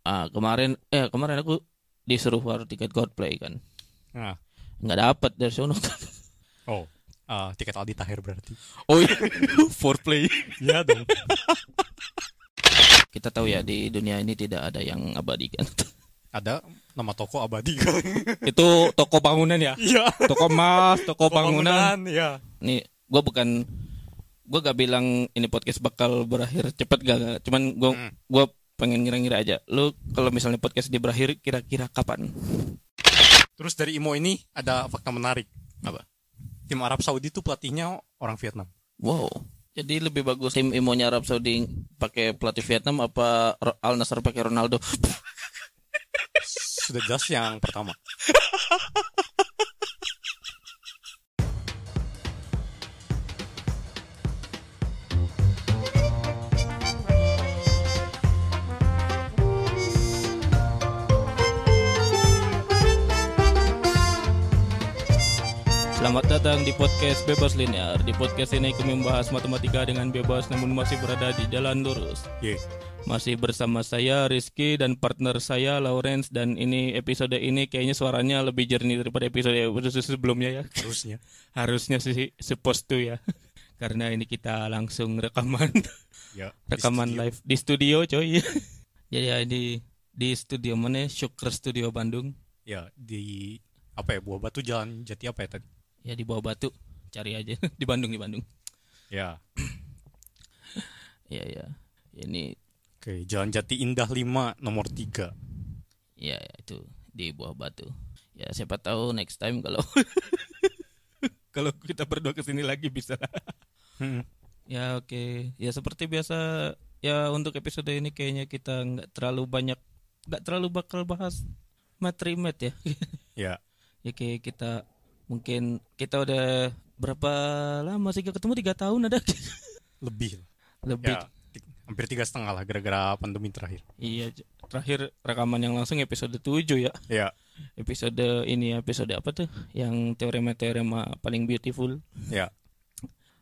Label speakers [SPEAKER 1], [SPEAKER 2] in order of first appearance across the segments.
[SPEAKER 1] Ah, kemarin eh kemarin aku disuruh war tiket Godplay kan.
[SPEAKER 2] Nah.
[SPEAKER 1] Nggak dapat dari sono.
[SPEAKER 2] Oh, ah, tiket Aldi Tahir berarti.
[SPEAKER 1] Oh iya, foreplay.
[SPEAKER 2] Iya dong.
[SPEAKER 1] Kita tahu ya di dunia ini tidak ada yang abadi kan.
[SPEAKER 2] Ada nama toko abadi. kan
[SPEAKER 1] Itu toko bangunan ya.
[SPEAKER 2] Iya.
[SPEAKER 1] Toko emas, toko bangunan.
[SPEAKER 2] Iya.
[SPEAKER 1] Nih, gua bukan gua gak bilang ini podcast bakal berakhir cepat gak, gak. Cuman gua
[SPEAKER 2] Hmm.
[SPEAKER 1] gua pengen ngira-ngira aja. Lu kalau misalnya podcast ini berakhir kira-kira kapan?
[SPEAKER 2] Terus dari Imo ini ada fakta menarik. Apa? Tim Arab Saudi tuh pelatihnya orang Vietnam.
[SPEAKER 1] Wow. Jadi lebih bagus tim Imonya Arab Saudi pakai pelatih Vietnam apa Ro- Al Nassr pakai Ronaldo?
[SPEAKER 2] Sudah jelas yang pertama.
[SPEAKER 1] Selamat datang di podcast Bebas Linear. Di podcast ini kami membahas matematika dengan bebas namun masih berada di jalan lurus.
[SPEAKER 2] Ye.
[SPEAKER 1] Masih bersama saya Rizky dan partner saya Lawrence dan ini episode ini kayaknya suaranya lebih jernih daripada episode episode sebelumnya ya.
[SPEAKER 2] Terusnya.
[SPEAKER 1] Harusnya sih supposed to ya. Karena ini kita langsung rekaman
[SPEAKER 2] Ya.
[SPEAKER 1] rekaman
[SPEAKER 2] Di studio.
[SPEAKER 1] live di studio coy. Jadi ya, di di studio mana? Syukur Studio Bandung.
[SPEAKER 2] Ya di apa ya buah batu jalan jati apa ya tadi?
[SPEAKER 1] Ya di bawah batu. Cari aja di Bandung di Bandung.
[SPEAKER 2] Ya.
[SPEAKER 1] Iya ya. Ini
[SPEAKER 2] Oke, Jalan Jati Indah 5 nomor 3.
[SPEAKER 1] ya ya, itu di bawah batu. Ya siapa tahu next time kalau kalau kita berdua kesini lagi bisa.
[SPEAKER 2] Hmm.
[SPEAKER 1] Ya oke. Ya seperti biasa ya untuk episode ini kayaknya kita nggak terlalu banyak nggak terlalu bakal bahas materi mat ya.
[SPEAKER 2] Ya.
[SPEAKER 1] ya kayak kita mungkin kita udah berapa lama sih nggak ketemu tiga tahun ada
[SPEAKER 2] Lebih. lah.
[SPEAKER 1] lebih.
[SPEAKER 2] Ya. ti- Hampir tiga setengah lah gara-gara pandemi terakhir.
[SPEAKER 1] Iya j- terakhir rekaman yang langsung episode 7 ya.
[SPEAKER 2] Ya.
[SPEAKER 1] Episode ini episode apa tuh yang teorema-teorema paling beautiful.
[SPEAKER 2] Ya.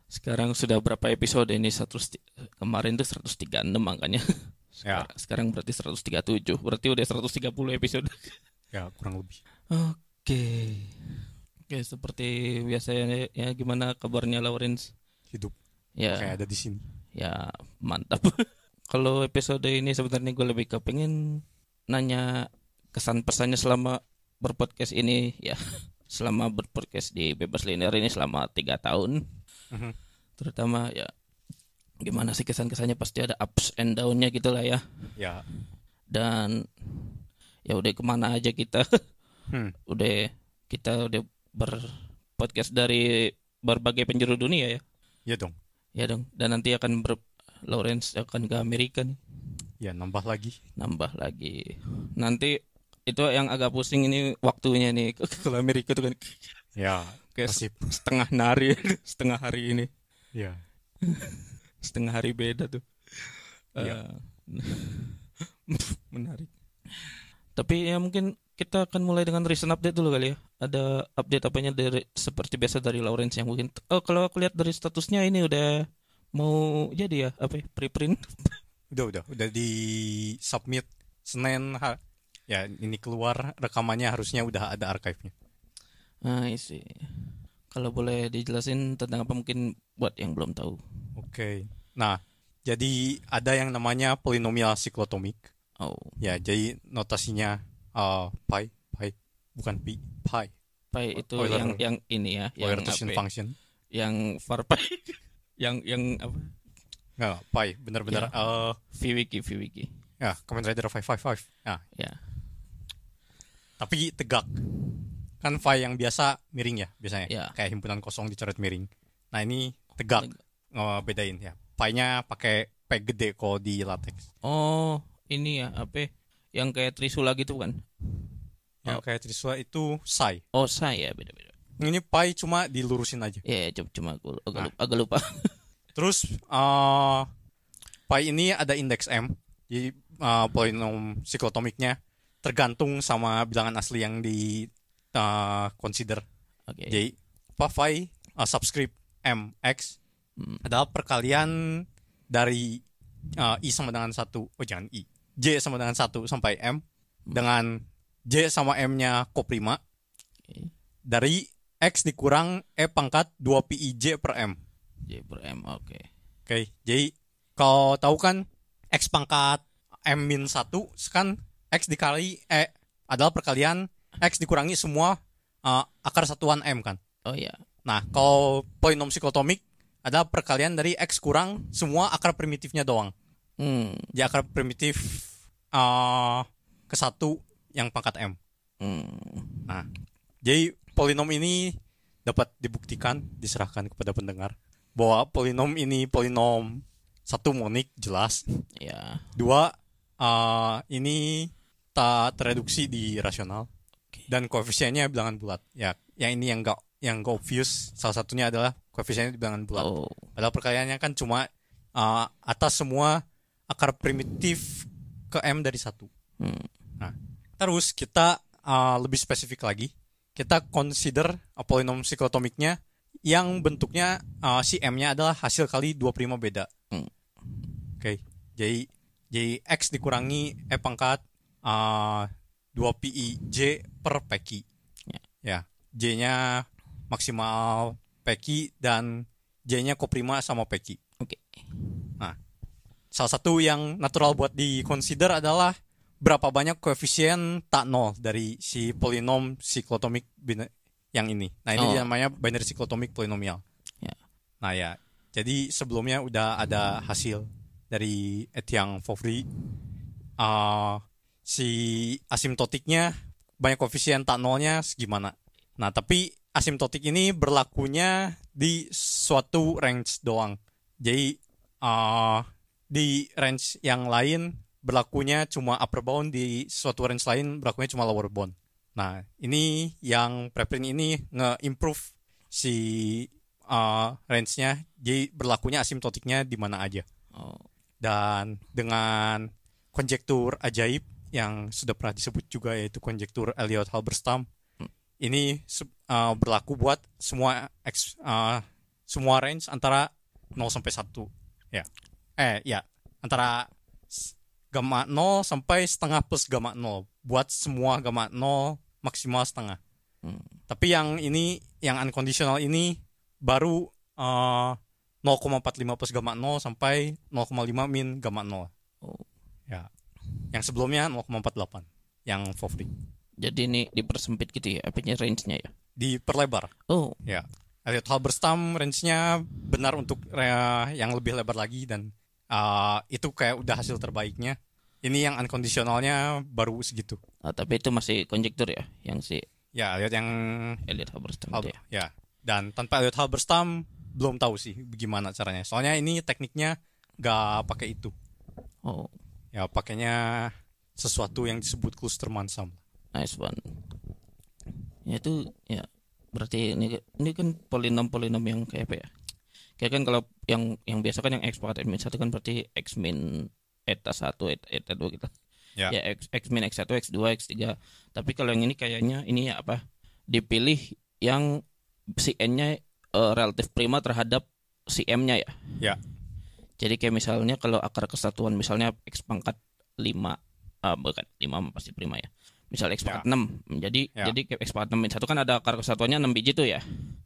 [SPEAKER 1] Sekarang sudah berapa episode ini? 100 ti- kemarin tuh 136 angkanya.
[SPEAKER 2] Ya.
[SPEAKER 1] Sekarang, sekarang berarti 137. Berarti udah 130 episode.
[SPEAKER 2] Ya, kurang lebih.
[SPEAKER 1] Oke. Oke, seperti biasanya ya gimana kabarnya Lawrence?
[SPEAKER 2] Hidup
[SPEAKER 1] Ya,
[SPEAKER 2] kayak ada di sini.
[SPEAKER 1] ya mantap. Kalau episode ini sebenarnya gue lebih kepengen nanya kesan pesannya selama berpodcast ini ya. Selama berpodcast di Bebas Linear ini selama tiga tahun.
[SPEAKER 2] Mhm.
[SPEAKER 1] terutama ya gimana sih kesan-kesannya pasti ada ups and down-nya gitu lah ya
[SPEAKER 2] Ya.
[SPEAKER 1] dan ya udah kemana aja kita
[SPEAKER 2] Hmm.
[SPEAKER 1] udah kita udah berpodcast dari berbagai penjuru dunia ya
[SPEAKER 2] Ya dong.
[SPEAKER 1] ya dong dan nanti akan ber Lawrence akan ke Amerika nih
[SPEAKER 2] Ya, nambah lagi.
[SPEAKER 1] nambah lagi nanti itu yang agak pusing ini waktunya nih kalau Amerika tuh kan
[SPEAKER 2] Ya.
[SPEAKER 1] kayak
[SPEAKER 2] Nasib.
[SPEAKER 1] setengah hari setengah hari ini
[SPEAKER 2] Ya.
[SPEAKER 1] setengah hari beda tuh.
[SPEAKER 2] Iya.
[SPEAKER 1] Eh, menarik. Tapi ya mungkin kita akan mulai dengan recent update dulu kali ya. Ada update apanya dari seperti biasa dari Lawrence yang mungkin oh kalau aku lihat dari statusnya ini udah mau jadi ya apa ya, preprint.
[SPEAKER 2] Udah, udah. Udah di submit Senin. ha- ya, ini keluar rekamannya harusnya udah ada archive-nya.
[SPEAKER 1] Nah, isi. Kalau boleh dijelasin tentang apa mungkin buat yang belum tahu.
[SPEAKER 2] Oke. Nah, jadi ada yang namanya polinomial siklotomik.
[SPEAKER 1] Oh,
[SPEAKER 2] Ya, jadi notasinya eh pi, pi, bukan pi, pi.
[SPEAKER 1] pi itu
[SPEAKER 2] Euler-
[SPEAKER 1] yang yang ini ya, yang
[SPEAKER 2] Euler
[SPEAKER 1] apa
[SPEAKER 2] Tosin
[SPEAKER 1] ya,
[SPEAKER 2] function.
[SPEAKER 1] yang far pi. yang yang apa?
[SPEAKER 2] Nggak, pi, bener-bener.
[SPEAKER 1] Ya.
[SPEAKER 2] eh
[SPEAKER 1] Viwiki, Viwiki.
[SPEAKER 2] ya, Kamen Rider 555. Nah,
[SPEAKER 1] Ya.
[SPEAKER 2] tapi tegak. Kan pi yang biasa miring ya, biasanya.
[SPEAKER 1] Ya.
[SPEAKER 2] Kayak himpunan kosong dicoret miring. Nah, ini tegak.
[SPEAKER 1] Tegak.
[SPEAKER 2] Ngebedain ya. Pi-nya pakai P gede kalau di latex.
[SPEAKER 1] Oh, ini ya apa? Yang kayak Trisula gitu kan? Ya.
[SPEAKER 2] Yang kayak Trisula itu psi.
[SPEAKER 1] Oh, saya beda-beda.
[SPEAKER 2] Ini pi cuma dilurusin aja.
[SPEAKER 1] Ya, ya, cuma, cuma aku agak,
[SPEAKER 2] Ah.
[SPEAKER 1] lupa, agak lupa.
[SPEAKER 2] Terus eh pi ini ada indeks m, jadi eh, polinom siklotomiknya tergantung sama bilangan asli yang di eh, consider.
[SPEAKER 1] Oke.
[SPEAKER 2] Jadi apa, phi eh, subscript m x
[SPEAKER 1] Hmm.
[SPEAKER 2] uh, adalah perkalian dari eh, i sama dengan satu. Oh jangan i, b J sama dengan 1 sampai
[SPEAKER 1] Hmm.
[SPEAKER 2] M dengan J sama M-nya koprima
[SPEAKER 1] Oke.
[SPEAKER 2] dari X dikurang E pangkat 2 PIJ per M.
[SPEAKER 1] J per M oke
[SPEAKER 2] Oke, jadi kau tahu kan X pangkat M min 1 kan X dikali E adalah perkalian X dikurangi semua eh, akar satuan M kan.
[SPEAKER 1] oh ya
[SPEAKER 2] Nah, kalau polinom psikotomik ada perkalian dari X kurang semua akar primitifnya doang.
[SPEAKER 1] hmm,
[SPEAKER 2] Jadi akar primitif eh ke satu yang pangkat M.
[SPEAKER 1] hmm.
[SPEAKER 2] Nah, jadi polinom ini dapat dibuktikan, diserahkan kepada pendengar bahwa polinom ini polinom satu monik jelas,
[SPEAKER 1] ya
[SPEAKER 2] dua eh, ini tak tereduksi di rasional
[SPEAKER 1] Oke.
[SPEAKER 2] dan koefisiennya bilangan bulat. Ya, yang ini yang gak yang gak obvious salah satunya adalah koefisiennya di bilangan bulat.
[SPEAKER 1] oh
[SPEAKER 2] Padahal perkaliannya kan cuma eh, atas semua akar primitif ke M dari satu. Nah,
[SPEAKER 1] hmm.
[SPEAKER 2] Terus kita uh, lebih spesifik lagi. Kita consider uh, polinom psikotomiknya yang bentuknya uh, si M-nya adalah hasil kali 2 prima beda.
[SPEAKER 1] Hmm.
[SPEAKER 2] Oke. Jadi jadi X dikurangi E pangkat uh, 2 PI J per PQ.
[SPEAKER 1] Ya.
[SPEAKER 2] Ya. J-nya maksimal PQ dan J-nya koprima sama PQ
[SPEAKER 1] oke
[SPEAKER 2] salah satu yang natural buat di consider adalah berapa banyak koefisien tak nol dari si polinom siklotomik bina- yang ini. Nah ini
[SPEAKER 1] Oh.
[SPEAKER 2] namanya binary siklotomik polinomial.
[SPEAKER 1] Ya.
[SPEAKER 2] Nah ya, jadi sebelumnya udah ada hasil dari Etiang Fovri. Uh, si asimptotiknya banyak koefisien tak nolnya segimana. Nah tapi asimptotik ini berlakunya di suatu range doang. Jadi uh, di range yang lain berlakunya cuma upper bound di suatu range lain berlakunya cuma lower bound. Nah, ini yang preprint ini nge-improve si uh, range-nya jadi berlakunya asimptotiknya di mana aja.
[SPEAKER 1] oh
[SPEAKER 2] Dan dengan konjektur ajaib yang sudah pernah disebut juga yaitu konjektur Elliot Halberstam. Ini se- uh, berlaku buat semua X, uh, semua range antara 0 sampai 1 eh ya antara s- gamma 0 sampai setengah plus gamma 0 buat semua gamma 0 maksimal setengah.
[SPEAKER 1] Hmm.
[SPEAKER 2] Tapi yang ini yang unconditional ini baru eh, 0,45 plus gamma 0 sampai 0,5 min gamma 0.
[SPEAKER 1] Oh.
[SPEAKER 2] Ya. Yang sebelumnya 0,48 yang Fofri
[SPEAKER 1] jadi ini dipersempit gitu ya apanya range-nya ya
[SPEAKER 2] diperlebar.
[SPEAKER 1] oh
[SPEAKER 2] Ya. Elliot Halberstam range-nya benar untuk eh, yang lebih lebar lagi dan eh, itu kayak udah hasil terbaiknya. Ini yang unconditionalnya baru segitu.
[SPEAKER 1] ah, tapi itu masih konjektur ya yang si
[SPEAKER 2] Ya, Elliot yang
[SPEAKER 1] Elliot Halberstam
[SPEAKER 2] Hal-
[SPEAKER 1] itu ya
[SPEAKER 2] ya. Dan tanpa Elliot Halberstam belum tahu sih gimana caranya. Soalnya ini tekniknya gak pakai itu.
[SPEAKER 1] oh
[SPEAKER 2] Ya, pakainya sesuatu yang disebut Klusterman sum.
[SPEAKER 1] Nice one. Ya itu ya berarti ini ini kan polinom polinom yang kayak apa ya? Kayak kan kalau yang yang biasa kan yang x pangkat min satu kan berarti x min eta satu eta, eta dua gitu.
[SPEAKER 2] Ya.
[SPEAKER 1] Ya x x min x satu x dua x tiga. Tapi kalau yang ini kayaknya ini ya apa? Dipilih yang si n-nya eh, relatif prima terhadap si m-nya ya.
[SPEAKER 2] Ya.
[SPEAKER 1] Jadi kayak misalnya kalau akar kesatuan misalnya x pangkat 5 ah, bukan 5 pasti prima ya. Misal x pangkat 6. Jadi
[SPEAKER 2] Ya.
[SPEAKER 1] jadi kayak x pangkat 6 min 1 kan ada akar kesatuannya 6 biji tuh ya.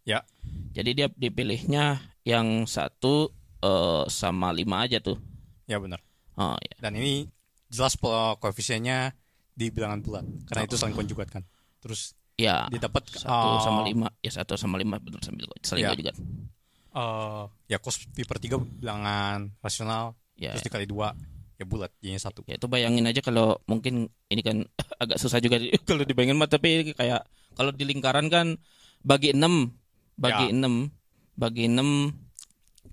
[SPEAKER 2] Ya.
[SPEAKER 1] Jadi dia dipilihnya yang satu eh, sama 5 aja tuh.
[SPEAKER 2] Ya benar.
[SPEAKER 1] Oh ya.
[SPEAKER 2] dan ini jelas po- koefisiennya di bilangan bulat karena itu saling konjugat kan terus
[SPEAKER 1] Ya.
[SPEAKER 2] didapat
[SPEAKER 1] Satu
[SPEAKER 2] eh,
[SPEAKER 1] sama lima ya satu sama lima betul sambil saling
[SPEAKER 2] Ya.
[SPEAKER 1] juga
[SPEAKER 2] eh, ya cos pi per tiga bilangan rasional
[SPEAKER 1] ya
[SPEAKER 2] terus dikali dua ya bulat jadinya satu
[SPEAKER 1] ya itu bayangin aja kalau mungkin ini kan agak susah juga di- kalau dibayangin mah tapi kayak kalau di lingkaran kan bagi 6 bagi 6
[SPEAKER 2] Ya.
[SPEAKER 1] bagi 6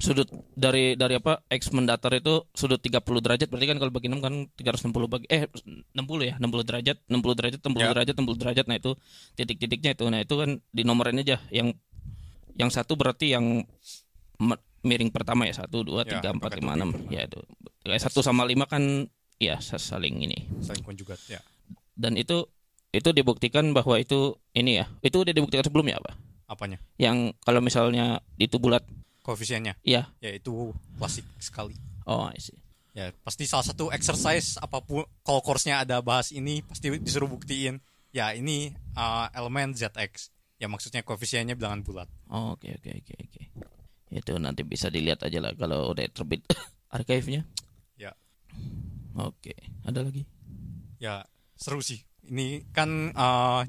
[SPEAKER 1] sudut dari dari apa x mendatar itu sudut 30 derajat berarti kan kalau bagi 6 kan 360 bagi eh 60 ya 60 derajat 60 derajat 60
[SPEAKER 2] Ya.
[SPEAKER 1] derajat 60 derajat nah itu titik-titiknya itu nah itu kan di nomorin aja yang yang satu berarti yang me- miring pertama ya satu dua
[SPEAKER 2] Ya,
[SPEAKER 1] tiga empat
[SPEAKER 2] pakai
[SPEAKER 1] lima
[SPEAKER 2] tujuh
[SPEAKER 1] enam
[SPEAKER 2] pertama.
[SPEAKER 1] ya itu kayak satu sama lima kan ya sa- saling ini
[SPEAKER 2] saling konjugat ya
[SPEAKER 1] dan itu itu dibuktikan bahwa itu ini ya itu udah dibuktikan sebelumnya apa
[SPEAKER 2] apanya
[SPEAKER 1] yang kalau misalnya itu bulat
[SPEAKER 2] koefisiennya
[SPEAKER 1] ya
[SPEAKER 2] ya itu klasik sekali
[SPEAKER 1] oh I see.
[SPEAKER 2] Ya, pasti salah satu exercise apapun kalau course-nya ada bahas ini pasti disuruh buktiin. Ya, ini uh, elemen ZX. Ya maksudnya koefisiennya bilangan bulat.
[SPEAKER 1] Oh, oke oke oke oke. Itu nanti bisa dilihat aja lah kalau udah terbit arkivnya.
[SPEAKER 2] Ya.
[SPEAKER 1] Oke, ada lagi.
[SPEAKER 2] Ya, seru sih. Ini kan uh,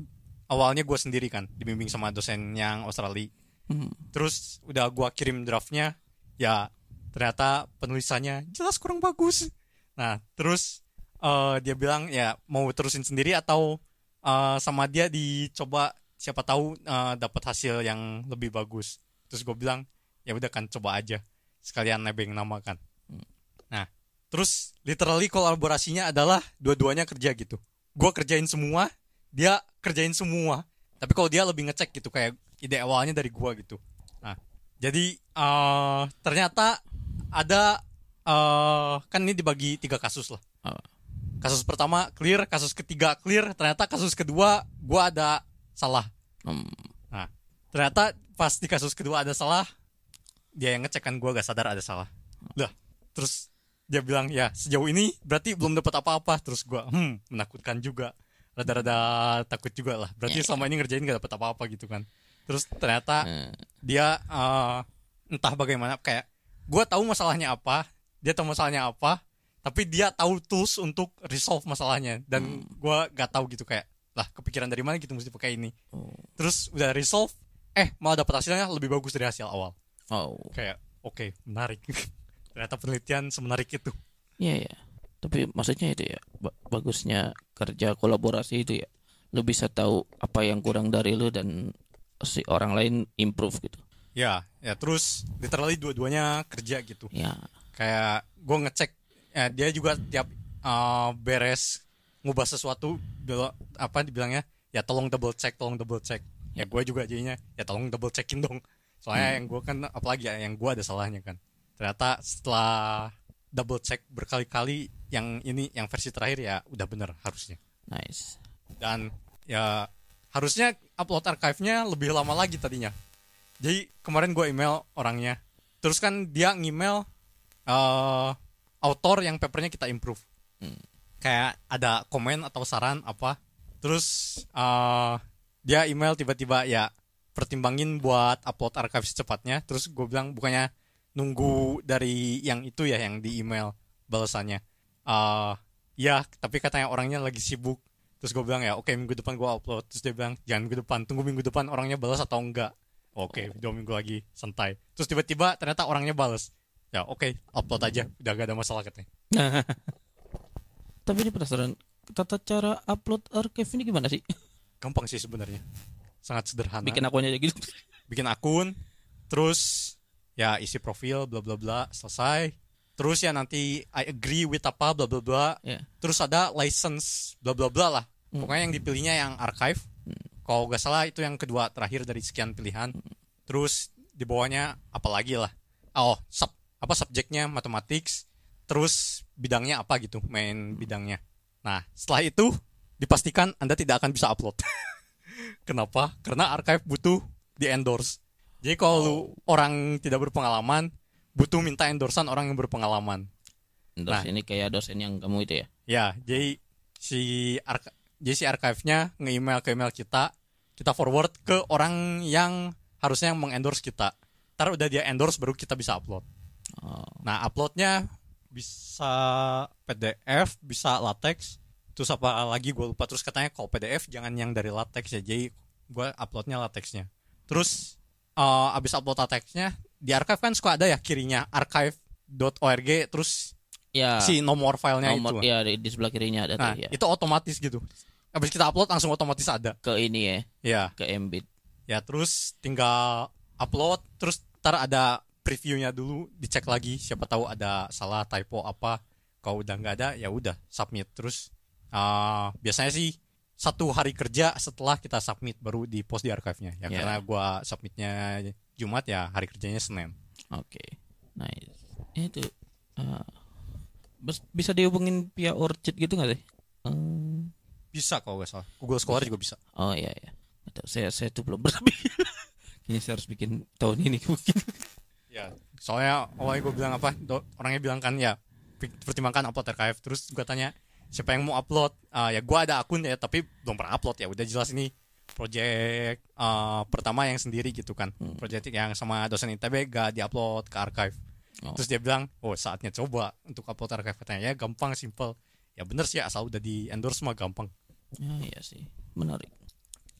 [SPEAKER 2] awalnya gue sendiri kan dibimbing sama dosen yang Australia.
[SPEAKER 1] Hmm.
[SPEAKER 2] Terus udah gua kirim draftnya, ya ternyata penulisannya jelas kurang bagus. Nah, terus eh, dia bilang ya mau terusin sendiri atau eh, sama dia dicoba siapa tahu eh, dapat hasil yang lebih bagus. Terus gue bilang ya udah kan coba aja sekalian nebeng nama kan. Nah, terus literally kolaborasinya adalah dua-duanya kerja gitu. Gua kerjain semua, dia kerjain semua. Tapi kalau dia lebih ngecek gitu kayak ide awalnya dari gua gitu. Nah, jadi eh ternyata ada eh kan ini dibagi tiga kasus lah.
[SPEAKER 1] Ah.
[SPEAKER 2] Kasus pertama clear, kasus ketiga clear, ternyata kasus kedua gua ada salah.
[SPEAKER 1] Hmm.
[SPEAKER 2] Nah, ternyata pas di kasus kedua ada salah, dia yang ngecek kan gue gak sadar ada salah. Lah, terus dia bilang ya sejauh ini berarti belum dapat apa-apa. Terus gue hmm menakutkan juga, rada-rada takut juga lah. Berarti
[SPEAKER 1] Ya, ya.
[SPEAKER 2] selama ini ngerjain gak dapat apa-apa gitu kan. Terus ternyata
[SPEAKER 1] Eh,
[SPEAKER 2] dia eh, entah bagaimana kayak gue tahu masalahnya apa dia tahu masalahnya apa tapi dia tahu tools untuk resolve masalahnya
[SPEAKER 1] Hmm.
[SPEAKER 2] dan gua gue gak tahu gitu kayak lah kepikiran dari mana gitu mesti pakai ini
[SPEAKER 1] Oh.
[SPEAKER 2] terus udah resolve eh malah dapat hasilnya lebih bagus dari hasil awal
[SPEAKER 1] Oh.
[SPEAKER 2] kayak oke menarik ternyata penelitian semenarik itu
[SPEAKER 1] Iya ya. Tapi maksudnya itu ya, ba- bagusnya kerja kolaborasi itu ya. Lu bisa tahu apa yang kurang dari lu dan si orang lain improve gitu.
[SPEAKER 2] ya ya terus literally dua-duanya kerja gitu
[SPEAKER 1] Ya.
[SPEAKER 2] kayak gue ngecek eh, dia juga tiap eh, beres ngubah sesuatu bila- apa dibilangnya ya tolong double check tolong double check ya gue juga jadinya ya tolong double checkin dong soalnya yang gue kan apalagi ya yang gue ada salahnya kan ternyata setelah double check berkali-kali yang ini yang versi terakhir ya udah bener harusnya
[SPEAKER 1] Nice.
[SPEAKER 2] dan ya harusnya upload archive-nya lebih lama lagi tadinya jadi kemarin gue email orangnya terus kan dia ngemail eh author yang papernya kita improve kayak ada komen atau saran apa terus eh dia email tiba-tiba ya pertimbangin buat upload archive secepatnya terus gue bilang bukannya nunggu dari yang itu ya yang di email balasannya eh ya tapi katanya orangnya lagi sibuk terus gue bilang ya oke minggu depan gue upload terus dia bilang jangan minggu depan tunggu minggu depan orangnya balas atau enggak oke dua minggu lagi santai terus tiba-tiba ternyata orangnya balas ya oke upload aja udah gak ada masalah katanya
[SPEAKER 1] Tapi ini penasaran, tata cara upload archive ini gimana sih?
[SPEAKER 2] gampang sih sebenarnya sangat sederhana
[SPEAKER 1] Bikin akunnya aja gitu.
[SPEAKER 2] bikin akun terus ya isi profil bla bla bla selesai terus ya nanti I agree with apa bla bla bla
[SPEAKER 1] ya.
[SPEAKER 2] terus ada license bla bla bla lah
[SPEAKER 1] Hmm.
[SPEAKER 2] pokoknya yang dipilihnya yang archive kalau nggak salah itu yang kedua terakhir dari sekian pilihan terus di bawahnya apalagi lah oh sub apa subjeknya mathematics terus bidangnya apa gitu main bidangnya nah setelah itu dipastikan anda tidak akan bisa upload kenapa karena archive butuh di endorse jadi kalau lu orang tidak berpengalaman butuh minta endorsan orang yang berpengalaman
[SPEAKER 1] Endorse
[SPEAKER 2] Nah.
[SPEAKER 1] ini kayak dosen yang kamu itu ya.
[SPEAKER 2] Ya, jadi si ark jadi si archive-nya nge-email ke email kita, kita forward ke orang yang harusnya yang mengendorse kita. Ntar udah dia endorse baru kita bisa upload.
[SPEAKER 1] Oh.
[SPEAKER 2] Nah, uploadnya bisa PDF, bisa latex, terus apa lagi gue lupa. Terus katanya kalau PDF jangan yang dari latex ya. Jadi gue uploadnya latexnya. Terus eh, abis upload latexnya di archive kan suka ada ya kirinya archive.org terus
[SPEAKER 1] Ya.
[SPEAKER 2] Iya, si nomor filenya itu.
[SPEAKER 1] nomor ya di, di sebelah kirinya ada
[SPEAKER 2] Nah,
[SPEAKER 1] tuh ya.
[SPEAKER 2] itu otomatis gitu. Habis kita upload langsung otomatis ada.
[SPEAKER 1] Ke ini ya,
[SPEAKER 2] Ya,
[SPEAKER 1] ke Mbit.
[SPEAKER 2] ya terus tinggal upload, terus ntar ada previewnya dulu, dicek lagi. Siapa tahu ada salah typo apa. Kalau udah nggak ada, ya udah submit terus. ah, biasanya sih satu hari kerja setelah kita submit baru di post di archive-nya. Ya
[SPEAKER 1] Ya.
[SPEAKER 2] karena gua submitnya Jumat ya hari kerjanya Senin.
[SPEAKER 1] Oke. Nice. Itu eh, bes- bisa dihubungin via Orchid gitu nggak sih? Hmm.
[SPEAKER 2] Bisa kalau nggak salah. Google Scholar juga bisa.
[SPEAKER 1] Oh iya iya. Nggak tahu, saya saya tuh belum pernah bikin. Kayaknya saya harus bikin tahun ini mungkin.
[SPEAKER 2] Iya. Ya, soalnya awalnya gue bilang apa? do- orangnya bilang kan ya pi- pertimbangkan upload archive terus gue tanya siapa yang mau upload Ah, ya gue ada akun ya tapi belum pernah upload ya udah jelas ini project ah, pertama yang sendiri gitu kan
[SPEAKER 1] Hmm.
[SPEAKER 2] project yang sama dosen ITB gak diupload ke archive
[SPEAKER 1] Oh.
[SPEAKER 2] terus dia bilang oh saatnya coba untuk upload archive katanya ya gampang simple ya bener sih asal udah di endorse mah gampang
[SPEAKER 1] Ya, iya sih, menarik.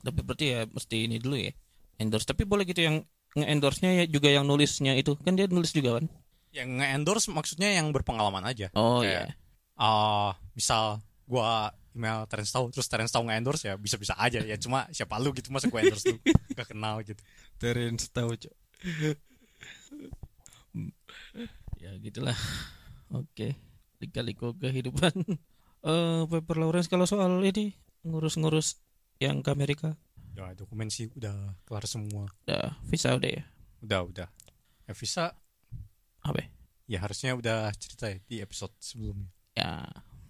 [SPEAKER 1] Tapi berarti ya mesti ini dulu ya. Endorse. Tapi boleh gitu yang nge-endorse-nya ya juga yang nulisnya itu. Kan dia nulis juga kan?
[SPEAKER 2] yang nge-endorse maksudnya yang berpengalaman aja
[SPEAKER 1] Oh iya.
[SPEAKER 2] Kayak, ah, misal gua email Terence Tau terus Terence Tau nge-endorse ya bisa-bisa aja ya cuma siapa lu gitu masa gua endorse lu gak kenal gitu
[SPEAKER 1] Terence tahu, Cok. ya gitulah. Oke. Lika-liku kehidupan. Eh, Paper Lawrence kalau soal ini ngurus-ngurus yang ke Amerika.
[SPEAKER 2] ya dokumen sih udah kelar semua
[SPEAKER 1] Udah visa udah ya.
[SPEAKER 2] udah udah ya visa
[SPEAKER 1] Apa? ya?
[SPEAKER 2] ya harusnya udah cerita ya di episode sebelumnya
[SPEAKER 1] Ya,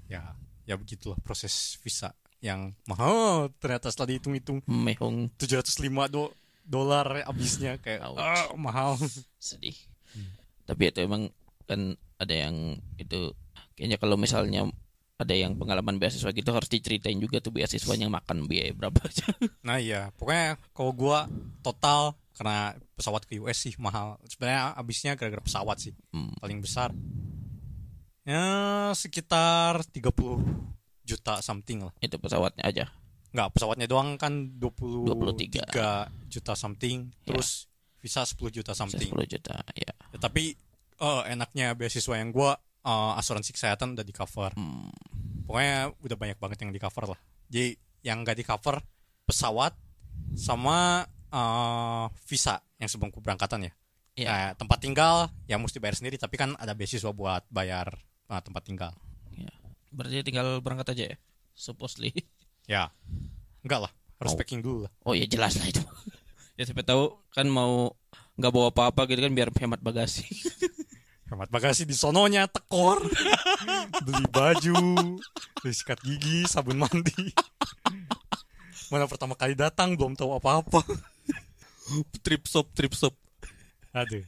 [SPEAKER 2] ya ya begitulah proses visa yang mahal ternyata setelah dihitung-hitung
[SPEAKER 1] mehong
[SPEAKER 2] 705 do dolar abisnya kayak
[SPEAKER 1] Ouch.
[SPEAKER 2] ah, mahal
[SPEAKER 1] sedih. Hmm. Tapi itu emang kan ada yang itu kayaknya kalau misalnya ada yang pengalaman beasiswa gitu harus diceritain juga tuh beasiswanya makan biaya berapa aja.
[SPEAKER 2] Nah iya, pokoknya kalau gua total karena pesawat ke US sih mahal. Sebenarnya habisnya gara-gara pesawat sih
[SPEAKER 1] Hmm.
[SPEAKER 2] paling besar. Ya sekitar 30 juta something lah.
[SPEAKER 1] Itu pesawatnya aja.
[SPEAKER 2] Nggak, pesawatnya doang kan 23,
[SPEAKER 1] 23.
[SPEAKER 2] juta something, terus visa 10
[SPEAKER 1] Bisa
[SPEAKER 2] juta something.
[SPEAKER 1] 10 juta ya.
[SPEAKER 2] Ya, tapi eh, enaknya beasiswa yang gua eh, asuransi kesehatan udah di cover.
[SPEAKER 1] Hmm.
[SPEAKER 2] Pokoknya udah banyak banget yang di cover lah. Jadi yang nggak di cover pesawat sama eh, visa yang sebelum keberangkatan ya.
[SPEAKER 1] Iya.
[SPEAKER 2] Eh, tempat tinggal ya mesti bayar sendiri tapi kan ada beasiswa buat bayar eh, tempat tinggal.
[SPEAKER 1] ya. Berarti tinggal berangkat aja ya. Supposedly.
[SPEAKER 2] Ya. Enggak lah, harus
[SPEAKER 1] Oh.
[SPEAKER 2] packing dulu lah.
[SPEAKER 1] Oh ya jelas lah itu. ya siapa tahu kan mau nggak bawa apa-apa gitu kan biar hemat bagasi.
[SPEAKER 2] Hemat bagasi di sononya tekor. Beli baju, beli sikat gigi, sabun mandi. Mana pertama kali datang belum tahu apa-apa.
[SPEAKER 1] trip shop, trip shop.
[SPEAKER 2] Aduh.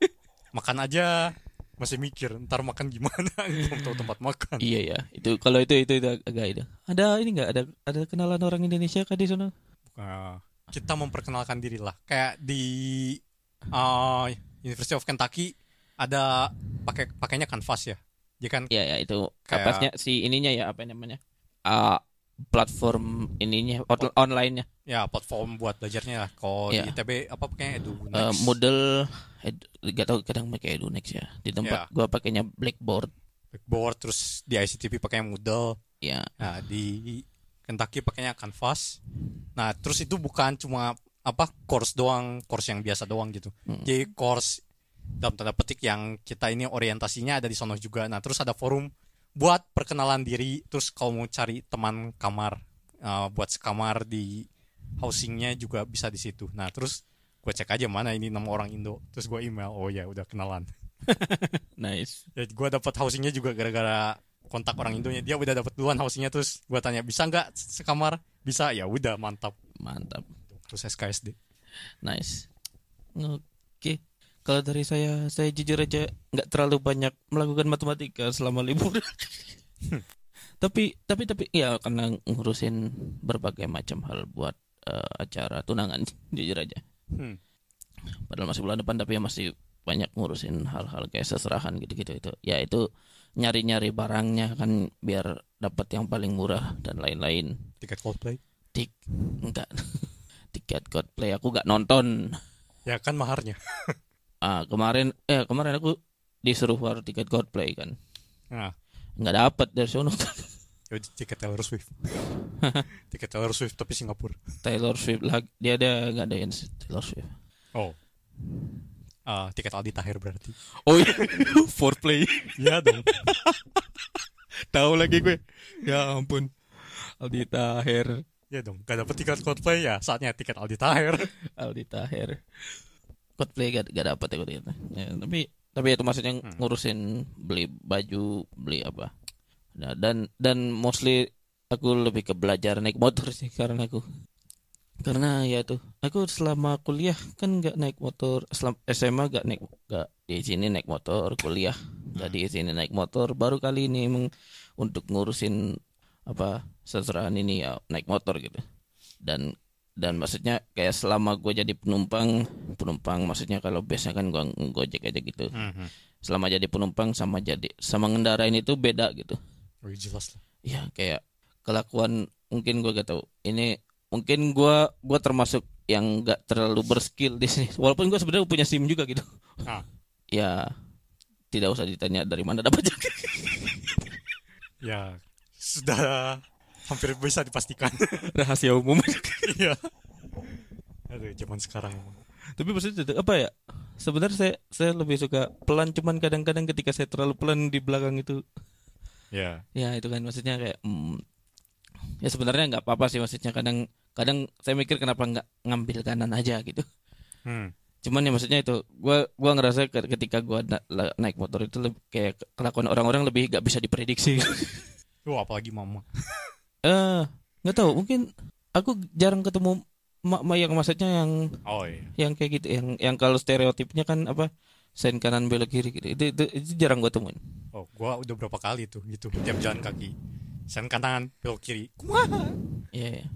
[SPEAKER 2] Makan aja masih mikir ntar makan gimana belum tahu tempat makan.
[SPEAKER 1] Iya ya. Itu kalau itu itu, itu agak itu. Ada ini nggak ada ada kenalan orang Indonesia kah di sana?
[SPEAKER 2] Uh, kita memperkenalkan diri lah kayak di uh, University of Kentucky ada pakai pakainya kanvas ya dia kan
[SPEAKER 1] Ya ya itu
[SPEAKER 2] Kayak-
[SPEAKER 1] kapasnya si ininya ya apa namanya? Ah, platform ininya
[SPEAKER 2] Oh.
[SPEAKER 1] on- online-nya.
[SPEAKER 2] ya platform buat belajarnya lah kalau
[SPEAKER 1] Iya.
[SPEAKER 2] di ITB apa pakainya Edu
[SPEAKER 1] Eh, model ed- gak tau kadang pakai Edunex ya. Di tempat
[SPEAKER 2] Ya.
[SPEAKER 1] gua pakainya Blackboard.
[SPEAKER 2] Blackboard terus di ICTP pakai Moodle
[SPEAKER 1] Ya.
[SPEAKER 2] nah di Kentucky pakainya kanvas nah terus itu bukan cuma apa course doang course yang biasa doang gitu
[SPEAKER 1] Hmm.
[SPEAKER 2] jadi course dalam tanda petik yang kita ini orientasinya ada di sono juga. Nah, terus ada forum buat perkenalan diri, terus kalau mau cari teman kamar eh, buat sekamar di housingnya juga bisa di situ. Nah, terus gue cek aja mana ini nama orang Indo, terus gue email, oh ya udah kenalan.
[SPEAKER 1] Nice.
[SPEAKER 2] Ya, gue dapat housingnya juga gara-gara kontak orang Indonya. Dia udah dapat duluan housingnya, terus gue tanya bisa nggak sekamar? Bisa, ya udah mantap.
[SPEAKER 1] Mantap.
[SPEAKER 2] Terus SKSD.
[SPEAKER 1] Nice. Oke. Kalau dari saya, saya jujur aja nggak terlalu banyak melakukan matematika selama libur.
[SPEAKER 2] Hmm.
[SPEAKER 1] tapi tapi tapi ya karena ngurusin berbagai macam hal buat eh, acara tunangan jujur aja.
[SPEAKER 2] Hmm.
[SPEAKER 1] Padahal masih bulan depan tapi ya masih banyak ngurusin hal-hal kayak seserahan gitu-gitu itu. Ya itu nyari-nyari barangnya kan biar dapat yang paling murah dan lain-lain.
[SPEAKER 2] Tiket Coldplay.
[SPEAKER 1] Tik enggak. Tiket Godplay aku nggak nonton.
[SPEAKER 2] Ya kan maharnya.
[SPEAKER 1] Ah, kemarin eh kemarin aku disuruh war tiket Godplay kan.
[SPEAKER 2] Nah,
[SPEAKER 1] Nggak dapat dari sono
[SPEAKER 2] Ya, tiket Taylor Swift. tiket Taylor Swift tapi Singapura.
[SPEAKER 1] Taylor Swift lagi. Dia ada nggak ada yang Taylor Swift.
[SPEAKER 2] Oh. Ah, tiket Aldi Tahir berarti.
[SPEAKER 1] Oh iya, foreplay.
[SPEAKER 2] Iya dong.
[SPEAKER 1] Tahu lagi gue. Ya ampun. Aldi Taher,
[SPEAKER 2] Iya dong. Gak dapet tiket Coldplay ya, saatnya tiket Aldi Tahir.
[SPEAKER 1] Aldi Taher. Godplay gak, gak dapat ya, gue ternyata. ya, tapi tapi itu maksudnya ngurusin beli baju, beli apa. Nah, dan dan mostly aku lebih ke belajar naik motor sih karena aku karena ya tuh aku selama kuliah kan nggak naik motor selam, SMA nggak naik nggak di sini naik motor kuliah Tadi sini naik motor, baru kali ini emang untuk ngurusin apa seserahan ini ya naik motor gitu. Dan dan maksudnya kayak selama gue jadi penumpang, penumpang maksudnya kalau biasa kan gue gojek aja gitu.
[SPEAKER 2] Mhm.
[SPEAKER 1] Selama jadi penumpang sama jadi sama ngendarain itu beda gitu.
[SPEAKER 2] Oh, jelas lah.
[SPEAKER 1] ya kayak kelakuan mungkin gue gak tahu ini mungkin gue gua termasuk yang gak terlalu berskill di sini walaupun gue sebenarnya punya sim juga gitu
[SPEAKER 2] Ah.
[SPEAKER 1] ya tidak usah ditanya dari mana dapat
[SPEAKER 2] Ya sudah hampir bisa dipastikan.
[SPEAKER 1] rahasia umum
[SPEAKER 2] Iya. Aduh, zaman sekarang.
[SPEAKER 1] tapi maksudnya itu apa ya sebenarnya saya saya lebih suka pelan cuman kadang-kadang ketika saya terlalu pelan di belakang itu
[SPEAKER 2] Ya.
[SPEAKER 1] ya itu kan maksudnya kayak mm, ya sebenarnya nggak apa-apa sih maksudnya kadang kadang saya mikir kenapa nggak ngambil kanan aja gitu
[SPEAKER 2] Hmm.
[SPEAKER 1] cuman ya maksudnya itu gua gua ngerasa ke- ketika gua na- la- naik motor itu lebih, kayak ke- kelakuan orang-orang lebih gak bisa diprediksi
[SPEAKER 2] Wah, Oh, apalagi mama.
[SPEAKER 1] eh nggak tahu mungkin aku jarang ketemu mak mak yang maksudnya yang
[SPEAKER 2] Oh iya.
[SPEAKER 1] yang kayak gitu yang yang kalau stereotipnya kan apa sen kanan belok kiri gitu itu itu, itu jarang gua temuin
[SPEAKER 2] Oh, gua udah berapa kali tuh gitu tiap jalan kaki. Sen kanan, belok kiri. Kumaha?
[SPEAKER 1] iya iya.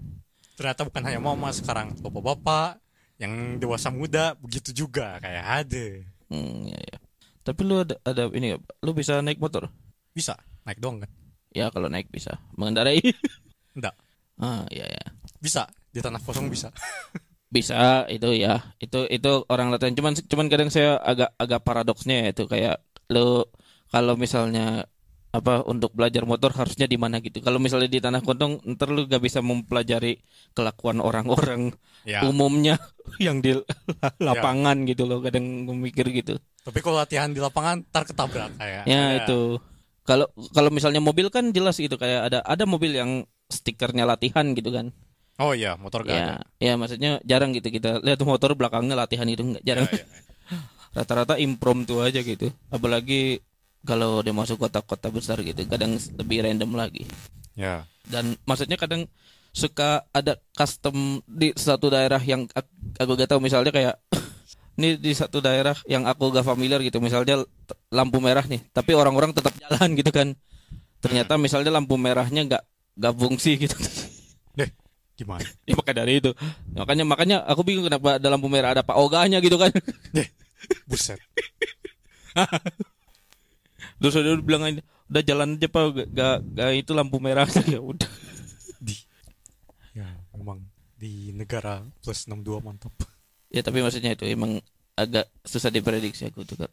[SPEAKER 2] Ternyata bukan hanya mama sekarang, bapak-bapak yang dewasa muda begitu juga kayak ada.
[SPEAKER 1] Hmm, iya, iya. tapi lu ada ada ini nggak? lu bisa naik motor
[SPEAKER 2] Bisa naik doang kan?
[SPEAKER 1] ya kalau naik bisa mengendarai
[SPEAKER 2] Enggak.
[SPEAKER 1] ah iya ya
[SPEAKER 2] Bisa di tanah kosong bisa.
[SPEAKER 1] bisa itu ya itu itu orang latihan cuman cuman kadang saya agak agak paradoksnya ya itu kayak lo kalau misalnya apa untuk belajar motor harusnya di mana gitu kalau misalnya di tanah kontong ntar lu gak bisa mempelajari kelakuan orang-orang
[SPEAKER 2] Ya.
[SPEAKER 1] umumnya yang di lapangan gitu loh kadang gue mikir gitu
[SPEAKER 2] Tapi kalau latihan di lapangan ntar ketabrak kayak.
[SPEAKER 1] ya
[SPEAKER 2] ada-
[SPEAKER 1] itu kalau kalau misalnya mobil kan jelas gitu kayak ada ada mobil yang stikernya latihan gitu kan
[SPEAKER 2] Oh iya, motor gak ada.
[SPEAKER 1] ya ya maksudnya jarang gitu kita lihat motor belakangnya latihan itu nggak jarang
[SPEAKER 2] Ya, ya, ya.
[SPEAKER 1] rata-rata impromptu aja gitu apalagi kalau dia masuk kota-kota besar gitu kadang lebih random lagi
[SPEAKER 2] Ya.
[SPEAKER 1] dan maksudnya kadang suka ada custom di satu daerah yang ak- aku gak tahu misalnya kayak ini di satu daerah yang aku gak familiar gitu misalnya t- lampu merah nih tapi orang-orang tetap jalan gitu kan ternyata misalnya lampu merahnya nggak nggak fungsi gitu
[SPEAKER 2] Deh, gimana?
[SPEAKER 1] ya maka dari itu makanya makanya aku bingung kenapa ada lampu merah ada pak ogahnya gitu kan
[SPEAKER 2] Buset.
[SPEAKER 1] Terus udah bilang aja, udah jalan aja pak, gak, gak, gak itu lampu merah ya udah.
[SPEAKER 2] Ya, memang di negara plus 62 mantap.
[SPEAKER 1] Ya tapi maksudnya itu emang agak susah diprediksi aku tuh Kak.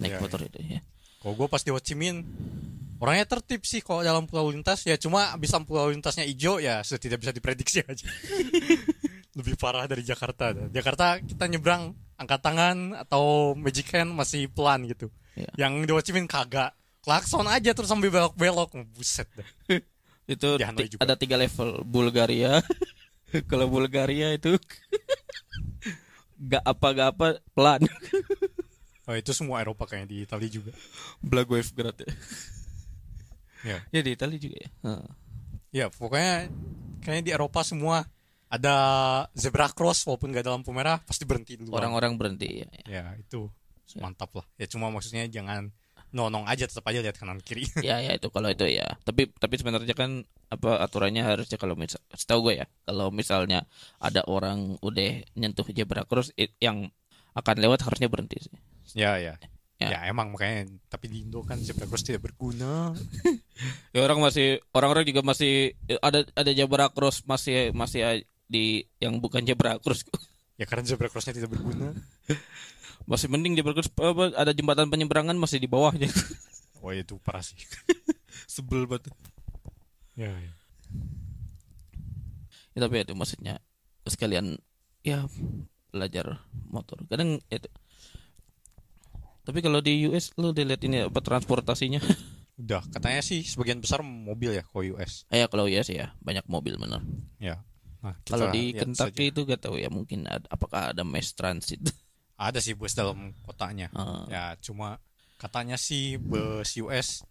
[SPEAKER 1] naik
[SPEAKER 2] Ya,
[SPEAKER 1] motor itu ya.
[SPEAKER 2] Kalau gue pas di Ho Chi Minh, orangnya tertib sih kalau dalam pulau lintas ya cuma abis lampu lalu lintasnya hijau ya sudah tidak bisa diprediksi aja. Lebih parah dari Jakarta. Jakarta kita nyebrang angkat tangan atau magic hand masih pelan gitu.
[SPEAKER 1] Iya.
[SPEAKER 2] Yang di Ho Chi Minh kagak. Klakson aja terus sambil belok-belok. Buset dah.
[SPEAKER 1] Itu
[SPEAKER 2] Di Hanoi
[SPEAKER 1] ti-
[SPEAKER 2] juga.
[SPEAKER 1] ada tiga level Bulgaria. Kalau Bulgaria itu gak apa gak apa pelan.
[SPEAKER 2] Oh, itu semua Eropa kayaknya di Italia juga.
[SPEAKER 1] Blagoev grad ya.
[SPEAKER 2] Ya.
[SPEAKER 1] Ya di Italia juga ya. Heeh.
[SPEAKER 2] Ya, pokoknya kayaknya di Eropa semua ada zebra cross walaupun gak ada lampu merah pasti berhenti dulu.
[SPEAKER 1] Orang-orang berhenti ya. ya.
[SPEAKER 2] ya itu mantap lah. Ya cuma maksudnya jangan nonong aja tetap aja lihat kanan kiri.
[SPEAKER 1] Ya ya itu kalau itu ya. Tapi tapi sebenarnya kan apa aturannya harusnya kalau misal setahu gue ya, kalau misalnya ada orang udah nyentuh zebra cross it- yang akan lewat harusnya berhenti sih.
[SPEAKER 2] ya, ya.
[SPEAKER 1] Ya.
[SPEAKER 2] Ya emang makanya tapi di Indo kan zebra cross tidak berguna.
[SPEAKER 1] Ya orang masih orang-orang juga masih eh, ada ada zebra cross masih masih a- di yang bukan zebra cross
[SPEAKER 2] Ya karena zebra crossnya tidak berguna.
[SPEAKER 1] masih mending zebra cross apa, ada jembatan penyeberangan masih di bawahnya.
[SPEAKER 2] Oh ya, itu parah sih.
[SPEAKER 1] Sebel banget.
[SPEAKER 2] ya, ya.
[SPEAKER 1] Ya, tapi itu maksudnya sekalian ya belajar motor. Kadang itu. Tapi kalau di US lu dilihat ini apa transportasinya?
[SPEAKER 2] Udah katanya sih sebagian besar mobil ya kalau US.
[SPEAKER 1] Eh, ya kalau US ya banyak mobil bener.
[SPEAKER 2] Ya. Nah, kita
[SPEAKER 1] Kalau di
[SPEAKER 2] lihat
[SPEAKER 1] Kentucky
[SPEAKER 2] saja.
[SPEAKER 1] itu gak tahu ya mungkin ada, apakah ada mass transit.
[SPEAKER 2] ada sih bus dalam kotanya.
[SPEAKER 1] Ah.
[SPEAKER 2] Ya, cuma katanya sih bus US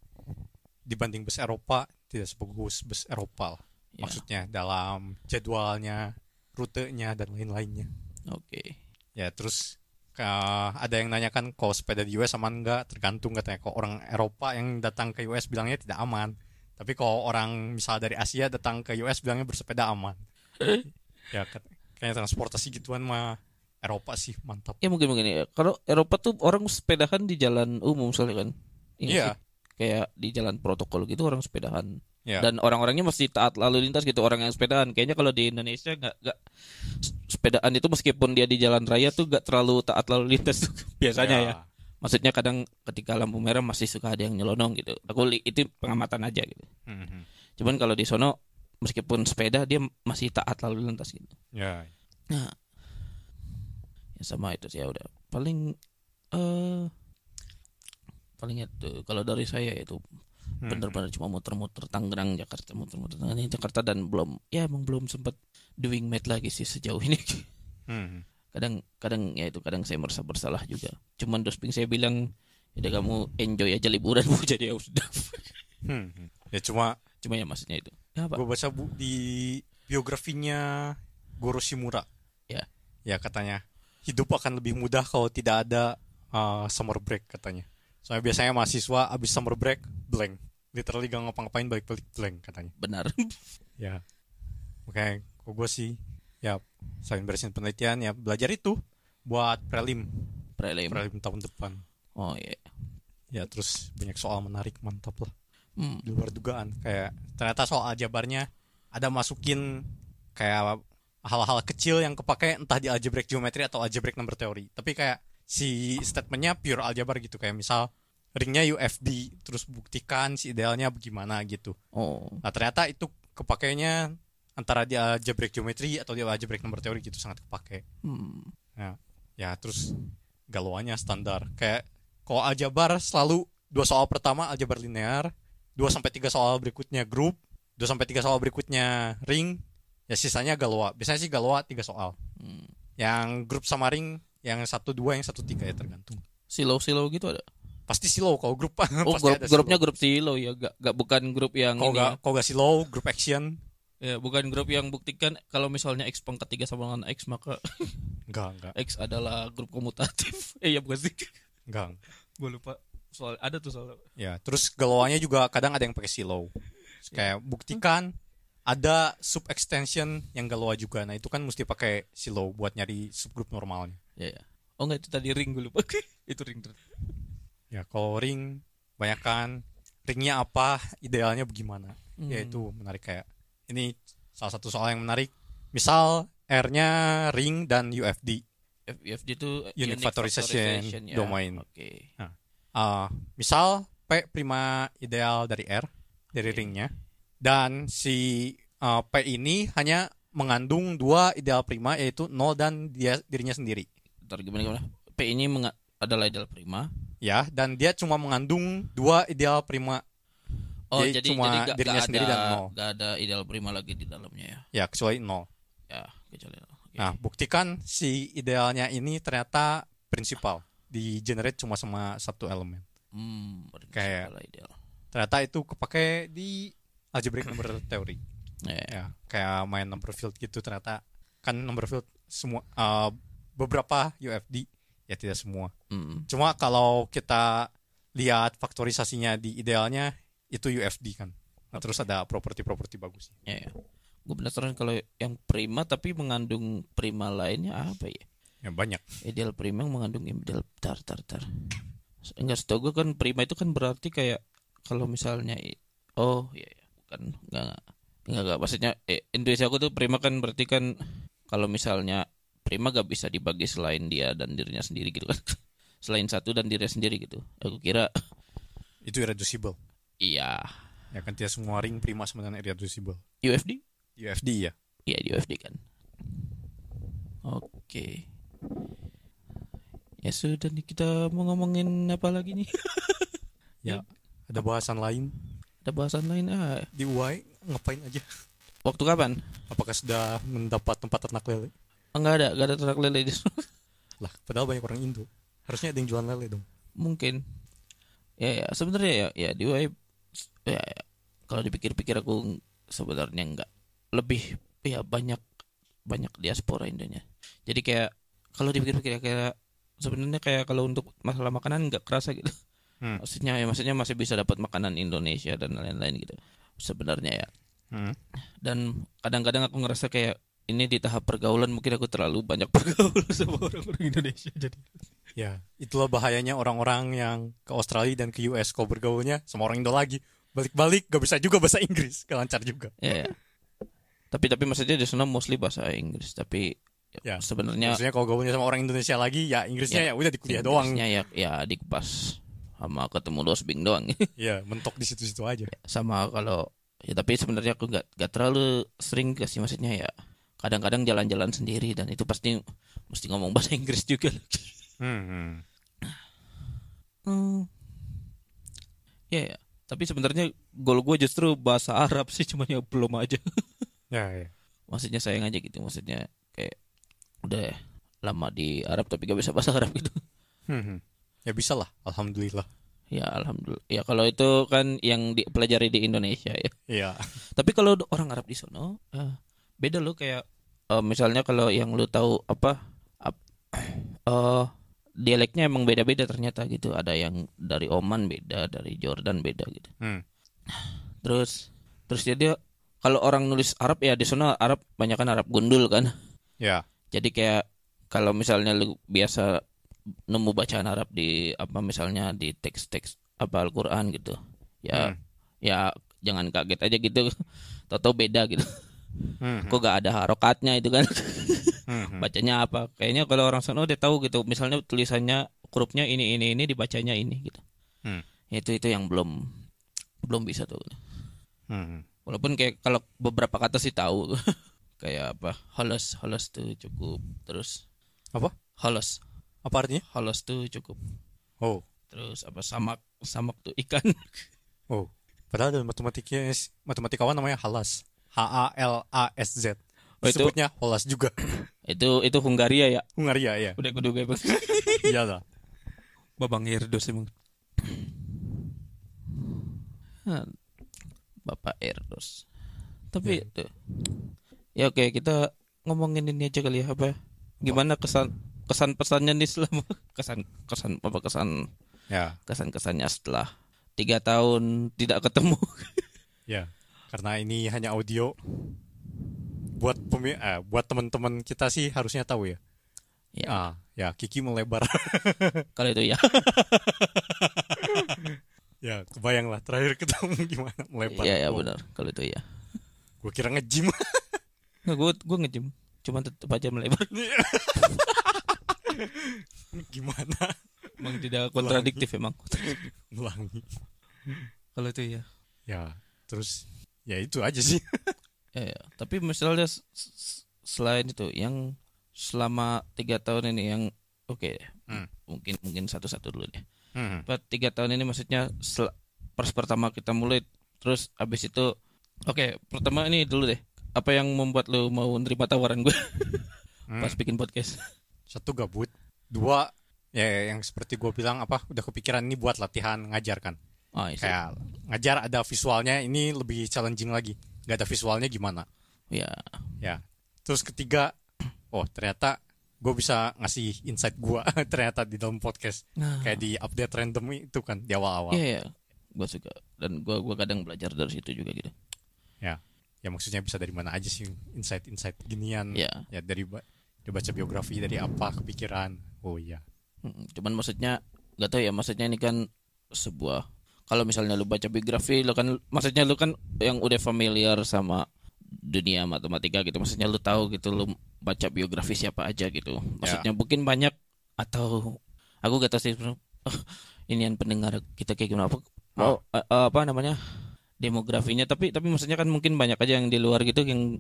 [SPEAKER 2] dibanding bus Eropa tidak sebagus bus Eropa. lah.
[SPEAKER 1] Ya,
[SPEAKER 2] Maksudnya dalam jadwalnya, rutenya dan lain-lainnya.
[SPEAKER 1] Oke.
[SPEAKER 2] Ya, terus eh, ada yang nanyakan kok sepeda di US aman nggak tergantung katanya kok orang Eropa yang datang ke US bilangnya tidak aman tapi kalau orang misal dari Asia datang ke US bilangnya bersepeda aman ya kat- kayaknya transportasi gituan mah Eropa sih mantap
[SPEAKER 1] Ya mungkin mungkin ya. Kalau Eropa tuh orang sepedahan di jalan umum soalnya kan. Ingat
[SPEAKER 2] Iya.
[SPEAKER 1] sih? Kayak di jalan protokol gitu orang sepedahan.
[SPEAKER 2] ya
[SPEAKER 1] Dan orang-orangnya masih taat lalu lintas gitu orang yang sepedahan. Kayaknya kalau di Indonesia nggak nggak sepedaan itu meskipun dia di jalan raya tuh nggak terlalu taat lalu lintas tuh biasanya ya. Maksudnya kadang ketika lampu merah masih suka ada yang nyelonong gitu. Aku li- itu pengamatan aja gitu.
[SPEAKER 2] Mhm.
[SPEAKER 1] Cuman kalau di sono meskipun sepeda dia masih taat lalu lintas gitu.
[SPEAKER 2] ya
[SPEAKER 1] Nah, ya sama itu sih ya udah. Paling eh paling itu kalau dari saya itu
[SPEAKER 2] Hmm.
[SPEAKER 1] bener-bener cuma muter-muter Tangerang Jakarta muter-muter Tangerang Jakarta dan belum ya emang belum sempat doing math lagi sih sejauh ini
[SPEAKER 2] Mhm.
[SPEAKER 1] kadang kadang ya itu kadang saya merasa bersalah juga cuman dosping saya bilang "Ya udah kamu enjoy aja liburanmu jadi ya sudah
[SPEAKER 2] Mhm. ya cuma
[SPEAKER 1] cuma ya maksudnya itu ya, apa?
[SPEAKER 2] gue baca bu di biografinya Goro Shimura
[SPEAKER 1] Ya.
[SPEAKER 2] ya katanya hidup akan lebih mudah kalau tidak ada uh, summer break katanya soalnya biasanya mahasiswa abis summer break blank literally gak ngapa-ngapain balik-balik blank katanya
[SPEAKER 1] benar
[SPEAKER 2] ya oke kok gue sih ya selain beresin penelitian ya belajar itu buat prelim
[SPEAKER 1] prelim
[SPEAKER 2] prelim tahun depan
[SPEAKER 1] oh iya
[SPEAKER 2] ya terus banyak soal menarik mantap lah
[SPEAKER 1] Hmm.
[SPEAKER 2] di luar dugaan kayak ternyata soal aljabarnya ada masukin kayak hal-hal kecil yang kepake entah di algebraic geometry atau algebraic number theory tapi kayak si statementnya pure aljabar gitu kayak misal ringnya UFD terus buktikan si idealnya bagaimana gitu
[SPEAKER 1] oh
[SPEAKER 2] nah ternyata itu kepakainya antara di algebraic geometry atau di algebraic number theory gitu sangat kepake
[SPEAKER 1] hmm.
[SPEAKER 2] ya terus galauannya standar kayak kalau aljabar selalu dua soal pertama aljabar linear dua sampai tiga soal berikutnya grup dua sampai tiga soal berikutnya ring ya sisanya galoa biasanya sih galoa tiga soal
[SPEAKER 1] Hmm.
[SPEAKER 2] yang grup sama ring yang satu dua yang satu tiga ya tergantung
[SPEAKER 1] silau silau gitu ada
[SPEAKER 2] pasti silo kalau grup
[SPEAKER 1] Oh,
[SPEAKER 2] Kan
[SPEAKER 1] grup,
[SPEAKER 2] pasti ada
[SPEAKER 1] grupnya
[SPEAKER 2] silo. Oh,
[SPEAKER 1] grup silo ya, gak, gak bukan grup yang ini
[SPEAKER 2] kalau nggak kalau nggak silo grup action
[SPEAKER 1] ya. Ya, bukan grup yang buktikan kalau misalnya x pangkat 3 sama dengan x maka
[SPEAKER 2] nggak nggak
[SPEAKER 1] x adalah grup komutatif. eh ya bukan sih.
[SPEAKER 2] nggak
[SPEAKER 1] Gue lupa soal ada tuh soal.
[SPEAKER 2] Ya, terus galauannya juga kadang ada yang pakai silo. Terus Kayak buktikan ada sub extension yang galoa juga. Nah, itu kan mesti pakai silo buat nyari subgroup normalnya.
[SPEAKER 1] Ya, ya. Oh enggak itu tadi ring gue lupa. itu ring.
[SPEAKER 2] Ya, kalau ring banyakkan ringnya apa, idealnya bagaimana.
[SPEAKER 1] Hmm.
[SPEAKER 2] Ya itu menarik kayak ini salah satu soal yang menarik. Misal R-nya ring dan UFD.
[SPEAKER 1] FFD itu ya.
[SPEAKER 2] Unique factorization domain.
[SPEAKER 1] Oke.
[SPEAKER 2] Ah, misal P prima ideal dari R dari
[SPEAKER 1] Oke.
[SPEAKER 2] ringnya dan si eh, P ini hanya mengandung dua ideal prima yaitu 0 dan dia dirinya sendiri
[SPEAKER 1] Ntar gimana gimana? P ini menga- adalah ideal prima.
[SPEAKER 2] ya dan dia cuma mengandung dua ideal prima
[SPEAKER 1] Oh,
[SPEAKER 2] Jadi
[SPEAKER 1] jadi,
[SPEAKER 2] cuma
[SPEAKER 1] jadi gak,
[SPEAKER 2] dirinya
[SPEAKER 1] gak
[SPEAKER 2] sendiri
[SPEAKER 1] ada,
[SPEAKER 2] dan nol.
[SPEAKER 1] gak ada ideal prima lagi di dalamnya ya.
[SPEAKER 2] ya kecuali 0
[SPEAKER 1] Ya, kecuali. Oke.
[SPEAKER 2] nah buktikan si idealnya ini ternyata prinsipal di generate cuma sama satu elemen
[SPEAKER 1] Hmm, baru
[SPEAKER 2] Kayak-
[SPEAKER 1] masalah ideal.
[SPEAKER 2] ternyata itu kepake di algebraic number theory
[SPEAKER 1] Ya.
[SPEAKER 2] ya kayak main number field gitu ternyata kan number field semua eh, beberapa UFD ya tidak semua
[SPEAKER 1] Hmm.
[SPEAKER 2] cuma kalau kita lihat faktorisasinya di idealnya itu UFD kan nah, terus ada properti-properti bagus
[SPEAKER 1] Ya, ya. Gue penasaran kalau yang prima tapi mengandung prima lainnya apa ya?
[SPEAKER 2] ya banyak
[SPEAKER 1] Ideal prima yang mengandung ideal tar tar tar. Enggak setahu gue kan prima itu kan berarti kayak kalau misalnya i- oh iya ya bukan enggak enggak enggak, enggak. maksudnya eh, intuisi aku tuh prima kan berarti kan kalau misalnya prima gak bisa dibagi selain dia dan dirinya sendiri gitu kan. selain satu dan dirinya sendiri gitu. Aku kira
[SPEAKER 2] itu irreducible
[SPEAKER 1] iya
[SPEAKER 2] ya kan tidak semua ring prima sama dengan irreducible
[SPEAKER 1] UFD
[SPEAKER 2] UFD ya
[SPEAKER 1] Iya di UFD kan. Oke. Ya sudah nih kita mau ngomongin apa lagi nih?
[SPEAKER 2] ya ada bahasan lain
[SPEAKER 1] Ada bahasan lain ah.
[SPEAKER 2] di UI ngapain aja
[SPEAKER 1] Waktu kapan?
[SPEAKER 2] apakah sudah mendapat tempat ternak lele
[SPEAKER 1] Enggak ada, enggak ada ternak lele di sana.
[SPEAKER 2] lah padahal banyak orang Indo harusnya ada yang jualan lele dong
[SPEAKER 1] Mungkin. Ya, ya sebenarnya ya, ya di UI ya, ya. kalau dipikir-pikir aku sebenarnya enggak lebih ya banyak banyak diaspora Indonya. Jadi kayak kalau dipikir-pikir ya, kayak sebenarnya kayak kalau untuk masalah makanan nggak kerasa gitu.
[SPEAKER 2] Hmm.
[SPEAKER 1] Maksudnya ya maksudnya masih bisa dapat makanan Indonesia dan lain-lain gitu. Sebenarnya ya.
[SPEAKER 2] Hmm.
[SPEAKER 1] Dan kadang-kadang aku ngerasa kayak ini di tahap pergaulan mungkin aku terlalu banyak bergaul sama orang-orang Indonesia jadi
[SPEAKER 2] Ya, itulah bahayanya orang-orang yang ke Australia dan ke US kalau bergaulnya sama orang Indo lagi. Balik-balik gak bisa juga bahasa Inggris, gak lancar juga.
[SPEAKER 1] ya, ya. tapi tapi maksudnya di sana mostly bahasa Inggris tapi
[SPEAKER 2] Ya,
[SPEAKER 1] sebenarnya
[SPEAKER 2] Maksudnya kalau gaulnya sama orang Indonesia lagi, ya Inggrisnya ya, udah di kuliah doang.
[SPEAKER 1] Inggrisnya ya ya di pas sama ketemu dosbing doang
[SPEAKER 2] Ya, mentok di situ-situ aja.
[SPEAKER 1] sama kalau ya tapi sebenarnya aku nggak nggak terlalu sering gak sih maksudnya ya kadang-kadang jalan-jalan sendiri dan itu pasti mesti ngomong bahasa Inggris juga
[SPEAKER 2] Hmm, hmm.
[SPEAKER 1] Hmm. ya ya. tapi sebenarnya gol gue justru bahasa Arab sih cuman ya belum aja
[SPEAKER 2] Ya, ya.
[SPEAKER 1] maksudnya sayang aja gitu maksudnya kayak udah ya, lama di Arab tapi gak bisa bahasa Arab gitu
[SPEAKER 2] Hmm, hmm. Ya bisa lah, alhamdulillah.
[SPEAKER 1] ya alhamdulillah ya kalau itu kan yang dipelajari di Indonesia ya
[SPEAKER 2] Iya.
[SPEAKER 1] Tapi kalau d- orang Arab di sono eh, beda loh kayak eh, misalnya kalau yang lu tahu apa ap- eh, dialeknya emang beda-beda ternyata gitu. Ada yang dari Oman beda, dari Jordan beda gitu.
[SPEAKER 2] Hmm.
[SPEAKER 1] Terus terus dia, dia kalau orang nulis Arab ya di sono Arab banyak kan Arab gundul kan.
[SPEAKER 2] Ya.
[SPEAKER 1] Jadi kayak kalau misalnya lu biasa nemu bacaan Arab di apa misalnya di teks-teks apa Al-Qur'an gitu. Ya
[SPEAKER 2] Hmm.
[SPEAKER 1] ya jangan kaget aja gitu. Tahu-tahu beda gitu.
[SPEAKER 2] Hmm,
[SPEAKER 1] Kok gak ada harokatnya itu kan.
[SPEAKER 2] hmm, hmm.
[SPEAKER 1] Bacanya apa? Kayaknya kalau orang sono dia tahu gitu. Misalnya tulisannya hurufnya ini ini ini dibacanya ini gitu.
[SPEAKER 2] Hmm.
[SPEAKER 1] Itu itu yang belum belum bisa tuh.
[SPEAKER 2] Hmm.
[SPEAKER 1] Walaupun kayak kalau beberapa kata sih tahu. kayak apa? Holos, holos tuh cukup. Terus
[SPEAKER 2] Apa?
[SPEAKER 1] Holos,
[SPEAKER 2] Apa artinya?
[SPEAKER 1] holos tuh cukup.
[SPEAKER 2] Oh.
[SPEAKER 1] Terus apa samak, samak tuh ikan.
[SPEAKER 2] Oh. Padahal dalam matematiknya matematikawan namanya Halas. H A L A S Z.
[SPEAKER 1] Oh, itu-
[SPEAKER 2] Disebutnya Holas juga.
[SPEAKER 1] itu itu Hungaria ya.
[SPEAKER 2] Hungaria ya.
[SPEAKER 1] Udah kudu gue bang.
[SPEAKER 2] Iya lah.
[SPEAKER 1] Babang Erdos emang. Bapak Erdos. Tapi itu. Ya oke, kita ngomongin ini aja kali ya apa? Gimana kesan kesan pesannya nih selama kesan kesan apa kesan
[SPEAKER 2] Ya,
[SPEAKER 1] kesan kesannya setelah tiga tahun tidak ketemu.
[SPEAKER 2] ya. Karena ini hanya audio. Buat pemi eh, buat teman-teman kita sih harusnya tahu ya.
[SPEAKER 1] Ya.
[SPEAKER 2] Ah, ya Kiki melebar.
[SPEAKER 1] Kalau itu ya.
[SPEAKER 2] ya, kebayang lah terakhir ketemu gimana melebar.
[SPEAKER 1] Iya ya
[SPEAKER 2] Oh,
[SPEAKER 1] benar. Kalau itu ya.
[SPEAKER 2] Gua kira nge-gym.
[SPEAKER 1] Nggak, gue gue ngejim. Cuman tetap aja melebar.
[SPEAKER 2] gimana?
[SPEAKER 1] Emang tidak kontradiktif emang.
[SPEAKER 2] Ulangi.
[SPEAKER 1] Kalau itu ya.
[SPEAKER 2] Ya, terus ya itu aja sih.
[SPEAKER 1] Ya, ya. tapi misalnya s- s- selain itu yang selama tiga tahun ini yang oke
[SPEAKER 2] Hmm.
[SPEAKER 1] mungkin mungkin satu-satu dulu deh. Apa, tiga tahun ini maksudnya sel- pas pertama kita mulai terus abis itu oke pertama ini dulu deh apa yang membuat lo mau nerima tawaran gue
[SPEAKER 2] Hmm.
[SPEAKER 1] pas bikin podcast?
[SPEAKER 2] Satu gabut, dua ya yang seperti gua bilang apa udah kepikiran ini buat latihan ngajar kan.
[SPEAKER 1] Ah, itu.
[SPEAKER 2] Kayak ngajar ada visualnya ini lebih challenging lagi. Gak ada visualnya gimana?
[SPEAKER 1] ya
[SPEAKER 2] Ya. Terus ketiga, oh ternyata gue bisa ngasih insight gue ternyata di dalam podcast
[SPEAKER 1] Nah.
[SPEAKER 2] kayak di update random itu kan di awal-awal.
[SPEAKER 1] ya ya gue suka dan gue gua kadang belajar dari situ juga gitu.
[SPEAKER 2] Ya. Ya maksudnya bisa dari mana aja sih insight-insight ginian.
[SPEAKER 1] Ya.
[SPEAKER 2] Ya dari ba- dia baca biografi dari apa kepikiran. Oh iya.
[SPEAKER 1] Mm, Cuman maksudnya nggak tahu ya maksudnya ini kan sebuah kalau misalnya lu baca biografi lu kan maksudnya lu kan yang udah familiar sama dunia matematika gitu maksudnya lu tahu gitu lu baca biografi siapa aja gitu maksudnya mungkin banyak atau aku gak tahu sih bro. Ah, ini yang pendengar kita kayak gimana apa oh, eh, eh, apa namanya demografinya tapi tapi maksudnya kan mungkin banyak aja yang di luar gitu yang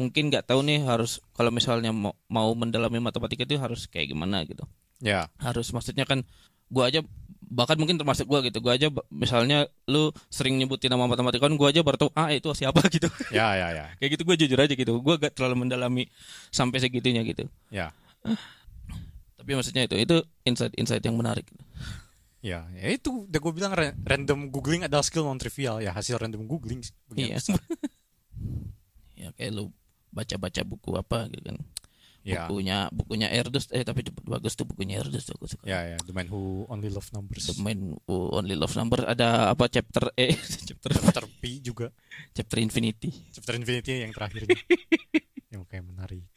[SPEAKER 1] mungkin nggak tahu nih harus kalau misalnya mau, mau mendalami matematika itu harus kayak gimana gitu
[SPEAKER 2] Ya.
[SPEAKER 1] harus maksudnya kan gua aja bahkan mungkin termasuk gua gitu gua aja ba- misalnya lu sering nyebutin nama matematikawan gua aja baru tahu ah itu siapa gitu
[SPEAKER 2] Ya ya ya.
[SPEAKER 1] kayak gitu gua jujur aja gitu gua gak terlalu mendalami sampai segitunya gitu
[SPEAKER 2] Ya.
[SPEAKER 1] tapi maksudnya itu itu insight-insight yang menarik
[SPEAKER 2] Ya, ya itu udah gue bilang ra- random googling adalah skill non trivial ya hasil random googling. sih. Bagian
[SPEAKER 1] iya
[SPEAKER 2] besar.
[SPEAKER 1] ya kayak lu baca-baca buku apa gitu kan
[SPEAKER 2] Ya.
[SPEAKER 1] bukunya bukunya Erdős eh tapi bagus tuh bukunya Erdős tuh aku suka
[SPEAKER 2] Ya, ya, The Man Who Only Love Numbers.
[SPEAKER 1] The Man Who Only Love Number ada apa chapter eh chapter
[SPEAKER 2] Chapter P juga.
[SPEAKER 1] chapter Infinity
[SPEAKER 2] Chapter Infinity yang terakhir. yang kayak menarik.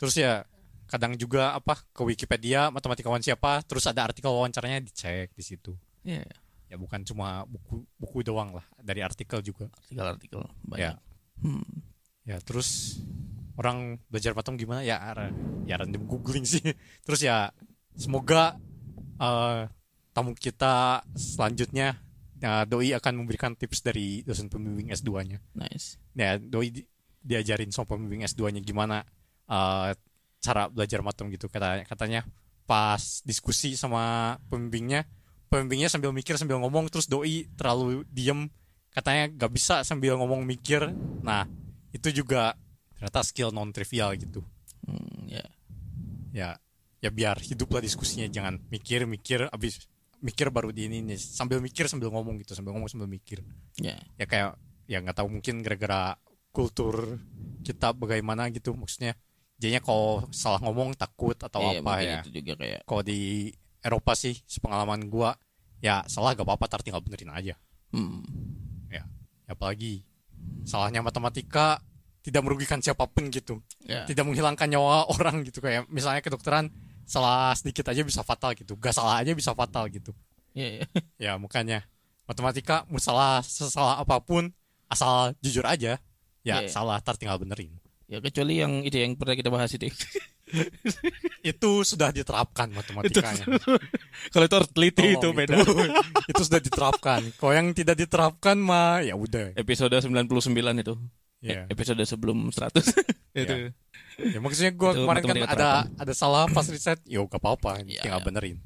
[SPEAKER 2] Terus ya kadang juga apa ke Wikipedia matematikawan siapa, terus ada artikel wawancaranya dicek di situ.
[SPEAKER 1] ya
[SPEAKER 2] Ya bukan cuma buku buku doang lah, dari artikel juga.
[SPEAKER 1] artikel artikel banyak Hmm.
[SPEAKER 2] Ya, terus orang belajar patung gimana ya ara- ya random googling sih. Terus ya semoga eh, tamu kita selanjutnya eh, doi akan memberikan tips dari dosen pembimbing S2-nya.
[SPEAKER 1] nice
[SPEAKER 2] Ya, doi di- diajarin sama pembimbing S2-nya gimana eh, cara belajar matem gitu katanya. Katanya pas diskusi sama pembimbingnya, pembimbingnya sambil mikir sambil ngomong terus doi terlalu diem katanya gak bisa sambil ngomong mikir. Nah, itu juga ternyata skill non trivial gitu.
[SPEAKER 1] Hmm, ya
[SPEAKER 2] Ya, ya biar hiduplah diskusinya jangan mikir-mikir abis mikir baru di ini sambil mikir sambil ngomong gitu sambil ngomong sambil mikir
[SPEAKER 1] ya
[SPEAKER 2] ya kayak ya nggak tahu mungkin gara-gara kultur kita bagaimana gitu maksudnya jadinya kalau salah ngomong takut atau
[SPEAKER 1] Iya,
[SPEAKER 2] apa
[SPEAKER 1] mungkin
[SPEAKER 2] ya
[SPEAKER 1] itu juga kayak
[SPEAKER 2] kalau di Eropa sih sepengalaman gua ya salah gak apa-apa tar tinggal benerin aja
[SPEAKER 1] hmm,
[SPEAKER 2] Ya, apalagi salahnya matematika tidak merugikan siapapun gitu
[SPEAKER 1] ya
[SPEAKER 2] tidak menghilangkan nyawa orang gitu kayak misalnya kedokteran salah sedikit aja bisa fatal gitu gak salah aja bisa fatal gitu
[SPEAKER 1] ya ya
[SPEAKER 2] ya makanya matematika mau salah sesalah apapun asal jujur aja ya
[SPEAKER 1] Iya.
[SPEAKER 2] salah tar tinggal benerin
[SPEAKER 1] Ya, kecuali yang itu yang pernah kita bahas itu
[SPEAKER 2] itu sudah diterapkan matematikanya
[SPEAKER 1] kalau itu harus teliti
[SPEAKER 2] Tolong,
[SPEAKER 1] itu beda
[SPEAKER 2] itu, itu sudah diterapkan kalau yang tidak diterapkan mah ya udah
[SPEAKER 1] episode 99 itu
[SPEAKER 2] ya.
[SPEAKER 1] E- episode sebelum 100 itu
[SPEAKER 2] Ya, maksudnya gua
[SPEAKER 1] Itu
[SPEAKER 2] kemarin kan
[SPEAKER 1] matematika
[SPEAKER 2] ada ada salah pas riset yo gak apa-apa
[SPEAKER 1] Iya,
[SPEAKER 2] tinggal
[SPEAKER 1] iya.
[SPEAKER 2] benerin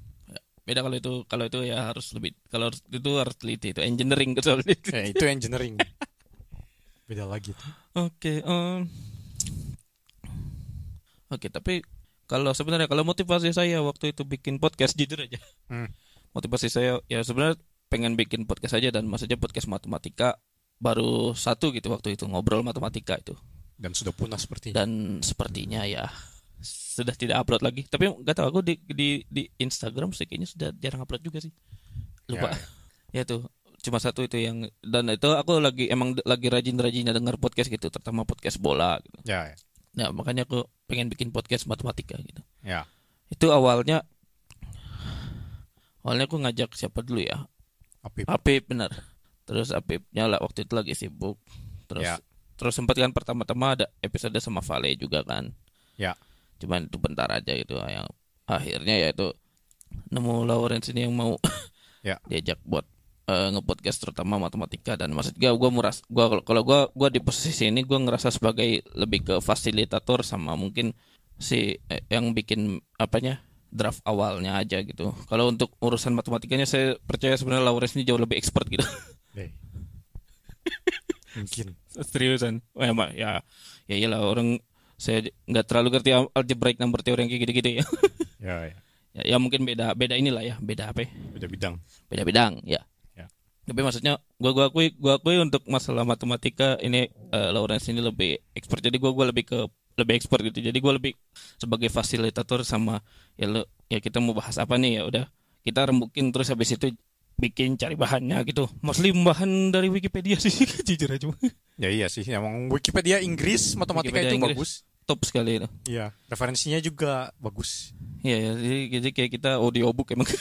[SPEAKER 1] beda kalau itu kalau itu ya harus lebih kalau harus- itu harus teliti itu engineering tuh soalnya
[SPEAKER 2] ya, itu engineering beda lagi tuh
[SPEAKER 1] Oke, em. oke. Tapi kalau sebenarnya kalau motivasi saya waktu itu bikin podcast jujur aja,
[SPEAKER 2] Hmm.
[SPEAKER 1] motivasi saya ya sebenarnya pengen bikin podcast aja dan maksudnya podcast matematika baru satu gitu waktu itu ngobrol matematika itu
[SPEAKER 2] dan sudah punah sepertinya
[SPEAKER 1] dan sepertinya ya sudah tidak upload lagi. Tapi nggak tahu aku di di di Instagram sih kayaknya sudah jarang upload juga sih. Lupa.
[SPEAKER 2] Ya,
[SPEAKER 1] Ya tuh cuma satu itu yang dan itu aku lagi emang lagi rajin-rajinnya dengar podcast gitu, terutama podcast bola gitu.
[SPEAKER 2] ya ya,
[SPEAKER 1] Nah, makanya aku pengen bikin podcast matematika gitu.
[SPEAKER 2] ya.
[SPEAKER 1] Itu awalnya awalnya aku ngajak siapa dulu ya?
[SPEAKER 2] Apip.
[SPEAKER 1] Apip benar. Terus Apipnya lah waktu itu lagi sibuk. Terus
[SPEAKER 2] Ya.
[SPEAKER 1] terus sempat kan pertama-tama ada episode sama Vale juga kan.
[SPEAKER 2] Ya.
[SPEAKER 1] Cuman itu bentar aja gitu yang akhirnya ya itu nemu Lawrence ini yang mau
[SPEAKER 2] Ya.
[SPEAKER 1] diajak buat eh, ngepodcast terutama matematika dan maksud gue gue muras gua kalau- kalau gue gua di posisi ini gue ngerasa sebagai lebih ke fasilitator sama mungkin si eh, yang bikin apanya draft awalnya aja gitu kalau untuk urusan matematikanya saya percaya sebenarnya Lawrence ini jauh lebih expert gitu
[SPEAKER 2] Deh. mungkin
[SPEAKER 1] seriusan oh, ya, Mak, ya ya iyalah orang saya nggak terlalu ngerti algebraic number theory yang kayak gitu-gitu ya.
[SPEAKER 2] ya, ya.
[SPEAKER 1] ya ya mungkin beda beda inilah ya beda apa ya?
[SPEAKER 2] beda bidang
[SPEAKER 1] beda bidang ya.
[SPEAKER 2] Ya.
[SPEAKER 1] Tapi maksudnya gua gua akui gua akui untuk masalah matematika ini eh, Lawrence ini lebih expert. Jadi gua gua lebih ke lebih expert gitu. Jadi gua lebih sebagai fasilitator sama ya lo ya kita mau bahas apa nih ya udah kita rembukin terus habis itu bikin cari bahannya gitu. Mostly bahan dari Wikipedia sih jujur aja.
[SPEAKER 2] Ya iya sih, emang Wikipedia Inggris matematika
[SPEAKER 1] Wikipedia
[SPEAKER 2] itu
[SPEAKER 1] Inggris.
[SPEAKER 2] bagus.
[SPEAKER 1] Top sekali itu.
[SPEAKER 2] Iya, referensinya juga bagus.
[SPEAKER 1] Iya ya, jadi, jadi kayak kita audiobook emang.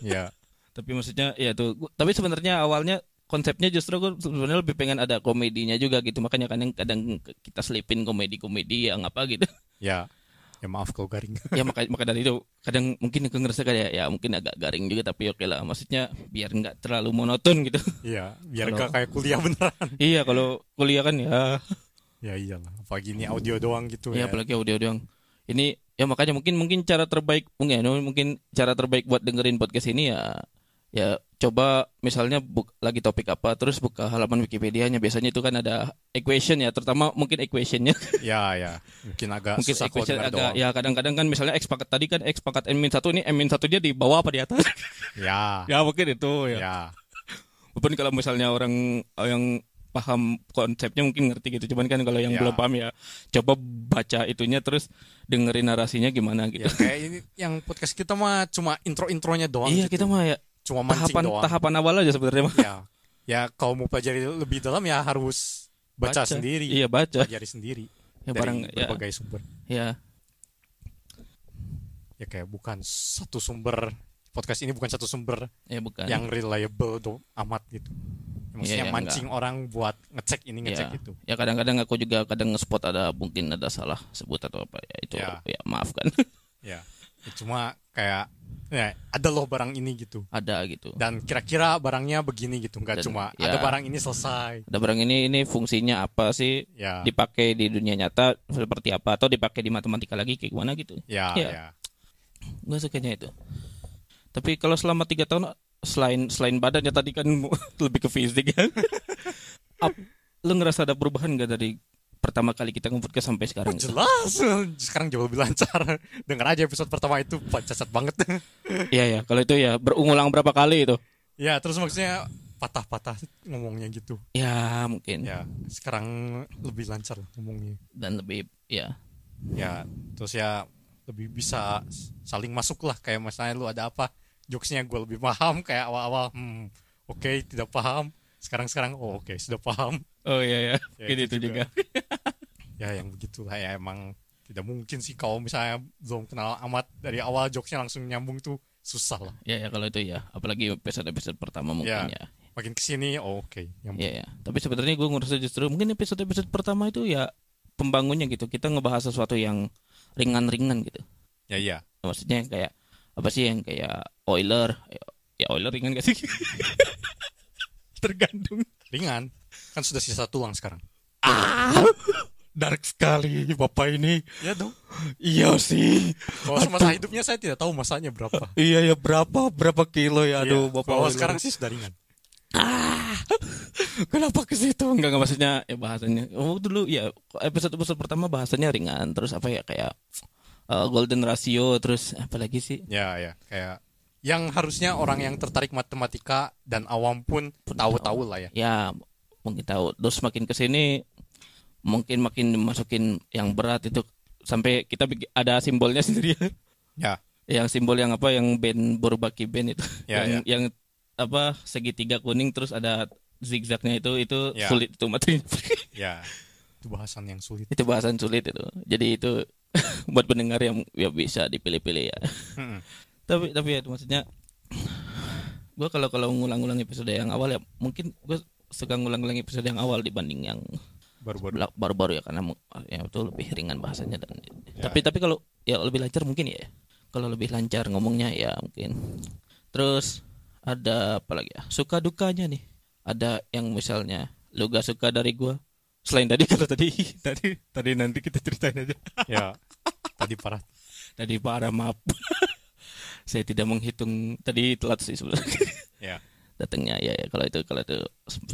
[SPEAKER 2] Iya.
[SPEAKER 1] tapi maksudnya ya tuh gua- tapi sebenarnya awalnya konsepnya justru gue sebenarnya lebih pengen ada komedinya juga gitu makanya kadang kadang kita selipin komedi-komedi yang apa gitu
[SPEAKER 2] ya. Ya maaf kalau garing.
[SPEAKER 1] ya maka maka dari itu kadang mungkin aku ngerasa kayak ya mungkin agak garing juga tapi oke lah maksudnya biar nggak terlalu monoton gitu
[SPEAKER 2] Iya, biar
[SPEAKER 1] Kalau-
[SPEAKER 2] gak kayak kuliah beneran.
[SPEAKER 1] iya kalau kuliah kan ya
[SPEAKER 2] Ya iyalah, apalagi ini audio doang gitu
[SPEAKER 1] ya
[SPEAKER 2] ya.
[SPEAKER 1] apalagi audio doang ini ya makanya mungkin mungkin cara terbaik mungkin ya, mungkin cara terbaik buat dengerin podcast ini ya ya coba misalnya buk, lagi topik apa terus buka halaman Wikipedia-nya biasanya itu kan ada equation ya terutama mungkin equationnya
[SPEAKER 2] Ya ya, mungkin agak
[SPEAKER 1] mungkin
[SPEAKER 2] susah kalau
[SPEAKER 1] equation
[SPEAKER 2] dengar
[SPEAKER 1] agak
[SPEAKER 2] doang.
[SPEAKER 1] ya
[SPEAKER 2] Ya.
[SPEAKER 1] kadang-kadang kan misalnya x pangkat tadi kan x pangkat n min satu ini n min satu dia di bawah apa di atas
[SPEAKER 2] Ya.
[SPEAKER 1] ya mungkin itu
[SPEAKER 2] Ya.
[SPEAKER 1] Walaupun kalau misalnya orang yang paham konsepnya mungkin ngerti gitu cuman kan kalau yang
[SPEAKER 2] Ya.
[SPEAKER 1] belum paham ya coba baca itunya terus dengerin narasinya gimana
[SPEAKER 2] Ya,
[SPEAKER 1] gitu
[SPEAKER 2] kayak ini yang podcast kita mah cuma intro-intronya doang.
[SPEAKER 1] iya
[SPEAKER 2] gitu.
[SPEAKER 1] kita mah ya
[SPEAKER 2] cuma mancing
[SPEAKER 1] tahapan
[SPEAKER 2] doang.
[SPEAKER 1] tahapan awal aja sebenarnya mah
[SPEAKER 2] Ya. Ya, kalau mau pelajari lebih dalam ya harus baca, sendiri,
[SPEAKER 1] iya baca
[SPEAKER 2] pelajari sendiri
[SPEAKER 1] ya
[SPEAKER 2] dari
[SPEAKER 1] barang ya,
[SPEAKER 2] berbagai sumber.
[SPEAKER 1] ya
[SPEAKER 2] Ya kayak bukan satu sumber podcast ini bukan satu sumber
[SPEAKER 1] ya bukan
[SPEAKER 2] yang reliable do amat gitu. Maksudnya
[SPEAKER 1] Iya, iya,
[SPEAKER 2] mancing orang buat ngecek ini ngecek
[SPEAKER 1] Ya.
[SPEAKER 2] itu.
[SPEAKER 1] ya kadang-kadang aku juga kadang nge-spot ada mungkin ada salah sebut atau apa ya itu
[SPEAKER 2] Ya.
[SPEAKER 1] ya maafkan
[SPEAKER 2] Ya. Ya, Cuma kayak ya, ada loh barang ini gitu.
[SPEAKER 1] ada gitu
[SPEAKER 2] Dan kira-kira barangnya begini gitu, nggak
[SPEAKER 1] Dan,
[SPEAKER 2] cuma
[SPEAKER 1] ya.
[SPEAKER 2] ada barang ini selesai.
[SPEAKER 1] ada barang ini ini fungsinya apa sih
[SPEAKER 2] Ya.
[SPEAKER 1] dipakai di dunia nyata seperti apa atau dipakai di matematika lagi kayak gimana gitu
[SPEAKER 2] Ya,
[SPEAKER 1] Ya.
[SPEAKER 2] ya.
[SPEAKER 1] gue sukanya itu tapi kalau selama tiga tahun selain selain badannya tadi kan lebih ke fisik kan Ap, lu ngerasa ada perubahan gak dari pertama kali kita ngumpul ke sampai sekarang gitu?
[SPEAKER 2] Jelas, sekarang jauh lebih lancar. Dengar aja episode pertama itu pancasat banget.
[SPEAKER 1] Iya ya, kalau itu ya berulang berapa kali itu?
[SPEAKER 2] ya, terus maksudnya patah-patah ngomongnya gitu.
[SPEAKER 1] Ya mungkin
[SPEAKER 2] Ya, sekarang lebih lancar lah ngomongnya.
[SPEAKER 1] dan lebih ya
[SPEAKER 2] Ya, terus ya lebih bisa saling masuk lah kayak misalnya lu ada apa jokesnya gue lebih paham kayak awal-awal hmm, oke tidak paham sekarang-sekarang oh oke sudah paham
[SPEAKER 1] Oh iya ya,
[SPEAKER 2] Ya,
[SPEAKER 1] Mungkin
[SPEAKER 2] itu
[SPEAKER 1] itu juga.
[SPEAKER 2] ya yang begitulah ya emang tidak mungkin sih kalau misalnya belum kenal amat dari awal jokesnya langsung nyambung tuh susah lah
[SPEAKER 1] Ya ya kalau itu ya, apalagi episode-episode pertama mungkin
[SPEAKER 2] Ya.
[SPEAKER 1] ya.
[SPEAKER 2] makin kesini oh, oke yang
[SPEAKER 1] Iya ya. Tapi sebenarnya gue ngerasa justru mungkin episode-episode pertama itu ya pembangunnya gitu. Kita ngebahas sesuatu yang ringan-ringan gitu.
[SPEAKER 2] Ya iya.
[SPEAKER 1] Maksudnya kayak apa sih yang kayak Euler? Ya Euler ringan gak sih? Tergantung.
[SPEAKER 2] Ringan. Kan sudah sisa tulang sekarang.
[SPEAKER 1] Dark sekali bapak ini.
[SPEAKER 2] Ya dong.
[SPEAKER 1] Iya sih.
[SPEAKER 2] Kalau semasa hidupnya saya tidak tahu masanya berapa.
[SPEAKER 1] Iya ya berapa berapa kilo ya
[SPEAKER 2] Iya. Kalau sekarang sih sudah ringan.
[SPEAKER 1] Kenapa ke situ? Enggak enggak maksudnya ya bahasannya. Oh dulu ya episode episode pertama bahasannya ringan, terus apa ya kayak eh, golden ratio, terus apa lagi sih?
[SPEAKER 2] Ya ya. Kayak yang harusnya orang yang tertarik matematika dan awam pun tahu-tahu lah ya.
[SPEAKER 1] Ya mungkin tahu. Terus makin ke sini mungkin makin dimasukin yang berat itu sampai kita bikin- ada simbolnya sendiri.
[SPEAKER 2] Ya.
[SPEAKER 1] yang simbol yang apa yang band Borobaki band itu.
[SPEAKER 2] Ya,
[SPEAKER 1] yang yang apa segitiga kuning terus ada zigzagnya itu itu
[SPEAKER 2] Ya.
[SPEAKER 1] sulit itu materi.
[SPEAKER 2] Ya. Itu bahasan yang sulit.
[SPEAKER 1] itu bahasan sulit itu jadi itu buat pendengar yang ya bisa dipilih-pilih ya
[SPEAKER 2] Mm-mm.
[SPEAKER 1] tapi tapi ya itu maksudnya gue kalau kalau ngulang-ulang episode yang awal ya mungkin gue suka ngulang-ulang episode yang awal dibanding yang
[SPEAKER 2] Baru-baru.
[SPEAKER 1] belak- baru-baru ya karena mu- ya itu lebih ringan bahasanya dan tapi tapi kalau ya lebih lancar mungkin ya kalau lebih lancar ngomongnya ya mungkin terus ada apa lagi ya suka dukanya nih ada yang misalnya lu gak suka dari gue selain tadi kalau tadi tadi tadi nanti kita ceritain aja
[SPEAKER 2] Ya. Tadi parah.
[SPEAKER 1] tadi para maaf saya tidak menghitung tadi telat sih sebenarnya
[SPEAKER 2] Ya.
[SPEAKER 1] datangnya ya, ya kalau itu kalau itu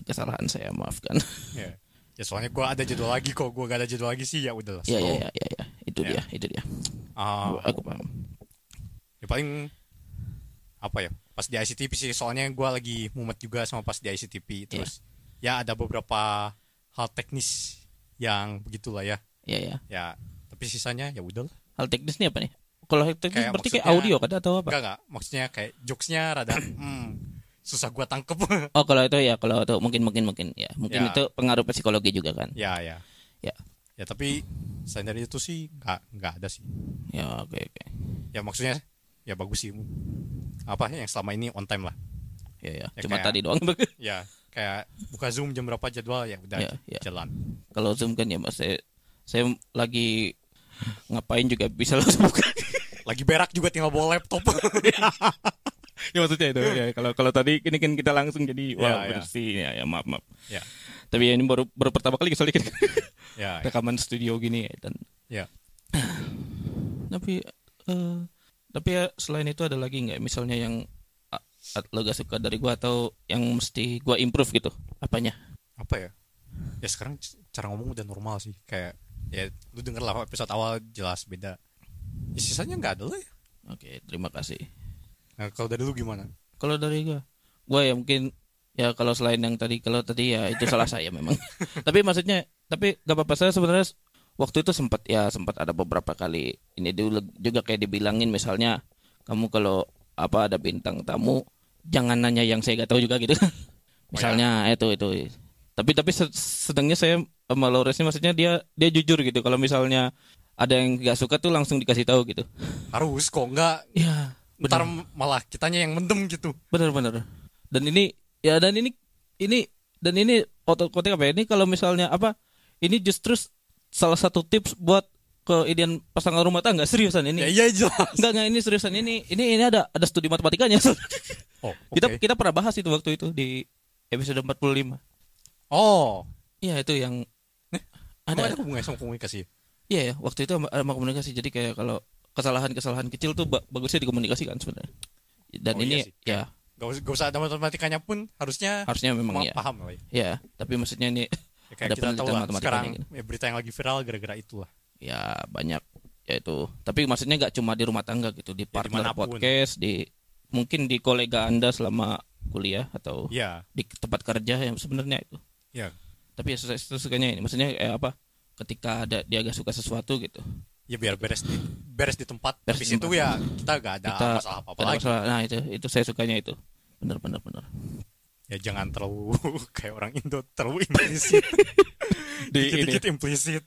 [SPEAKER 1] kesalahan saya maafkan
[SPEAKER 2] Ya. Ya soalnya gue ada jadwal lagi kok. Gue gak ada jadwal lagi sih ya udahlah.
[SPEAKER 1] ya ya
[SPEAKER 2] So,
[SPEAKER 1] ya ya, ya. Oh. itu
[SPEAKER 2] Ya.
[SPEAKER 1] dia itu dia
[SPEAKER 2] ah,
[SPEAKER 1] Gua- aku paham
[SPEAKER 2] ya paling apa ya pas di ICTP sih soalnya gua lagi mumet juga sama pas di ICTP terus ya ada beberapa hal teknis yang begitulah ya
[SPEAKER 1] ya ya
[SPEAKER 2] ya tapi sisanya ya udah lah
[SPEAKER 1] Hal teknis nih apa nih? Kalau hal teknis
[SPEAKER 2] Kayak
[SPEAKER 1] berarti kayak
[SPEAKER 2] maksudnya-
[SPEAKER 1] audio kan atau apa?
[SPEAKER 2] enggak enggak maksudnya kayak jokesnya rada hmm, susah gua tangkep
[SPEAKER 1] Oh kalau itu ya kalau itu mungkin mungkin mungkin ya mungkin
[SPEAKER 2] Ya.
[SPEAKER 1] itu pengaruh psikologi juga kan?
[SPEAKER 2] ya ya
[SPEAKER 1] Ya
[SPEAKER 2] ya tapi selain dari itu sih nggak nggak ada sih
[SPEAKER 1] ya oke oke
[SPEAKER 2] ya maksudnya ya bagus sih apa yang selama ini on time lah
[SPEAKER 1] ya ya,
[SPEAKER 2] Ya,
[SPEAKER 1] cuma
[SPEAKER 2] kayak-
[SPEAKER 1] tadi doang.
[SPEAKER 2] ya kayak buka zoom jam berapa jadwal ya udah
[SPEAKER 1] Ya, ya.
[SPEAKER 2] jalan
[SPEAKER 1] kalau zoom kan ya mas saya saya lagi ngapain juga bisa langsung buka.
[SPEAKER 2] lagi berak juga tinggal bawa laptop
[SPEAKER 1] ya maksudnya itu ya kalau kalau tadi ini kan kita langsung jadi wah
[SPEAKER 2] Ya, ya.
[SPEAKER 1] bersih ya ya maaf maaf.
[SPEAKER 2] ya
[SPEAKER 1] Tapi ya, ini baru baru pertama kali soalnya kan
[SPEAKER 2] ya
[SPEAKER 1] rekaman studio gini ya, dan
[SPEAKER 2] ya
[SPEAKER 1] tapi eh, tapi ya selain itu ada lagi nggak misalnya yang a- a- lo gak suka dari gua atau yang mesti gua improve gitu apanya
[SPEAKER 2] apa ya ya sekarang c- cara ngomong udah normal sih kayak ya lu denger lah episode awal jelas beda ya, sisanya nggak ada lah ya
[SPEAKER 1] oke terima kasih
[SPEAKER 2] nah, kalau dari lu gimana
[SPEAKER 1] kalau dari gua gua ya mungkin Ya kalau selain yang tadi kalau tadi ya itu salah saya memang. tapi maksudnya tapi gak apa-apa saya sebenarnya waktu itu sempat ya sempat ada beberapa kali ini dulu juga kayak dibilangin misalnya kamu kalau apa ada bintang tamu jangan nanya yang saya gak tahu juga gitu. misalnya itu itu. Tapi tapi se- sedangnya saya sama Lawrence ini maksudnya dia dia jujur gitu kalau misalnya ada yang gak suka tuh langsung dikasih tahu gitu.
[SPEAKER 2] Harus kok enggak
[SPEAKER 1] Ya,
[SPEAKER 2] ntar malah kitanya yang mendem gitu.
[SPEAKER 1] Benar-benar. Dan ini ya dan ini ini dan ini otot kotek apa ya? ini kalau misalnya apa ini justru s- salah satu tips buat keidean pasangan rumah tangga seriusan
[SPEAKER 2] Ya
[SPEAKER 1] ini.
[SPEAKER 2] iya jelas.
[SPEAKER 1] Enggak enggak ini seriusan ini ini ini ada ada studi matematikanya.
[SPEAKER 2] Oh,
[SPEAKER 1] Kita
[SPEAKER 2] oke.
[SPEAKER 1] kita pernah bahas itu waktu itu di episode 45.
[SPEAKER 2] Oh,
[SPEAKER 1] Iya itu yang
[SPEAKER 2] ada
[SPEAKER 1] ada.
[SPEAKER 2] ada hubungannya sama komunikasi.
[SPEAKER 1] Iya ya, waktu itu sama, sama komunikasi jadi kayak kalau kesalahan-kesalahan kecil tuh ba- bagusnya dikomunikasikan sebenarnya. Dan
[SPEAKER 2] Oh, iya
[SPEAKER 1] ini
[SPEAKER 2] sih.
[SPEAKER 1] ya
[SPEAKER 2] Gak usah, gak usah ada matematikanya pun harusnya
[SPEAKER 1] harusnya memang ya.
[SPEAKER 2] ma- paham lah ya.
[SPEAKER 1] Ya, tapi maksudnya ini
[SPEAKER 2] Ya,
[SPEAKER 1] Ada
[SPEAKER 2] kayak kita tahu
[SPEAKER 1] penelitian
[SPEAKER 2] lah
[SPEAKER 1] matematikanya
[SPEAKER 2] sekarang
[SPEAKER 1] gitu.
[SPEAKER 2] ya, berita yang lagi viral gara-gara itulah.
[SPEAKER 1] ya banyak yaitu tapi maksudnya nggak cuma di rumah tangga gitu di partner
[SPEAKER 2] Ya, dimanapun.
[SPEAKER 1] podcast di mungkin di kolega anda selama kuliah atau
[SPEAKER 2] Iya,
[SPEAKER 1] di tempat kerja yang sebenarnya itu
[SPEAKER 2] iya.
[SPEAKER 1] tapi ya sesuai sukanya ini maksudnya eh, apa ketika ada dia agak suka sesuatu gitu
[SPEAKER 2] Ya biar beres di, beres di tempat.
[SPEAKER 1] Beres di
[SPEAKER 2] Habis itu ya kita gak ada
[SPEAKER 1] kita
[SPEAKER 2] masalah apa-apa
[SPEAKER 1] ada
[SPEAKER 2] lagi.
[SPEAKER 1] masalah. nah itu itu saya sukanya itu bener bener bener
[SPEAKER 2] Ya jangan terlalu kayak orang Indo terlalu implisit. Dikit-dikit implisit,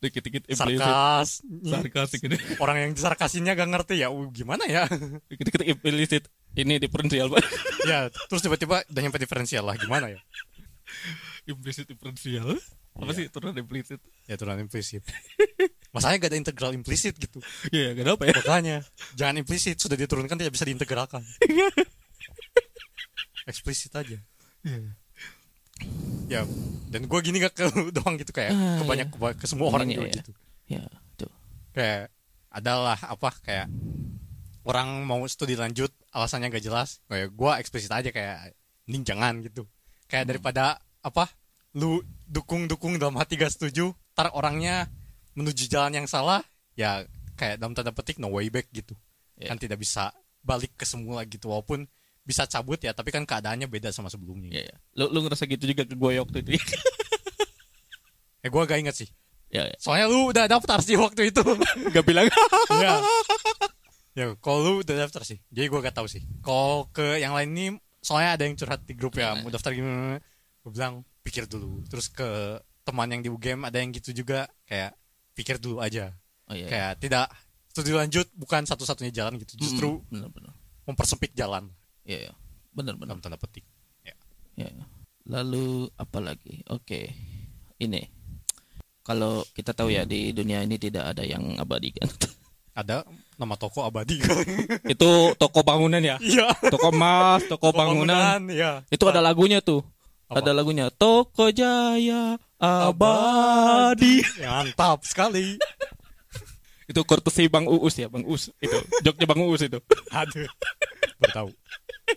[SPEAKER 1] dikit dikit
[SPEAKER 2] ya, sarkas.
[SPEAKER 1] sarkas dikit
[SPEAKER 2] Orang yang disarkasinya gak ngerti ya uh, gimana ya.
[SPEAKER 1] dikit implisit ini diferensial pak
[SPEAKER 2] ya, terus tiba-tiba udah nyampe diferensial lah gimana ya.
[SPEAKER 1] implisit diferensial
[SPEAKER 2] Apa sih,
[SPEAKER 1] turun implisit
[SPEAKER 2] Ya turunan implisit. Masanya gak ada integral implisit gitu.
[SPEAKER 1] ya kenapa ya
[SPEAKER 2] Makanya jangan implisit sudah diturunkan tidak bisa diintegralkan. Eksplisit aja. Ya dan gue gini gak ke doang gitu kayak
[SPEAKER 1] Ah,
[SPEAKER 2] ke banyak ke, ke semua orang
[SPEAKER 1] Iya,
[SPEAKER 2] juga
[SPEAKER 1] iya.
[SPEAKER 2] gitu.
[SPEAKER 1] ya tuh
[SPEAKER 2] Kayak adalah apa kayak orang mau studi lanjut alasannya gak jelas. Kayak gue eksplisit aja kayak mending jangan gitu. Kayak
[SPEAKER 1] Hmm.
[SPEAKER 2] daripada apa lu dukung-dukung dalam hati gak setuju, tar orangnya menuju jalan yang salah, ya kayak dalam tanda petik no way back gitu
[SPEAKER 1] Iya.
[SPEAKER 2] kan tidak bisa balik ke semula gitu walaupun bisa cabut ya tapi kan keadaannya beda sama sebelumnya
[SPEAKER 1] Iya, iya. Lu, lu ngerasa gitu juga ke gue waktu itu.
[SPEAKER 2] eh gue gak inget sih
[SPEAKER 1] ya, ya.
[SPEAKER 2] soalnya lu udah daftar sih waktu itu
[SPEAKER 1] Gak bilang. Iya.
[SPEAKER 2] ya ya kalau lu udah daftar sih jadi gue gak tahu sih kalau ke yang lain ini soalnya ada yang curhat di grup
[SPEAKER 1] Iya.
[SPEAKER 2] ya mau daftar gimana gue bilang pikir dulu terus ke teman yang di UGM ada yang gitu juga kayak pikir dulu aja
[SPEAKER 1] Oh iya.
[SPEAKER 2] kayak tidak studi lanjut bukan satu-satunya jalan gitu justru
[SPEAKER 1] benar benar.
[SPEAKER 2] mempersempit jalan
[SPEAKER 1] Iya, iya. Benar benar.
[SPEAKER 2] dalam tanda petik
[SPEAKER 1] Iya. iya. Lalu apa lagi? Oke. Ini. Kalau kita tahu ya di dunia ini tidak ada yang abadi kan.
[SPEAKER 2] ada nama toko abadi
[SPEAKER 1] Itu toko bangunan ya.
[SPEAKER 2] Iya.
[SPEAKER 1] Toko emas, toko bangunan.
[SPEAKER 2] Iya.
[SPEAKER 1] Itu ada lagunya tuh.
[SPEAKER 2] Apa?
[SPEAKER 1] Ada lagunya Toko Jaya Abadi.
[SPEAKER 2] Mantap sekali.
[SPEAKER 1] Itu courtesy Bang Uus ya, Bang Uus. Itu joknya Bang Uus itu.
[SPEAKER 2] Aduh. Bertahu.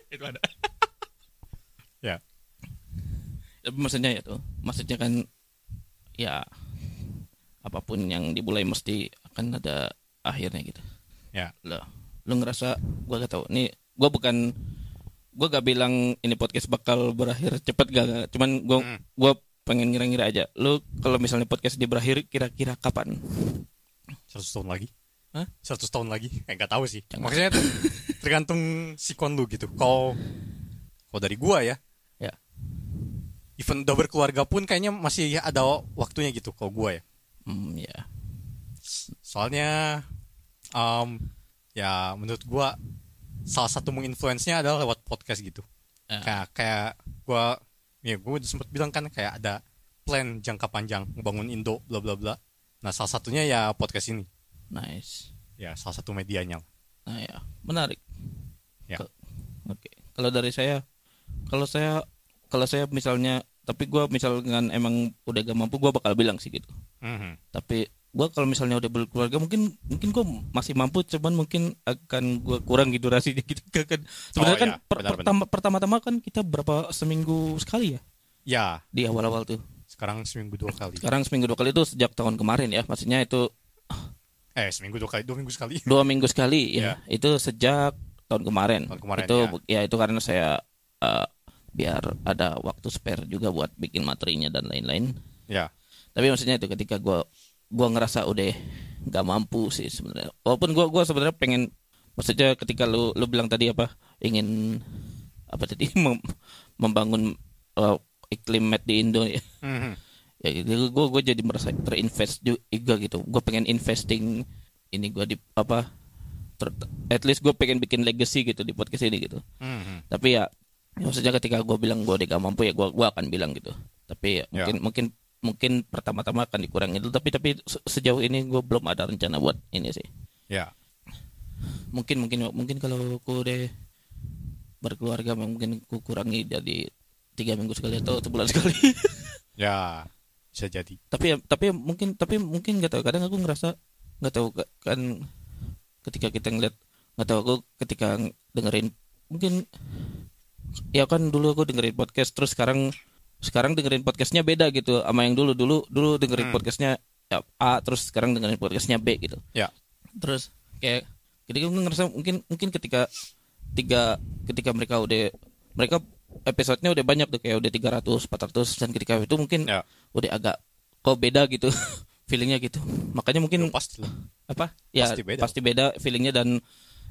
[SPEAKER 1] itu ada.
[SPEAKER 2] Ya.
[SPEAKER 1] Ya, maksudnya ya tuh maksudnya kan ya apapun yang dimulai mesti akan ada akhirnya gitu
[SPEAKER 2] Ya.
[SPEAKER 1] lo lo ngerasa gua gak tahu nih gua bukan gua gak bilang ini podcast bakal berakhir cepet gak, gak. cuman gua
[SPEAKER 2] Hmm.
[SPEAKER 1] gua pengen ngira-ngira aja lo kalau misalnya podcast di berakhir kira-kira kapan
[SPEAKER 2] 100 tahun lagi.
[SPEAKER 1] Hah?
[SPEAKER 2] 100 tahun lagi. Eh enggak tahu sih.
[SPEAKER 1] Jangan.
[SPEAKER 2] Maksudnya tuh, tergantung sikon lu gitu. Kalau kalau dari gua ya.
[SPEAKER 1] Ya.
[SPEAKER 2] Even udah berkeluarga pun kayaknya masih ada waktunya gitu kalau gua ya.
[SPEAKER 1] hmm ya
[SPEAKER 2] Soalnya em, ya menurut gua salah satu menginfluence-nya adalah lewat podcast gitu.
[SPEAKER 1] Eh,
[SPEAKER 2] kayak kayak gue ya gue udah sempat bilang kan kayak ada plan jangka panjang membangun Indo bla bla bla nah salah satunya ya podcast ini
[SPEAKER 1] nice
[SPEAKER 2] ya salah satu medianya
[SPEAKER 1] Nah ya, menarik.
[SPEAKER 2] Ya.
[SPEAKER 1] Ke- Oke. Kalau dari saya, kalau saya, kalau saya misalnya, tapi gua misalkan emang udah gak mampu, gua bakal bilang sih gitu.
[SPEAKER 2] Mhm.
[SPEAKER 1] Tapi gua kalau misalnya udah berkeluarga, mungkin mungkin gua masih mampu, cuman mungkin akan gua kurang gitu durasinya gitu. Gak akan- Sebenarnya
[SPEAKER 2] Oh,
[SPEAKER 1] kan
[SPEAKER 2] ya,
[SPEAKER 1] per-
[SPEAKER 2] benar-benar.
[SPEAKER 1] pertama pertama-tama kan kita berapa seminggu sekali ya
[SPEAKER 2] ya
[SPEAKER 1] di awal-awal tuh.
[SPEAKER 2] sekarang seminggu dua kali
[SPEAKER 1] Sekarang seminggu dua kali itu sejak tahun kemarin ya, maksudnya itu
[SPEAKER 2] eh seminggu dua kali dua minggu sekali
[SPEAKER 1] dua minggu sekali ya itu sejak Iya. tahun kemarin, iya.
[SPEAKER 2] Tahun kemarin,
[SPEAKER 1] itu ya. itu karena saya eh, biar ada waktu spare juga buat bikin materinya dan lain-lain
[SPEAKER 2] Ya.
[SPEAKER 1] tapi maksudnya itu ketika gua gua ngerasa udah nggak mampu sih sebenarnya walaupun gua gua sebenarnya pengen maksudnya ketika lu lu bilang tadi apa ingin apa tadi mem- membangun uh, iklim med di Indo ya
[SPEAKER 2] Mhm.
[SPEAKER 1] ya gitu gue gue jadi merasa terinvest juga gitu gue pengen investing ini gue di apa ter- at least gue pengen bikin legacy gitu di podcast ini gitu
[SPEAKER 2] Mhm.
[SPEAKER 1] tapi ya ya maksudnya ketika gue bilang gue udah gak mampu ya gue gua akan bilang gitu tapi ya,
[SPEAKER 2] Ya.
[SPEAKER 1] mungkin mungkin mungkin pertama-tama akan dikurangi dulu tapi tapi se- sejauh ini gue belum ada rencana buat ini sih
[SPEAKER 2] Ya.
[SPEAKER 1] mungkin mungkin mungkin kalau aku udah berkeluarga mungkin ku kurangi jadi tiga minggu sekali atau sebulan sekali
[SPEAKER 2] Ya. Bisa jadi.
[SPEAKER 1] tapi tapi mungkin tapi mungkin gak tahu kadang aku ngerasa nggak tahu ka- kan ketika kita ngeliat nggak tahu aku ketika ng- dengerin mungkin ya kan dulu aku dengerin podcast terus sekarang sekarang dengerin podcastnya beda gitu sama yang dulu dulu dulu dengerin
[SPEAKER 2] Hmm.
[SPEAKER 1] podcastnya ya, A terus sekarang dengerin podcastnya B gitu
[SPEAKER 2] Ya.
[SPEAKER 1] terus kayak jadi aku ngerasa mungkin mungkin ketika tiga ketika mereka udah mereka episodenya udah banyak tuh kayak udah 300 400 dan ketika itu mungkin
[SPEAKER 2] Ya.
[SPEAKER 1] udah agak kok beda gitu feelingnya gitu makanya mungkin
[SPEAKER 2] Pasti lah.
[SPEAKER 1] apa ya
[SPEAKER 2] Ya, pasti
[SPEAKER 1] pasti
[SPEAKER 2] beda.
[SPEAKER 1] beda, feelingnya dan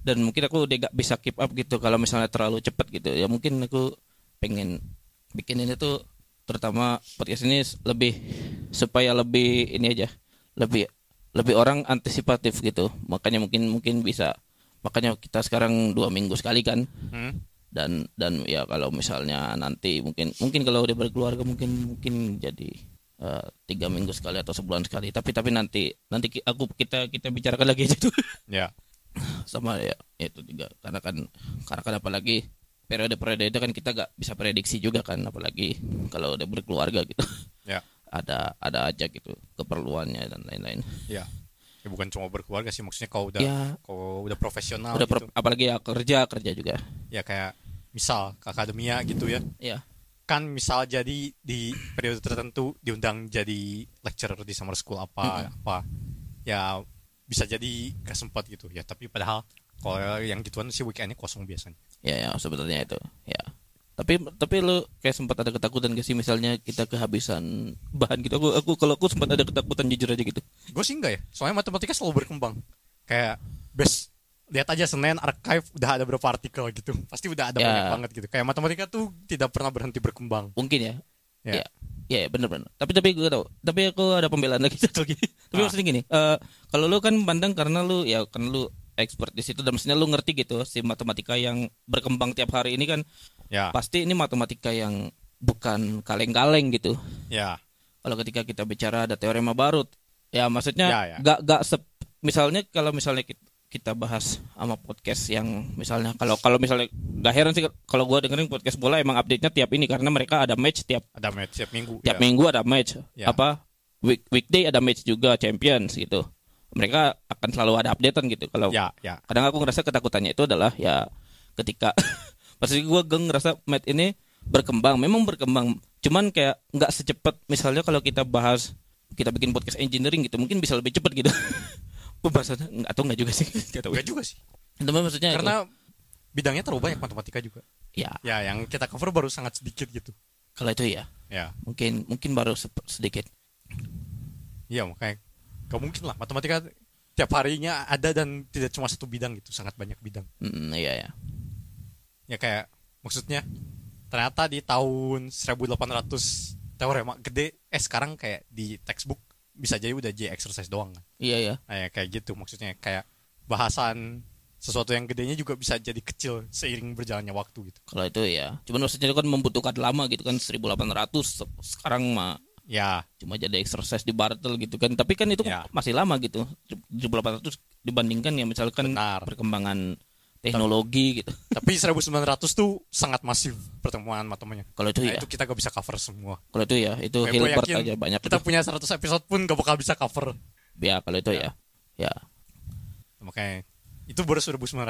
[SPEAKER 1] dan mungkin aku udah gak bisa keep up gitu kalau misalnya terlalu cepat gitu ya mungkin aku pengen bikin ini tuh terutama podcast ini lebih supaya lebih ini aja lebih lebih orang antisipatif gitu makanya mungkin mungkin bisa makanya kita sekarang dua minggu sekali kan
[SPEAKER 2] Hmm.
[SPEAKER 1] dan dan ya kalau misalnya nanti mungkin mungkin kalau udah berkeluarga mungkin mungkin jadi eh, tiga minggu sekali atau sebulan sekali tapi tapi nanti nanti ki- aku kita kita bicarakan lagi aja tuh
[SPEAKER 2] Ya.
[SPEAKER 1] sama ya itu juga karena kan karena kan apalagi periode periode itu kan kita gak bisa prediksi juga kan apalagi kalau udah berkeluarga gitu
[SPEAKER 2] Ya.
[SPEAKER 1] ada ada aja gitu keperluannya dan lain-lain
[SPEAKER 2] Ya. Ya, bukan cuma berkeluarga sih maksudnya kalau udah
[SPEAKER 1] ya
[SPEAKER 2] kalau udah profesional
[SPEAKER 1] udah
[SPEAKER 2] gitu.
[SPEAKER 1] per- apalagi ya kerja kerja juga
[SPEAKER 2] ya kayak misal ke akademia gitu ya
[SPEAKER 1] ya
[SPEAKER 2] kan misal jadi di periode tertentu diundang jadi lecturer di summer school apa apa ya bisa jadi gak sempat gitu ya tapi padahal kalau yang gituan sih weekendnya kosong biasanya
[SPEAKER 1] ya ya sebetulnya itu ya tapi tapi lu kayak sempat ada ketakutan gak sih misalnya kita kehabisan bahan gitu aku aku kalau aku sempat ada ketakutan jujur aja gitu
[SPEAKER 2] gue sih enggak ya soalnya matematika selalu berkembang kayak best lihat aja senin archive udah ada berapa artikel gitu pasti udah ada
[SPEAKER 1] Ya.
[SPEAKER 2] banyak banget gitu kayak matematika tuh tidak pernah berhenti berkembang
[SPEAKER 1] mungkin ya
[SPEAKER 2] Ya.
[SPEAKER 1] ya ya, ya bener bener tapi tapi gue tau tapi aku ada pembelaan lagi satu lagi tapi
[SPEAKER 2] Ah.
[SPEAKER 1] maksudnya gini eh, kalau lu kan pandang karena lu ya karena lu expert di situ dan maksudnya lu ngerti gitu si matematika yang berkembang tiap hari ini kan
[SPEAKER 2] ya
[SPEAKER 1] pasti ini matematika yang bukan kaleng-kaleng gitu
[SPEAKER 2] ya
[SPEAKER 1] kalau ketika kita bicara ada teorema Barut ya maksudnya
[SPEAKER 2] Ya, ya.
[SPEAKER 1] gak gak sep- misalnya kalau misalnya kita, kita bahas sama podcast yang misalnya kalau kalau misalnya gak heran sih kalau gua dengerin podcast bola emang update-nya tiap ini karena mereka ada match tiap
[SPEAKER 2] ada match tiap minggu
[SPEAKER 1] tiap
[SPEAKER 2] ya.
[SPEAKER 1] minggu ada match
[SPEAKER 2] Ya.
[SPEAKER 1] apa week, weekday ada match juga Champions gitu mereka akan selalu ada updatean gitu kalau
[SPEAKER 2] ya ya
[SPEAKER 1] kadang aku ngerasa ketakutannya itu adalah ya ketika pasti gue geng ngerasa Matt ini berkembang memang berkembang cuman kayak nggak secepat misalnya kalau kita bahas kita bikin podcast engineering gitu mungkin bisa lebih cepat gitu pembahasan atau nggak juga sih nggak tahu ya.
[SPEAKER 2] enggak juga sih
[SPEAKER 1] Teman maksudnya itu.
[SPEAKER 2] karena bidangnya terlalu banyak matematika juga
[SPEAKER 1] ya
[SPEAKER 2] ya yang kita cover baru sangat sedikit gitu
[SPEAKER 1] kalau itu ya
[SPEAKER 2] ya
[SPEAKER 1] mungkin mungkin baru sep- sedikit
[SPEAKER 2] iya makanya gak mungkin lah matematika tiap harinya ada dan tidak cuma satu bidang gitu sangat banyak bidang
[SPEAKER 1] Hmm, iya ya
[SPEAKER 2] ya kayak maksudnya ternyata di tahun 1800 teorema gede eh sekarang kayak di textbook bisa jadi udah jadi exercise doang kan
[SPEAKER 1] iya ya
[SPEAKER 2] nah, ya kayak gitu maksudnya kayak bahasan sesuatu yang gedenya juga bisa jadi kecil seiring berjalannya waktu gitu
[SPEAKER 1] kalau itu ya cuman maksudnya itu kan membutuhkan lama gitu kan 1800 se- sekarang mah
[SPEAKER 2] ya
[SPEAKER 1] cuma jadi exercise di bartel gitu kan tapi kan itu
[SPEAKER 2] Ya.
[SPEAKER 1] masih lama gitu 1800 dibandingkan ya misalkan
[SPEAKER 2] Benar.
[SPEAKER 1] perkembangan teknologi gitu
[SPEAKER 2] tapi 1900 tuh sangat masif pertemuan matemanya
[SPEAKER 1] kalau itu
[SPEAKER 2] Nah,
[SPEAKER 1] ya
[SPEAKER 2] itu kita gak bisa cover semua
[SPEAKER 1] kalau itu ya itu
[SPEAKER 2] Ya, gua
[SPEAKER 1] Hilbert
[SPEAKER 2] yakin
[SPEAKER 1] aja banyak
[SPEAKER 2] Kita
[SPEAKER 1] itu.
[SPEAKER 2] punya 100 episode pun gak bakal bisa cover.
[SPEAKER 1] ya kalau itu ya ya
[SPEAKER 2] Makanya itu baru 1900.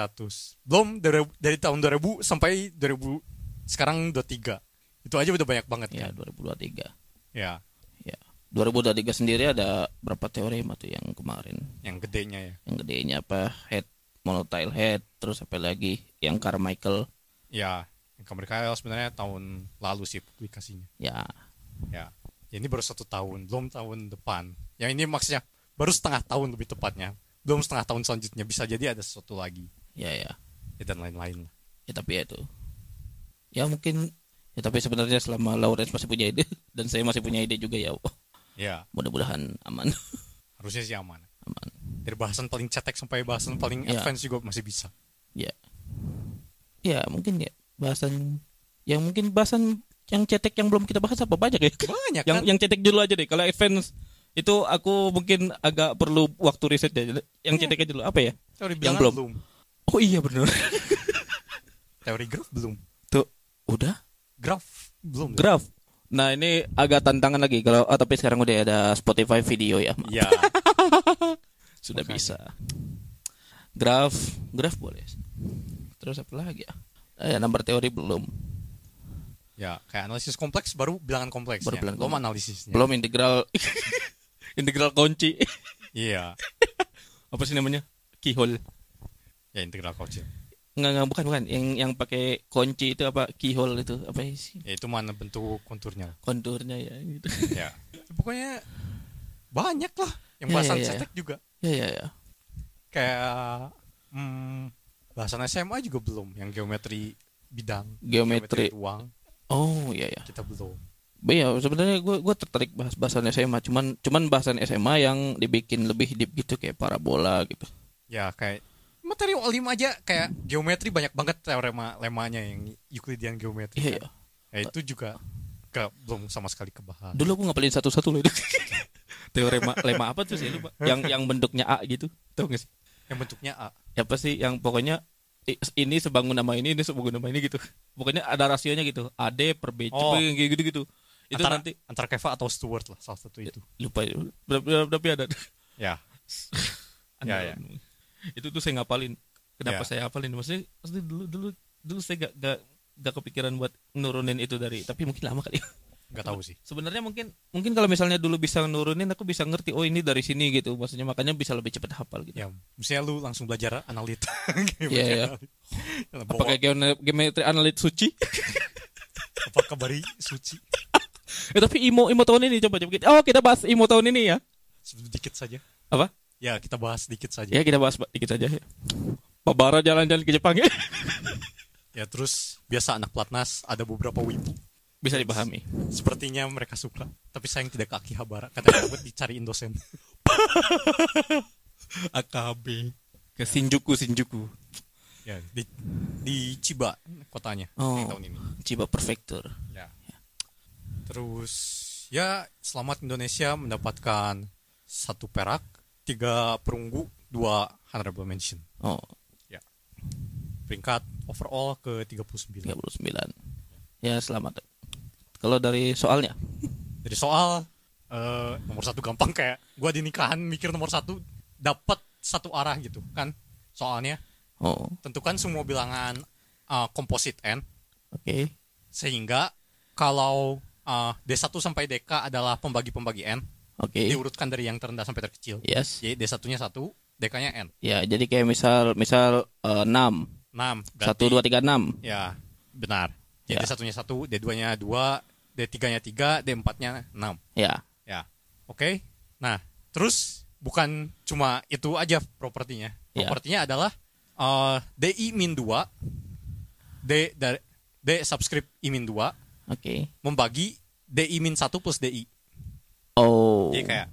[SPEAKER 2] Belum dari, dari tahun 2000 sampai 2000 sekarang 23. Itu aja udah banyak banget
[SPEAKER 1] ya
[SPEAKER 2] kan.
[SPEAKER 1] 2023
[SPEAKER 2] Ya,
[SPEAKER 1] ya 2023 sendiri ada berapa teorema tuh yang kemarin
[SPEAKER 2] yang gedenya ya.
[SPEAKER 1] yang gedenya apa head monotile head terus apa lagi yang Carmichael
[SPEAKER 2] Ya, Income Recoil sebenarnya tahun lalu sih publikasinya.
[SPEAKER 1] Ya,
[SPEAKER 2] Ya. Ya, Ini baru satu tahun, belum tahun depan. Yang ini maksudnya baru setengah tahun lebih tepatnya. Belum setengah tahun selanjutnya bisa jadi ada sesuatu lagi
[SPEAKER 1] ya, ya.
[SPEAKER 2] ya, dan lain-lain.
[SPEAKER 1] Ya tapi ya itu. Ya mungkin ya tapi sebenarnya selama Lawrence masih punya ide dan saya masih punya ide juga ya.
[SPEAKER 2] Ya,
[SPEAKER 1] Mudah-mudahan aman.
[SPEAKER 2] harusnya sih aman.
[SPEAKER 1] aman.
[SPEAKER 2] Dari bahasan paling cetek sampai bahasan paling
[SPEAKER 1] Ya.
[SPEAKER 2] advance juga masih bisa.
[SPEAKER 1] Ya. Ya, mungkin ya bahasan yang mungkin bahasan yang cetek yang belum kita bahas apa banyak ya?
[SPEAKER 2] Banyak
[SPEAKER 1] yang
[SPEAKER 2] kan?
[SPEAKER 1] yang cetek dulu aja deh. Kalau advance itu aku mungkin agak perlu waktu riset deh. Yang cetek aja dulu apa ya?
[SPEAKER 2] Teori
[SPEAKER 1] yang
[SPEAKER 2] bilangan
[SPEAKER 1] belum.
[SPEAKER 2] belum.
[SPEAKER 1] Oh iya benar.
[SPEAKER 2] Teori graf belum.
[SPEAKER 1] Tuh, udah
[SPEAKER 2] Graf belum.
[SPEAKER 1] graph. Nah, ini agak tantangan lagi kalau ah, tapi sekarang udah ada Spotify video ya. Maaf.
[SPEAKER 2] Ya,
[SPEAKER 1] sudah
[SPEAKER 2] Makanya.
[SPEAKER 1] bisa graf graf boleh terus apa lagi ya Eh, ya, number teori belum
[SPEAKER 2] ya kayak analisis kompleks baru bilangan kompleksnya.
[SPEAKER 1] Baru bilangan
[SPEAKER 2] belum
[SPEAKER 1] kompleks.
[SPEAKER 2] analisisnya.
[SPEAKER 1] belum integral integral kunci
[SPEAKER 2] Iya.
[SPEAKER 1] apa sih namanya keyhole
[SPEAKER 2] Ya integral kocil.
[SPEAKER 1] Enggak, enggak, bukan, bukan. Yang yang pakai kunci itu apa? Keyhole itu apa sih?
[SPEAKER 2] Ya itu mana bentuk konturnya.
[SPEAKER 1] Konturnya ya gitu.
[SPEAKER 2] ya. Pokoknya banyak lah yang
[SPEAKER 1] Ya,
[SPEAKER 2] bahasan
[SPEAKER 1] ya, ya.
[SPEAKER 2] cetek juga.
[SPEAKER 1] ya, ya, ya.
[SPEAKER 2] Kayak hmm, bahasan SMA juga belum yang geometri bidang,
[SPEAKER 1] Geometri.
[SPEAKER 2] ruang
[SPEAKER 1] Oh, ya, ya.
[SPEAKER 2] kita belum.
[SPEAKER 1] Be, ya sebenarnya gue gue tertarik bahas bahasan SMA, cuman cuman bahasan SMA yang dibikin lebih deep gitu kayak parabola gitu.
[SPEAKER 2] Ya kayak materi olim aja kayak geometri banyak banget teorema lemanya yang Euclidean geometri.
[SPEAKER 1] Iya,
[SPEAKER 2] kan.
[SPEAKER 1] ya.
[SPEAKER 2] Ya, itu juga ke, belum sama sekali kebahas.
[SPEAKER 1] Dulu aku ngapalin satu-satu loh itu. Teorema lema apa tuh sih lupa? Yang yang bentuknya A gitu. Tahu gak sih? Ya
[SPEAKER 2] Yang bentuknya ah, A.
[SPEAKER 1] Apa sih yang pokoknya i- ini sebangun nama ini, ini sebangun nama ini gitu. Pokoknya ada rasionya gitu. AD per BC
[SPEAKER 2] Oh.
[SPEAKER 1] gitu gitu. Itu
[SPEAKER 2] antara,
[SPEAKER 1] nanti
[SPEAKER 2] antara Keva atau Stewart lah salah satu
[SPEAKER 1] gitu.
[SPEAKER 2] itu.
[SPEAKER 1] lupa ya. tapi ada.
[SPEAKER 2] Ya. Ya, ya.
[SPEAKER 1] Itu tuh saya ngapalin. Kenapa
[SPEAKER 2] Ya.
[SPEAKER 1] saya hafalin? Maksudnya, maksudnya dulu dulu dulu saya gak, gak, gak kepikiran buat nurunin itu dari tapi mungkin lama kali. ya.
[SPEAKER 2] nggak tahu sih.
[SPEAKER 1] sebenarnya mungkin mungkin kalau misalnya dulu bisa nurunin aku bisa ngerti oh ini dari sini gitu maksudnya makanya bisa lebih cepat hafal gitu
[SPEAKER 2] Ya, mestinya lu langsung belajar analita.
[SPEAKER 1] Iya, iya. apakah geone- geometri analit suci
[SPEAKER 2] apa kabari suci?
[SPEAKER 1] Eh, tapi imo imo tahun ini coba coba kita oh kita bahas imo tahun ini ya
[SPEAKER 2] Sedikit saja.
[SPEAKER 1] apa
[SPEAKER 2] Ya, kita bahas sedikit saja.
[SPEAKER 1] ya kita bahas ba- dikit aja ya. Pabara jalan-jalan ke Jepang ya
[SPEAKER 2] Ya, terus biasa anak platnas ada beberapa wibu.
[SPEAKER 1] bisa dipahami
[SPEAKER 2] Sepertinya mereka suka, tapi sayang tidak ke Akihabara. Katanya takut dicariin dosen.
[SPEAKER 1] AKB ke Shinjuku Shinjuku
[SPEAKER 2] Ya, di, di Chiba kotanya
[SPEAKER 1] Oh.
[SPEAKER 2] tahun ini.
[SPEAKER 1] Chiba Prefecture
[SPEAKER 2] Ya. Terus ya selamat Indonesia mendapatkan satu perak, tiga perunggu, dua honorable mention.
[SPEAKER 1] oh
[SPEAKER 2] Peringkat overall ke 39.
[SPEAKER 1] 39 ya selamat kalau dari soalnya
[SPEAKER 2] Dari soal eh, nomor satu gampang kayak gua di nikahan mikir nomor satu dapat satu arah gitu kan soalnya
[SPEAKER 1] oh
[SPEAKER 2] tentukan semua bilangan eh, komposit n
[SPEAKER 1] oke
[SPEAKER 2] sehingga kalau eh, D1 sampai DK adalah pembagi-pembagi n
[SPEAKER 1] oke Iya.
[SPEAKER 2] diurutkan dari yang terendah sampai terkecil
[SPEAKER 1] yes
[SPEAKER 2] Jadi D1-nya 1, DK-nya N.
[SPEAKER 1] Ya, jadi kayak misal misal eh, 6
[SPEAKER 2] 6.
[SPEAKER 1] satu dua tiga enam
[SPEAKER 2] Ya, benar. Jadi
[SPEAKER 1] Ya.
[SPEAKER 2] D1-nya 1, D2-nya 2, D3-nya 3, D4-nya 6.
[SPEAKER 1] ya
[SPEAKER 2] Ya. Oke. Nah, terus bukan cuma itu aja propertinya.
[SPEAKER 1] Ya.
[SPEAKER 2] Propertinya adalah eh, DI min 2 D dari D subscript I min 2
[SPEAKER 1] oke
[SPEAKER 2] membagi DI min 1 plus DI.
[SPEAKER 1] oh
[SPEAKER 2] Jadi kayak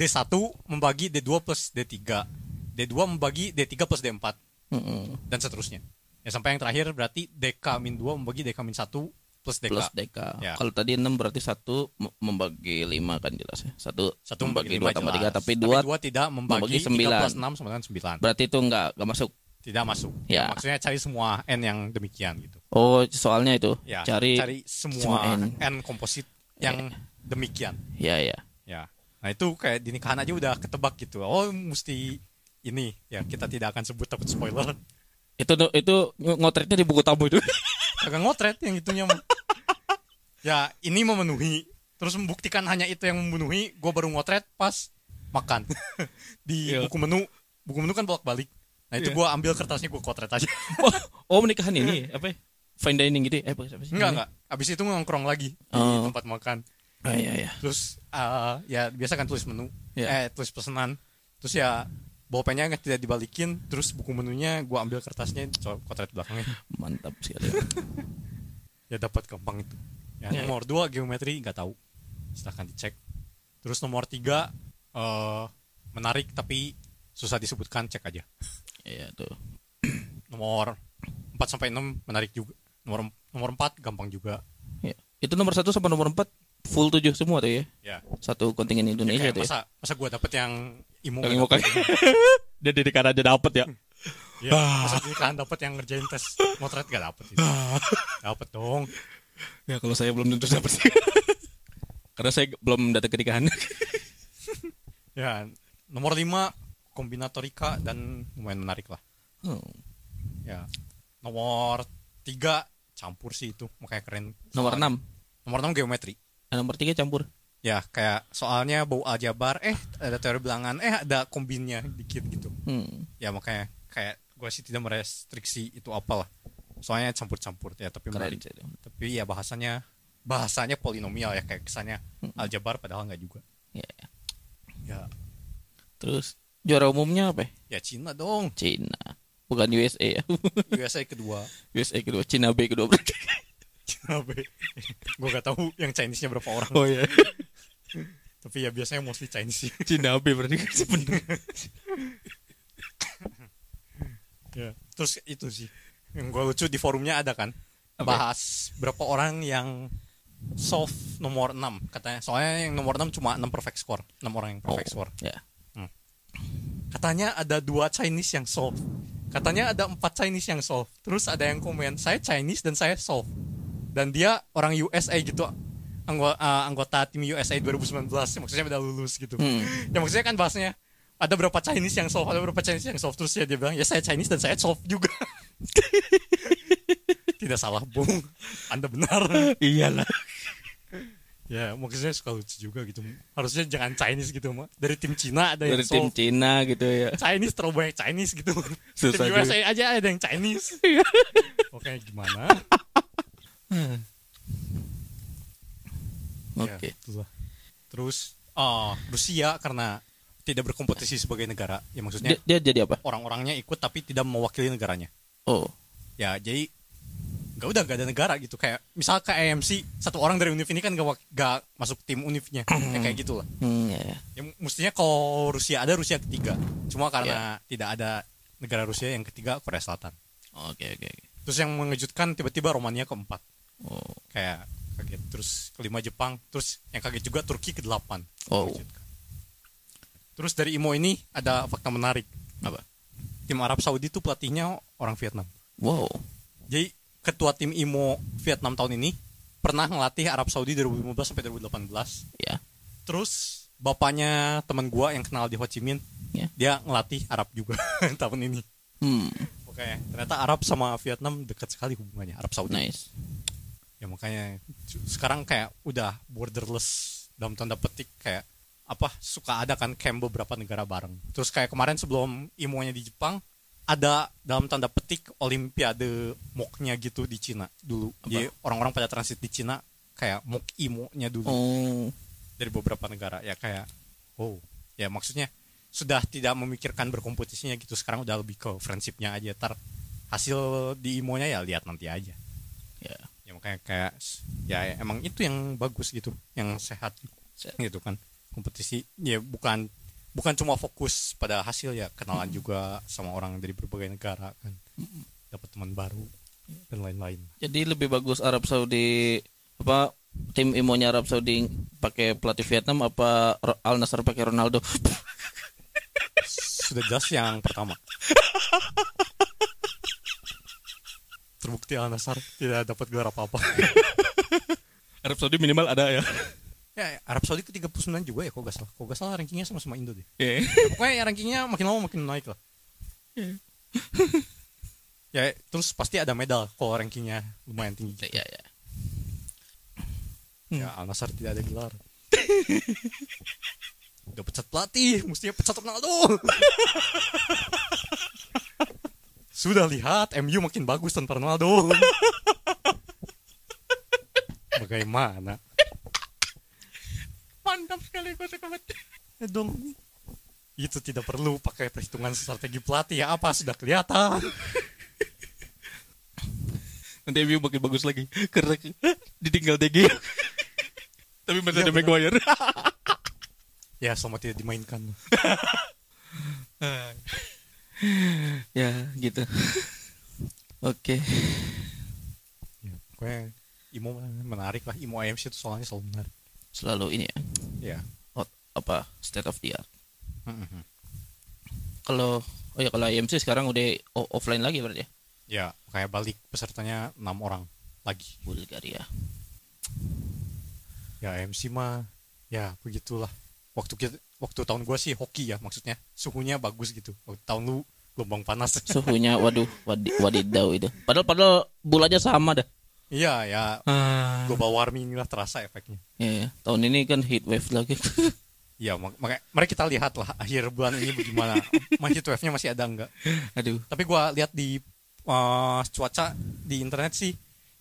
[SPEAKER 2] D1 membagi D2 plus D3. D2 membagi D3 plus D4.
[SPEAKER 1] Mm-mm.
[SPEAKER 2] dan seterusnya. Ya sampai yang terakhir berarti DK min 2 membagi DK min 1 plus DK.
[SPEAKER 1] plus deka
[SPEAKER 2] Ya.
[SPEAKER 1] kalau tadi enam berarti satu mem- membagi lima kan jelas ya satu
[SPEAKER 2] Satu
[SPEAKER 1] membagi dua
[SPEAKER 2] lima
[SPEAKER 1] tambah tiga
[SPEAKER 2] jelas.
[SPEAKER 1] tapi dua
[SPEAKER 2] tidak membagi,
[SPEAKER 1] membagi
[SPEAKER 2] 3
[SPEAKER 1] sembilan.
[SPEAKER 2] plus 6 sama dengan 9.
[SPEAKER 1] berarti itu enggak enggak masuk
[SPEAKER 2] Tidak masuk.
[SPEAKER 1] Ya.
[SPEAKER 2] Maksudnya cari semua N yang demikian gitu.
[SPEAKER 1] oh soalnya itu
[SPEAKER 2] Ya,
[SPEAKER 1] cari,
[SPEAKER 2] semua,
[SPEAKER 1] semua
[SPEAKER 2] N.
[SPEAKER 1] N.
[SPEAKER 2] komposit yang demikian.
[SPEAKER 1] ya ya
[SPEAKER 2] Ya. Nah itu kayak di nikahan aja udah ketebak gitu. Oh mesti ini ya kita tidak akan sebut takut spoiler.
[SPEAKER 1] itu itu ngotretnya di buku tamu itu
[SPEAKER 2] Agak ngotret yang itunya. ya, ini memenuhi. Terus membuktikan hanya itu yang memenuhi, gue baru ngotret pas makan. Di
[SPEAKER 1] Iya.
[SPEAKER 2] buku menu, buku menu kan bolak-balik. Nah, itu
[SPEAKER 1] Iya.
[SPEAKER 2] gua ambil kertasnya gue kotret aja.
[SPEAKER 1] oh, oh, menikahan ini apa ya? fine dining gitu ya? Eh, apa apa sih?
[SPEAKER 2] Enggak, enggak. Abis itu nongkrong lagi
[SPEAKER 1] Oh.
[SPEAKER 2] di tempat makan.
[SPEAKER 1] Ah, iya, iya.
[SPEAKER 2] Terus eh, ya biasa kan tulis menu,
[SPEAKER 1] Iya.
[SPEAKER 2] eh tulis pesanan. Terus ya bolpennya nggak- tidak dibalikin, terus buku menunya gua ambil kertasnya co- kotret belakangnya.
[SPEAKER 1] Mantap sekali.
[SPEAKER 2] Ya dapat gampang itu. Ya,
[SPEAKER 1] Iya.
[SPEAKER 2] nomor dua geometri nggak tahu. Silahkan dicek. Terus nomor tiga eh menarik tapi susah disebutkan, cek aja.
[SPEAKER 1] Iya tuh.
[SPEAKER 2] Nomor 4 sampai 6 menarik juga. Nomor nomor 4 gampang juga.
[SPEAKER 1] Iya. Itu nomor satu sama nomor empat full tujuh semua tuh ya.
[SPEAKER 2] Ya.
[SPEAKER 1] Satu kontingen Indonesia
[SPEAKER 2] Kayak
[SPEAKER 1] tuh ya.
[SPEAKER 2] masa masa gua dapat yang imu
[SPEAKER 1] Yang mau kayak- Dia dari karena aja dapet ya.
[SPEAKER 2] Ya, maksudnya kan dapat yang ngerjain tes motret gak dapet itu. Dapet dong.
[SPEAKER 1] Ya kalau saya belum tentu dapat sih. karena saya belum datang ke nikahan.
[SPEAKER 2] Ya, nomor 5 kombinatorika dan lumayan menarik lah.
[SPEAKER 1] Oh.
[SPEAKER 2] Ya. Nomor 3 campur sih itu, makanya keren.
[SPEAKER 1] Nomor
[SPEAKER 2] Soalnya-
[SPEAKER 1] enam.
[SPEAKER 2] Nomor 6 geometri.
[SPEAKER 1] Nah, Nomor tiga campur.
[SPEAKER 2] Ya, kayak soalnya bau aljabar, eh ada teori bilangan, eh ada kombinnya dikit gitu.
[SPEAKER 1] Hmm.
[SPEAKER 2] Ya makanya kayak gua sih tidak merestriksi itu apalah. Soalnya campur-campur ya, tapi
[SPEAKER 1] Keren.
[SPEAKER 2] menarik. Tapi ya bahasanya bahasanya polinomial ya kayak kesannya aljabar padahal nggak juga.
[SPEAKER 1] Ya.
[SPEAKER 2] Ya,
[SPEAKER 1] Terus juara umumnya apa? ya?
[SPEAKER 2] ya Cina dong.
[SPEAKER 1] Cina. Bukan USA ya.
[SPEAKER 2] USA kedua.
[SPEAKER 1] USA kedua, Cina B kedua berarti.
[SPEAKER 2] Cina B. Gue gak tahu yang Chinese-nya berapa orang.
[SPEAKER 1] Oh iya.
[SPEAKER 2] Tapi ya biasanya mostly Chinese sih.
[SPEAKER 1] Cina B berarti kan sebenarnya.
[SPEAKER 2] Ya. Terus itu sih. Yang gue lucu di forumnya ada kan.
[SPEAKER 1] Apa?
[SPEAKER 2] Bahas berapa orang yang solve nomor 6 katanya. Soalnya yang nomor 6 cuma 6 perfect score. 6 orang yang perfect score.
[SPEAKER 1] Ya.
[SPEAKER 2] Katanya ada dua Chinese yang solve. Katanya ada empat Chinese yang solve. Terus ada yang komen, saya Chinese dan saya solve. Dan dia orang USA gitu. Anggo- eh, anggota tim USA 2019 maksudnya udah lulus gitu.
[SPEAKER 1] Hmm.
[SPEAKER 2] Ya maksudnya kan bahasanya ada berapa Chinese yang solve, ada berapa Chinese yang solve terus ya dia bilang ya saya Chinese dan saya solve juga. Tidak salah, Bung. Anda benar.
[SPEAKER 1] Iyalah.
[SPEAKER 2] ya, maksudnya suka lucu juga gitu. Harusnya jangan Chinese gitu, Mak. Dari tim Cina ada yang
[SPEAKER 1] Dari tim
[SPEAKER 2] solve.
[SPEAKER 1] Cina gitu ya.
[SPEAKER 2] Chinese terlalu banyak Chinese gitu.
[SPEAKER 1] Susah
[SPEAKER 2] Tim
[SPEAKER 1] juga.
[SPEAKER 2] USA aja ada yang Chinese. Oke gimana?
[SPEAKER 1] Oke.
[SPEAKER 2] Ya, itulah. Terus ah, Rusia karena tidak berkompetisi sebagai negara, ya maksudnya
[SPEAKER 1] Dia, dia jadi apa?
[SPEAKER 2] orang-orangnya ikut tapi tidak mewakili negaranya.
[SPEAKER 1] Oh.
[SPEAKER 2] Ya jadi nggak udah nggak ada negara gitu kayak misal ke AMC satu orang dari Univ ini kan nggak wak- nggak masuk tim Univnya ya, kayak gitulah.
[SPEAKER 1] Hmm, ya, ya.
[SPEAKER 2] Ya, mestinya kalau Rusia ada Rusia ketiga, cuma karena
[SPEAKER 1] Ya.
[SPEAKER 2] tidak ada negara Rusia yang ketiga Korea Selatan.
[SPEAKER 1] Oke, oke, oke.
[SPEAKER 2] Terus yang mengejutkan tiba-tiba Romania keempat.
[SPEAKER 1] Oh.
[SPEAKER 2] Kayak kaget. Terus kelima Jepang, terus yang kaget juga Turki ke delapan.
[SPEAKER 1] Oh.
[SPEAKER 2] Mengejutkan. Terus dari IMO ini ada fakta menarik.
[SPEAKER 1] Apa?
[SPEAKER 2] Tim Arab Saudi itu pelatihnya orang Vietnam.
[SPEAKER 1] Wow.
[SPEAKER 2] Jadi ketua tim IMO Vietnam tahun ini pernah ngelatih Arab Saudi 2015 sampai 2018.
[SPEAKER 1] Ya.
[SPEAKER 2] Terus bapaknya teman gua yang kenal di Ho Chi Minh,
[SPEAKER 1] Ya.
[SPEAKER 2] dia ngelatih Arab juga tahun ini.
[SPEAKER 1] Hmm.
[SPEAKER 2] Oke, ternyata Arab sama Vietnam dekat sekali hubungannya Arab Saudi.
[SPEAKER 1] Nice.
[SPEAKER 2] ya makanya cu- sekarang kayak udah borderless dalam tanda petik kayak apa suka ada kan camp beberapa negara bareng terus kayak kemarin sebelum imonya di Jepang ada dalam tanda petik olimpiade moknya gitu di Cina dulu jadi orang-orang pada transit di Cina kayak mok imonya dulu
[SPEAKER 1] Oh.
[SPEAKER 2] dari beberapa negara ya kayak oh ya maksudnya sudah tidak memikirkan berkompetisinya gitu sekarang udah lebih ke friendshipnya aja tar hasil di imonya ya lihat nanti aja
[SPEAKER 1] Ya.
[SPEAKER 2] ya makanya kayak s- ya emang itu yang bagus gitu yang sehat
[SPEAKER 1] Sehat.
[SPEAKER 2] gitu kan kompetisi ya bukan bukan cuma fokus pada hasil ya kenalan juga sama orang dari berbagai negara kan dapat teman baru dan lain-lain
[SPEAKER 1] Jadi lebih bagus Arab Saudi apa tim imonya Arab Saudi pakai pelatih Vietnam apa Ro- Al Nassr pakai Ronaldo?
[SPEAKER 2] sudah jelas yang pertama terbukti Al Nassr tidak dapat gelar apa apa
[SPEAKER 1] Arab Saudi minimal ada ya.
[SPEAKER 2] ya Arab Saudi ke 39 juga ya kok gak salah kok gak salah rankingnya sama sama Indo deh
[SPEAKER 1] Iya.
[SPEAKER 2] pokoknya ya rankingnya makin lama makin naik lah ya terus pasti ada medal kalau rankingnya lumayan tinggi
[SPEAKER 1] Ya, ya.
[SPEAKER 2] ya
[SPEAKER 1] Hmm.
[SPEAKER 2] Al Nassr tidak ada gelar udah pecat pelatih mestinya pecat Ronaldo sudah lihat MU makin bagus tanpa Ronaldo bagaimana?
[SPEAKER 1] Mantap sekali gue suka banget.
[SPEAKER 2] Ya dong itu tidak perlu pakai perhitungan strategi pelatih ya apa sudah kelihatan
[SPEAKER 1] Nanti MU makin bagus lagi karena ditinggal DG. Tapi masih ada Maguire.
[SPEAKER 2] ya selama tidak dimainkan
[SPEAKER 1] Eh, ya gitu. Oke.
[SPEAKER 2] ya, pokoknya Imo menarik lah Imo AMC itu soalnya selalu menarik
[SPEAKER 1] Selalu ini ya.
[SPEAKER 2] ya
[SPEAKER 1] hot- apa state of the art. Kalau oh ya kalau IMC sekarang udah o- offline lagi berarti ya.
[SPEAKER 2] ya kayak balik pesertanya enam orang lagi
[SPEAKER 1] Bulgaria.
[SPEAKER 2] ya AMC mah ya begitulah waktu kita waktu tahun gua sih hoki ya maksudnya suhunya bagus gitu Waktu tahun lu gelombang panas
[SPEAKER 1] Suhunya waduh wadi, wadidau itu. Padahal padahal bulannya sama dah.
[SPEAKER 2] iya ya
[SPEAKER 1] Ah.
[SPEAKER 2] global warming lah terasa efeknya
[SPEAKER 1] Ya, ya. tahun ini kan heat wave lagi.
[SPEAKER 2] Ya, mak- makanya mari kita lihat lah akhir bulan ini bagaimana. Masih wave-nya masih ada enggak?
[SPEAKER 1] Aduh.
[SPEAKER 2] Tapi gua lihat di eh, cuaca di internet sih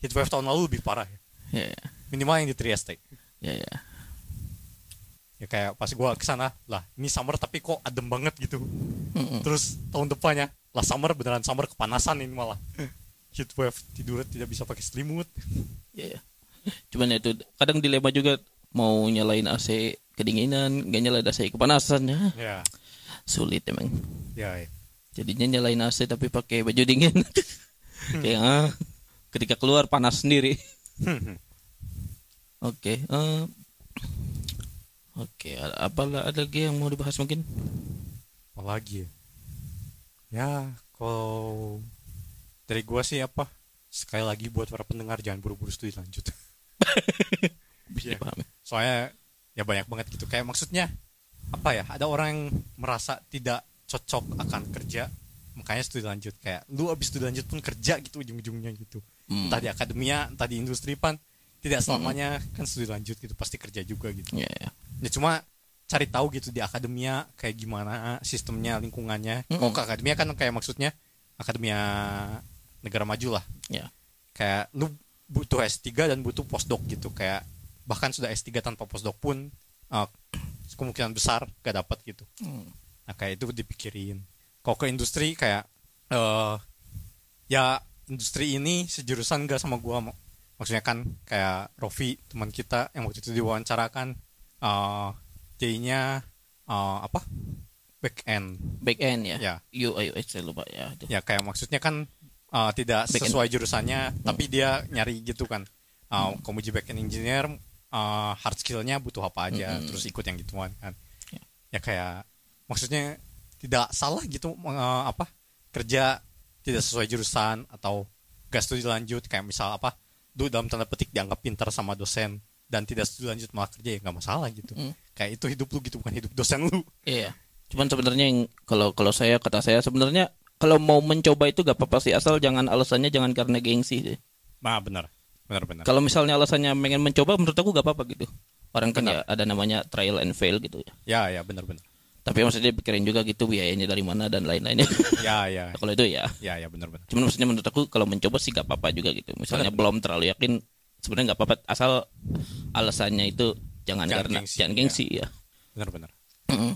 [SPEAKER 2] heat wave tahun lalu lebih parah ya.
[SPEAKER 1] Ya, ya.
[SPEAKER 2] Minimal yang di Trieste.
[SPEAKER 1] Ya, ya.
[SPEAKER 2] Ya kayak pas gua ke sana, lah ini summer tapi kok adem banget gitu.
[SPEAKER 1] Mm-mm.
[SPEAKER 2] Terus tahun depannya, lah summer beneran summer kepanasan ini malah. Heat wave tidur tidak bisa pakai selimut.
[SPEAKER 1] Ya, ya. Cuman ya itu kadang dilema juga mau nyalain AC kedinginan, gak nyalain AC kepanasan ya.
[SPEAKER 2] Ya,
[SPEAKER 1] Sulit emang.
[SPEAKER 2] ya. ya.
[SPEAKER 1] Jadinya nyalain AC tapi pakai baju dingin. Kayak ah, ketika keluar panas sendiri.
[SPEAKER 2] Hmm,
[SPEAKER 1] Oke. eh, Oke, ada- apalah ada lagi yang mau dibahas mungkin?
[SPEAKER 2] Apalagi ya. Ya, kalau dari gua sih apa? Sekali lagi buat para pendengar jangan buru-buru studi lanjut.
[SPEAKER 1] Bisa
[SPEAKER 2] Iya.
[SPEAKER 1] dipahami.
[SPEAKER 2] Soalnya ya banyak banget gitu. Kayak maksudnya apa ya? Ada orang yang merasa tidak cocok akan kerja, makanya studi lanjut. Kayak lu abis studi lanjut pun kerja gitu ujung-ujungnya gitu.
[SPEAKER 1] Hmm.
[SPEAKER 2] Entah di akademia, entah di industri pan, tidak selamanya kan studi lanjut gitu pasti kerja juga gitu.
[SPEAKER 1] Ya, ya.
[SPEAKER 2] Ya cuma cari tahu gitu di akademia kayak gimana eh, sistemnya, lingkungannya.
[SPEAKER 1] Mm-mm.
[SPEAKER 2] Kalau ke akademia kan kayak maksudnya akademia negara maju lah.
[SPEAKER 1] Ya.
[SPEAKER 2] Kayak lu butuh S3 dan butuh postdoc gitu kayak bahkan sudah S3 tanpa postdoc pun eh, kemungkinan besar gak dapat gitu.
[SPEAKER 1] Hmm.
[SPEAKER 2] Nah, kayak itu dipikirin. Kalau ke industri kayak eh ya industri ini sejurusan gak sama gua Mo. maksudnya kan kayak Rofi teman kita yang waktu itu diwawancarakan eh J-nya eh, apa back end
[SPEAKER 1] Back end ya.
[SPEAKER 2] ya
[SPEAKER 1] UI UX saya lupa ya. Aduh.
[SPEAKER 2] ya kayak maksudnya kan eh, tidak
[SPEAKER 1] Back end.
[SPEAKER 2] sesuai jurusannya tapi dia nyari gitu kan Eh kamu jadi back end engineer eh, hard skillnya butuh apa aja
[SPEAKER 1] Mm-mm.
[SPEAKER 2] terus ikut yang gituan kan
[SPEAKER 1] Ya.
[SPEAKER 2] ya kayak maksudnya tidak salah gitu eh, apa kerja tidak sesuai jurusan atau gak studi lanjut kayak misal apa lu dalam tanda petik dianggap pintar sama dosen dan tidak studi lanjut malah kerja ya nggak masalah gitu
[SPEAKER 1] Mm.
[SPEAKER 2] kayak itu hidup lu gitu bukan hidup dosen lu
[SPEAKER 1] Iya. Cuman sebenarnya yang kalau kalau saya kata saya sebenarnya kalau mau mencoba itu gak apa-apa sih asal jangan alasannya jangan karena gengsi sih.
[SPEAKER 2] nah benar benar benar
[SPEAKER 1] Kalau misalnya alasannya pengen mencoba menurut aku gak apa-apa gitu. Orang kan
[SPEAKER 2] Benar.
[SPEAKER 1] ya ada namanya trial and fail gitu ya.
[SPEAKER 2] ya ya benar benar
[SPEAKER 1] Tapi maksudnya pikirin juga gitu biayanya dari mana dan lain-lainnya.
[SPEAKER 2] ya ya
[SPEAKER 1] Nah, kalau itu ya.
[SPEAKER 2] ya ya benar benar
[SPEAKER 1] Cuman maksudnya menurut aku kalau mencoba sih gak apa-apa juga gitu. Misalnya belum terlalu yakin sebenarnya gak apa-apa asal alasannya itu jangan,
[SPEAKER 2] Jangan
[SPEAKER 1] karena
[SPEAKER 2] gengsi,
[SPEAKER 1] jangan
[SPEAKER 2] ya.
[SPEAKER 1] gengsi ya.
[SPEAKER 2] benar-benar
[SPEAKER 1] Mm-mm.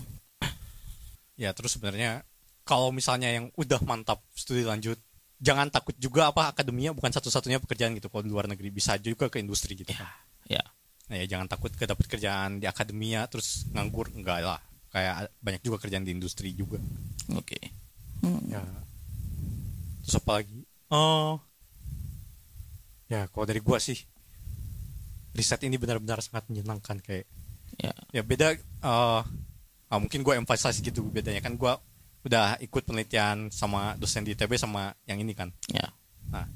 [SPEAKER 2] ya terus sebenarnya kalau misalnya yang udah mantap studi lanjut jangan takut juga apa akademia bukan satu-satunya pekerjaan gitu kalau di luar negeri bisa juga ke industri gitu kan
[SPEAKER 1] Ya.
[SPEAKER 2] nah, ya jangan takut ke dapat kerjaan di akademia terus nganggur enggak lah kayak banyak juga kerjaan di industri juga
[SPEAKER 1] Oke.
[SPEAKER 2] ya terus apa lagi oh ya kalau dari gua sih riset ini benar-benar sangat menyenangkan kayak
[SPEAKER 1] Ya.
[SPEAKER 2] ya beda eh ah, mungkin gue emphasize gitu bedanya kan gue udah ikut penelitian sama dosen di ITB sama yang ini kan
[SPEAKER 1] Ya.
[SPEAKER 2] nah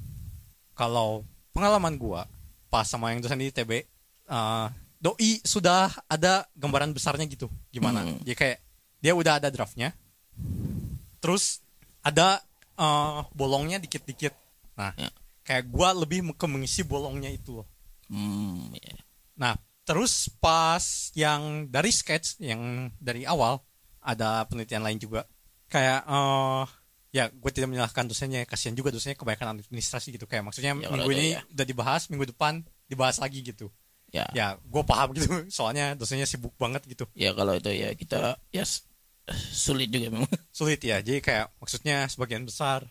[SPEAKER 2] kalau pengalaman gue pas sama yang dosen di ITB eh doi sudah ada gambaran besarnya gitu gimana
[SPEAKER 1] Hmm.
[SPEAKER 2] dia kayak dia udah ada draftnya terus ada eh, bolongnya dikit-dikit nah
[SPEAKER 1] Ya.
[SPEAKER 2] kayak gue lebih ke mengisi bolongnya itu loh
[SPEAKER 1] Hmm, ya.
[SPEAKER 2] Nah, terus pas yang dari sketch yang dari awal ada penelitian lain juga. Kayak eh ya gue tidak menyalahkan dosennya, kasihan juga dosennya kebanyakan administrasi gitu kayak
[SPEAKER 1] Ya,
[SPEAKER 2] maksudnya minggu
[SPEAKER 1] kalau ada,
[SPEAKER 2] ini
[SPEAKER 1] ya.
[SPEAKER 2] udah dibahas, minggu depan dibahas lagi gitu
[SPEAKER 1] ya
[SPEAKER 2] ya gue paham gitu soalnya dosennya sibuk banget gitu
[SPEAKER 1] ya kalau itu ya kita ya s- sulit juga memang
[SPEAKER 2] sulit ya jadi kayak maksudnya sebagian besar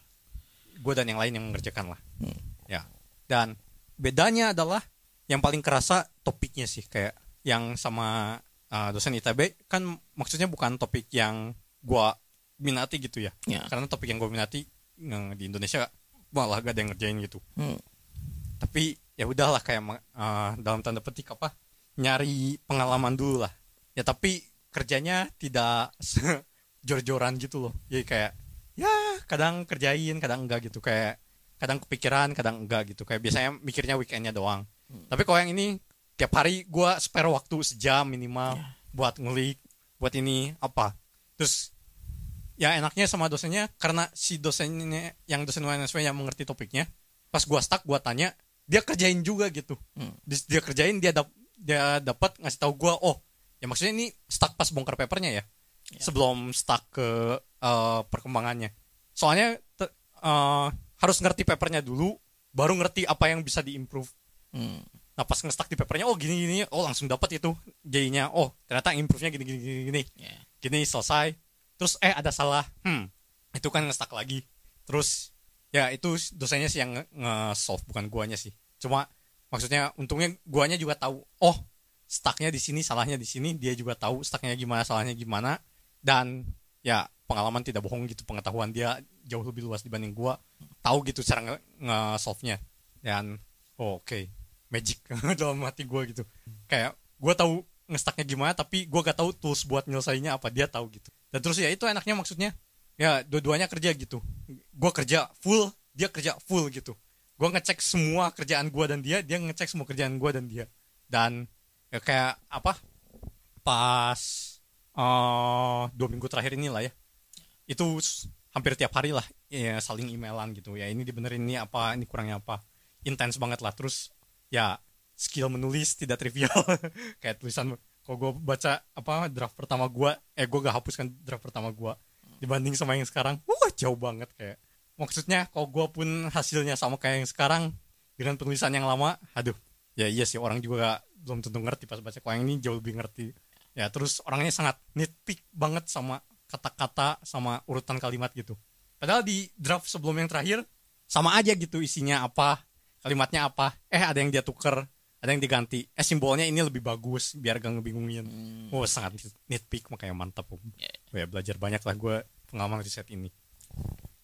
[SPEAKER 2] gue dan yang lain yang mengerjakan lah
[SPEAKER 1] Hmm.
[SPEAKER 2] ya dan bedanya adalah yang paling kerasa topiknya sih kayak yang sama uh, dosen ITB kan maksudnya bukan topik yang gue minati gitu ya
[SPEAKER 1] ya
[SPEAKER 2] karena topik yang gue minati eh, di Indonesia malah gak ada yang ngerjain gitu
[SPEAKER 1] Hmm.
[SPEAKER 2] tapi ya udahlah kayak ma- eh, dalam tanda petik apa nyari pengalaman dulu lah ya tapi kerjanya tidak se- jor-joran gitu loh jadi kayak ya kadang kerjain kadang enggak gitu kayak kadang kepikiran kadang enggak gitu kayak biasanya mikirnya weekendnya doang tapi kalau yang ini tiap hari gua spare waktu sejam minimal buat ngulik buat ini apa terus ya enaknya sama dosennya karena si dosennya yang dosen UNSW yang mengerti topiknya pas gua stuck gua tanya dia kerjain juga gitu
[SPEAKER 1] Hmm.
[SPEAKER 2] Dis- dia kerjain dia dap- dia dapat ngasih tahu gua oh ya maksudnya ini stuck pas bongkar papernya ya sebelum stuck ke eh, perkembangannya soalnya te- eh, harus ngerti papernya dulu baru ngerti apa yang bisa diimprove
[SPEAKER 1] Hmm.
[SPEAKER 2] nah pas nge-stuck di papernya oh gini gini oh langsung dapat itu jadinya oh ternyata improve-nya gini gini gini gini
[SPEAKER 1] ya
[SPEAKER 2] gini selesai terus eh ada salah hmm itu kan ngestak lagi terus ya itu dosennya sih yang nge- nge-solve bukan guanya sih cuma maksudnya untungnya guanya juga tahu oh stucknya di sini salahnya di sini dia juga tahu stucknya gimana salahnya gimana dan ya pengalaman tidak bohong gitu pengetahuan dia jauh lebih luas dibanding gua tahu gitu cara nge- nge-solve nya dan oh, oke magic dalam hati gua gitu kayak gua tahu ngestaknya gimana tapi gua gak tahu tools buat nyelesainnya apa dia tahu gitu dan terus ya itu enaknya maksudnya ya dua-duanya kerja gitu gua kerja full dia kerja full gitu gua ngecek semua kerjaan gua dan dia dia ngecek semua kerjaan gua dan dia dan ya kayak apa pas eh dua minggu terakhir inilah ya itu s- hampir tiap hari lah ya, saling emailan gitu ya ini dibenerin ini apa ini kurangnya apa intens banget lah terus ya skill menulis tidak trivial kayak tulisan kalau gue baca apa draft pertama gue eh gue gak hapuskan draft pertama gue dibanding sama yang sekarang wah jauh banget kayak maksudnya kalau gue pun hasilnya sama kayak yang sekarang dengan penulisan yang lama aduh ya iya sih orang juga belum tentu ngerti pas baca kalau yang ini jauh lebih ngerti ya terus orangnya sangat nitpick banget sama kata-kata sama urutan kalimat gitu padahal di draft sebelum yang terakhir sama aja gitu isinya apa kalimatnya apa eh ada yang dia tuker ada yang diganti eh simbolnya ini lebih bagus biar gak ngebingungin oh sangat nit- nitpick makanya mantap om
[SPEAKER 1] Ya.
[SPEAKER 2] Oh ya belajar banyak lah gue pengalaman riset ini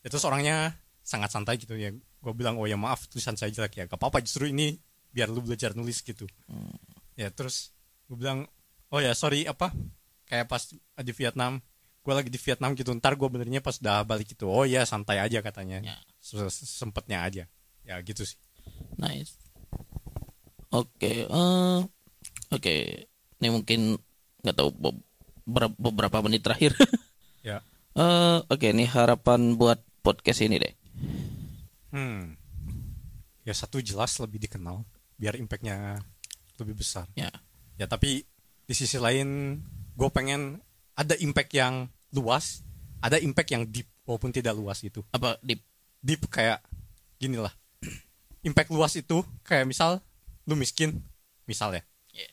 [SPEAKER 2] ya, terus orangnya sangat santai gitu ya gue bilang oh ya maaf tulisan saya jelek ya gak apa-apa justru ini biar lu belajar nulis gitu ya terus gue bilang oh ya sorry apa kayak pas di Vietnam gue lagi di Vietnam gitu ntar gue benernya pas udah balik gitu oh ya santai aja katanya
[SPEAKER 1] Ya.
[SPEAKER 2] Se- se- sempetnya aja ya gitu sih
[SPEAKER 1] Nice. Oke, eh, oke. Ini mungkin nggak tahu be- ber- beberapa menit terakhir.
[SPEAKER 2] ya
[SPEAKER 1] Eh, oke, ini harapan buat podcast ini deh.
[SPEAKER 2] hmm ya satu jelas lebih dikenal biar impactnya lebih besar
[SPEAKER 1] Ya,
[SPEAKER 2] ya tapi di sisi lain gue pengen ada impact yang luas ada impact yang deep walaupun tidak luas gitu
[SPEAKER 1] apa di
[SPEAKER 2] deep kayak gini lah impact luas itu kayak misal lu miskin misal ya
[SPEAKER 1] Iya.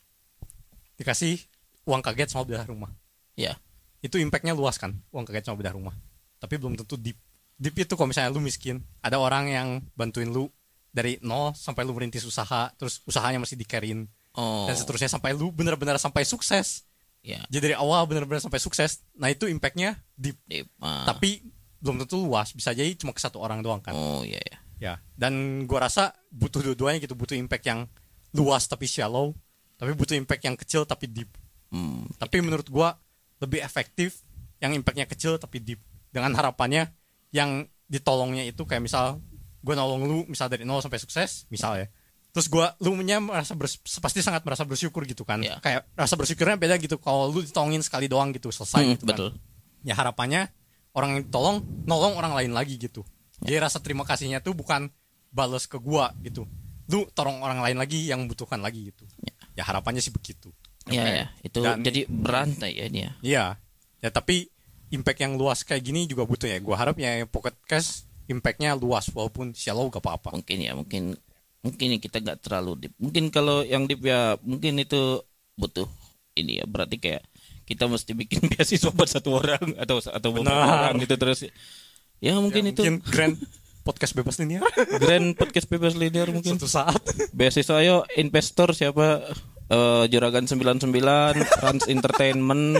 [SPEAKER 2] dikasih uang kaget sama bedah rumah
[SPEAKER 1] ya,
[SPEAKER 2] itu impactnya luas kan uang kaget sama bedah rumah tapi belum tentu deep deep itu kalau misalnya lu miskin ada orang yang bantuin lu dari nol sampai lu merintis usaha terus usahanya masih dikerin
[SPEAKER 1] oh,
[SPEAKER 2] dan seterusnya sampai lu benar-benar sampai sukses
[SPEAKER 1] ya,
[SPEAKER 2] jadi dari awal benar-benar sampai sukses nah itu impactnya deep
[SPEAKER 1] di, ah,
[SPEAKER 2] tapi belum tentu luas bisa jadi cuma ke satu orang doang kan
[SPEAKER 1] oh ya, ya,
[SPEAKER 2] ya dan gua rasa butuh dua-duanya gitu butuh impact yang luas tapi shallow tapi butuh impact yang kecil tapi deep
[SPEAKER 1] hmm,
[SPEAKER 2] tapi menurut gua lebih efektif yang impactnya kecil tapi deep dengan harapannya yang ditolongnya itu kayak misal gua nolong lu misal dari nol sampai sukses misal ya terus gua lu nya merasa bers- pasti sangat merasa bersyukur gitu kan
[SPEAKER 1] Iya.
[SPEAKER 2] kayak rasa bersyukurnya beda gitu kalau lu ditolongin sekali doang gitu selesai
[SPEAKER 1] Hmm,
[SPEAKER 2] gitu kan
[SPEAKER 1] betul,
[SPEAKER 2] ya harapannya orang yang ditolong nolong orang lain lagi gitu
[SPEAKER 1] Ya.
[SPEAKER 2] jadi rasa terima kasihnya tuh bukan balas ke gua gitu lu tolong orang lain lagi yang membutuhkan lagi gitu ya harapannya sih begitu
[SPEAKER 1] ya,
[SPEAKER 2] Oke.
[SPEAKER 1] ya, itu
[SPEAKER 2] Dan-
[SPEAKER 1] jadi berantai ya dia,
[SPEAKER 2] iya ya tapi impact yang luas kayak gini juga butuh ya gua harap ya pocket cash impactnya luas walaupun shallow gak apa-apa
[SPEAKER 1] mungkin ya, mungkin mungkin kita nggak terlalu deep. Mungkin kalau yang deep ya mungkin itu butuh ini ya berarti kayak kita mesti bikin beasiswa buat satu orang atau atau beberapa
[SPEAKER 2] Benar.
[SPEAKER 1] orang gitu terus. Ya mungkin
[SPEAKER 2] Ya,
[SPEAKER 1] itu
[SPEAKER 2] mungkin grand podcast bebas ini ya
[SPEAKER 1] grand podcast bebas leader mungkin.
[SPEAKER 2] suatu saat
[SPEAKER 1] Beasiswa ayo investor siapa Eh, Juragan 99, Trans Entertainment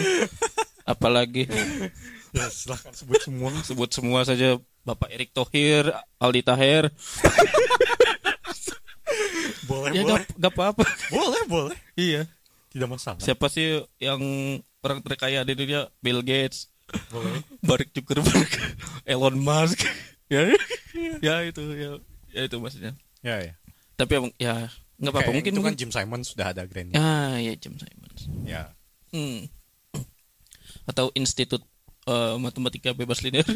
[SPEAKER 1] apalagi
[SPEAKER 2] ya silahkan sebut semua
[SPEAKER 1] sebut semua saja Bapak Erick Thohir, Aldi Taher.
[SPEAKER 2] boleh
[SPEAKER 1] Ya
[SPEAKER 2] boleh
[SPEAKER 1] gak, gak apa-apa.
[SPEAKER 2] boleh boleh
[SPEAKER 1] iya.
[SPEAKER 2] tidak masalah
[SPEAKER 1] Siapa sih yang orang terkaya di dunia? Bill Gates,
[SPEAKER 2] boleh
[SPEAKER 1] Mark Zuckerberg, Elon Musk. ya, ya itu ya, ya itu maksudnya.
[SPEAKER 2] ya ya
[SPEAKER 1] Tapi emang- ya nggak apa-apa
[SPEAKER 2] Kayak
[SPEAKER 1] mungkin
[SPEAKER 2] itu kan
[SPEAKER 1] mungkin.
[SPEAKER 2] Jim Simon sudah ada grand
[SPEAKER 1] Ah, ya Jim Simons.
[SPEAKER 2] ya
[SPEAKER 1] Hmm. Atau Institut eh, Matematika Bebas Linear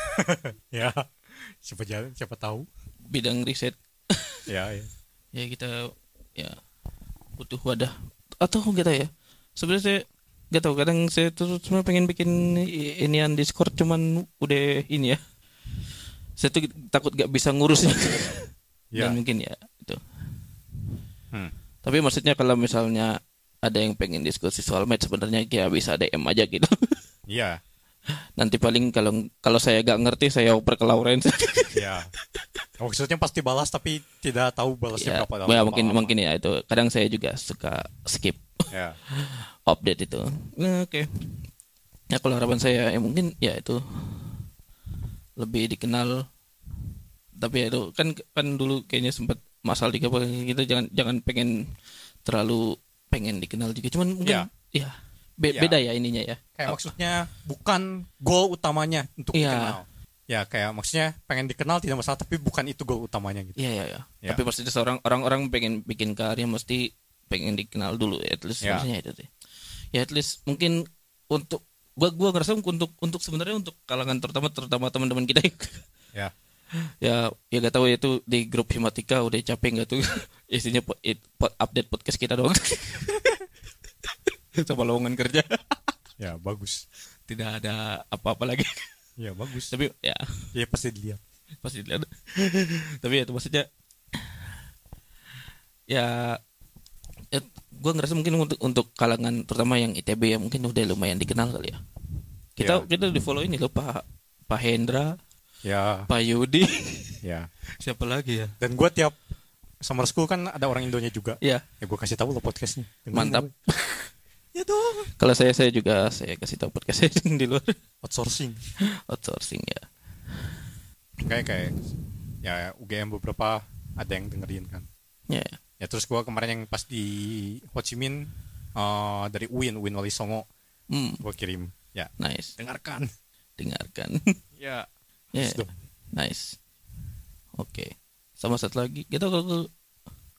[SPEAKER 2] ya siapa jalan siapa tahu
[SPEAKER 1] bidang riset.
[SPEAKER 2] ya ya
[SPEAKER 1] Ya kita ya butuh wadah atau nggak tahu ya. Sebenarnya saya nggak tahu kadang saya tuh sebenarnya pengen bikin i- inian Discord cuman udah ini ya. Saya tuh takut nggak bisa ngurusnya.
[SPEAKER 2] ya
[SPEAKER 1] Dan mungkin ya itu.
[SPEAKER 2] Hmm.
[SPEAKER 1] Tapi maksudnya kalau misalnya ada yang pengen diskusi soal match sebenarnya ya bisa DM aja gitu.
[SPEAKER 2] ya
[SPEAKER 1] Nanti paling kalau kalau saya gak ngerti saya oper ke Lawrence.
[SPEAKER 2] ya maksudnya pasti balas tapi tidak tahu balasnya
[SPEAKER 1] ya,
[SPEAKER 2] berapa
[SPEAKER 1] ya,
[SPEAKER 2] lama
[SPEAKER 1] mungkin mungkin ya itu. Kadang saya juga suka skip
[SPEAKER 2] ya
[SPEAKER 1] update itu. Nah, oke. Ya kalau harapan saya ya mungkin ya itu lebih dikenal tapi ya itu kan kan dulu kayaknya sempat masalah juga pokoknya kita jangan jangan pengen terlalu pengen dikenal juga cuman mungkin ya be-
[SPEAKER 2] Ya.
[SPEAKER 1] beda ya ininya ya
[SPEAKER 2] kayak maksudnya bukan goal utamanya untuk
[SPEAKER 1] Iya.
[SPEAKER 2] dikenal ya kayak maksudnya pengen dikenal tidak masalah tapi bukan itu goal utamanya gitu
[SPEAKER 1] Iya iya iya.
[SPEAKER 2] Ya.
[SPEAKER 1] Tapi maksudnya seorang orang-orang pengen bikin karya mesti pengen dikenal dulu at least
[SPEAKER 2] Ya.
[SPEAKER 1] harusnya itu sih. Ya at least mungkin untuk gua gua ngerasa untuk untuk sebenarnya untuk kalangan terutama terutama teman-teman kita yang-
[SPEAKER 2] ya
[SPEAKER 1] ya ya gak tahu ya itu di grup Himatika udah capek nggak tuh isinya po- it- po- update podcast kita doang sama lowongan kerja
[SPEAKER 2] ya bagus
[SPEAKER 1] tidak ada apa-apa lagi
[SPEAKER 2] ya bagus
[SPEAKER 1] tapi ya
[SPEAKER 2] ya pasti dilihat
[SPEAKER 1] pasti dilihat tapi ya itu maksudnya ya, ya gue ngerasa mungkin untuk untuk kalangan terutama yang ITB ya mungkin udah lumayan dikenal kali ya kita
[SPEAKER 2] Ya.
[SPEAKER 1] kita di follow ini loh pak pak Hendra
[SPEAKER 2] ya
[SPEAKER 1] pak Yudi
[SPEAKER 2] ya
[SPEAKER 1] siapa lagi ya
[SPEAKER 2] dan gue tiap summer school kan ada orang Indonya juga
[SPEAKER 1] ya
[SPEAKER 2] ya gue kasih tahu lo podcastnya Dengerin
[SPEAKER 1] mantap
[SPEAKER 2] lo. ya dong
[SPEAKER 1] kalau saya saya juga saya kasih tahu podcast saya yang di luar
[SPEAKER 2] outsourcing
[SPEAKER 1] outsourcing ya
[SPEAKER 2] kayak kayak ya UGM beberapa ada yang dengerin kan
[SPEAKER 1] ya
[SPEAKER 2] ya terus gue kemarin yang pas di Ho Chi Minh eh, dari Uin Uin Wali Songo
[SPEAKER 1] hmm,
[SPEAKER 2] gue kirim ya
[SPEAKER 1] nice
[SPEAKER 2] dengarkan
[SPEAKER 1] dengarkan
[SPEAKER 2] ya
[SPEAKER 1] ya
[SPEAKER 2] Terus dong.
[SPEAKER 1] Nice. Oke. Sama satu lagi. Kita kalau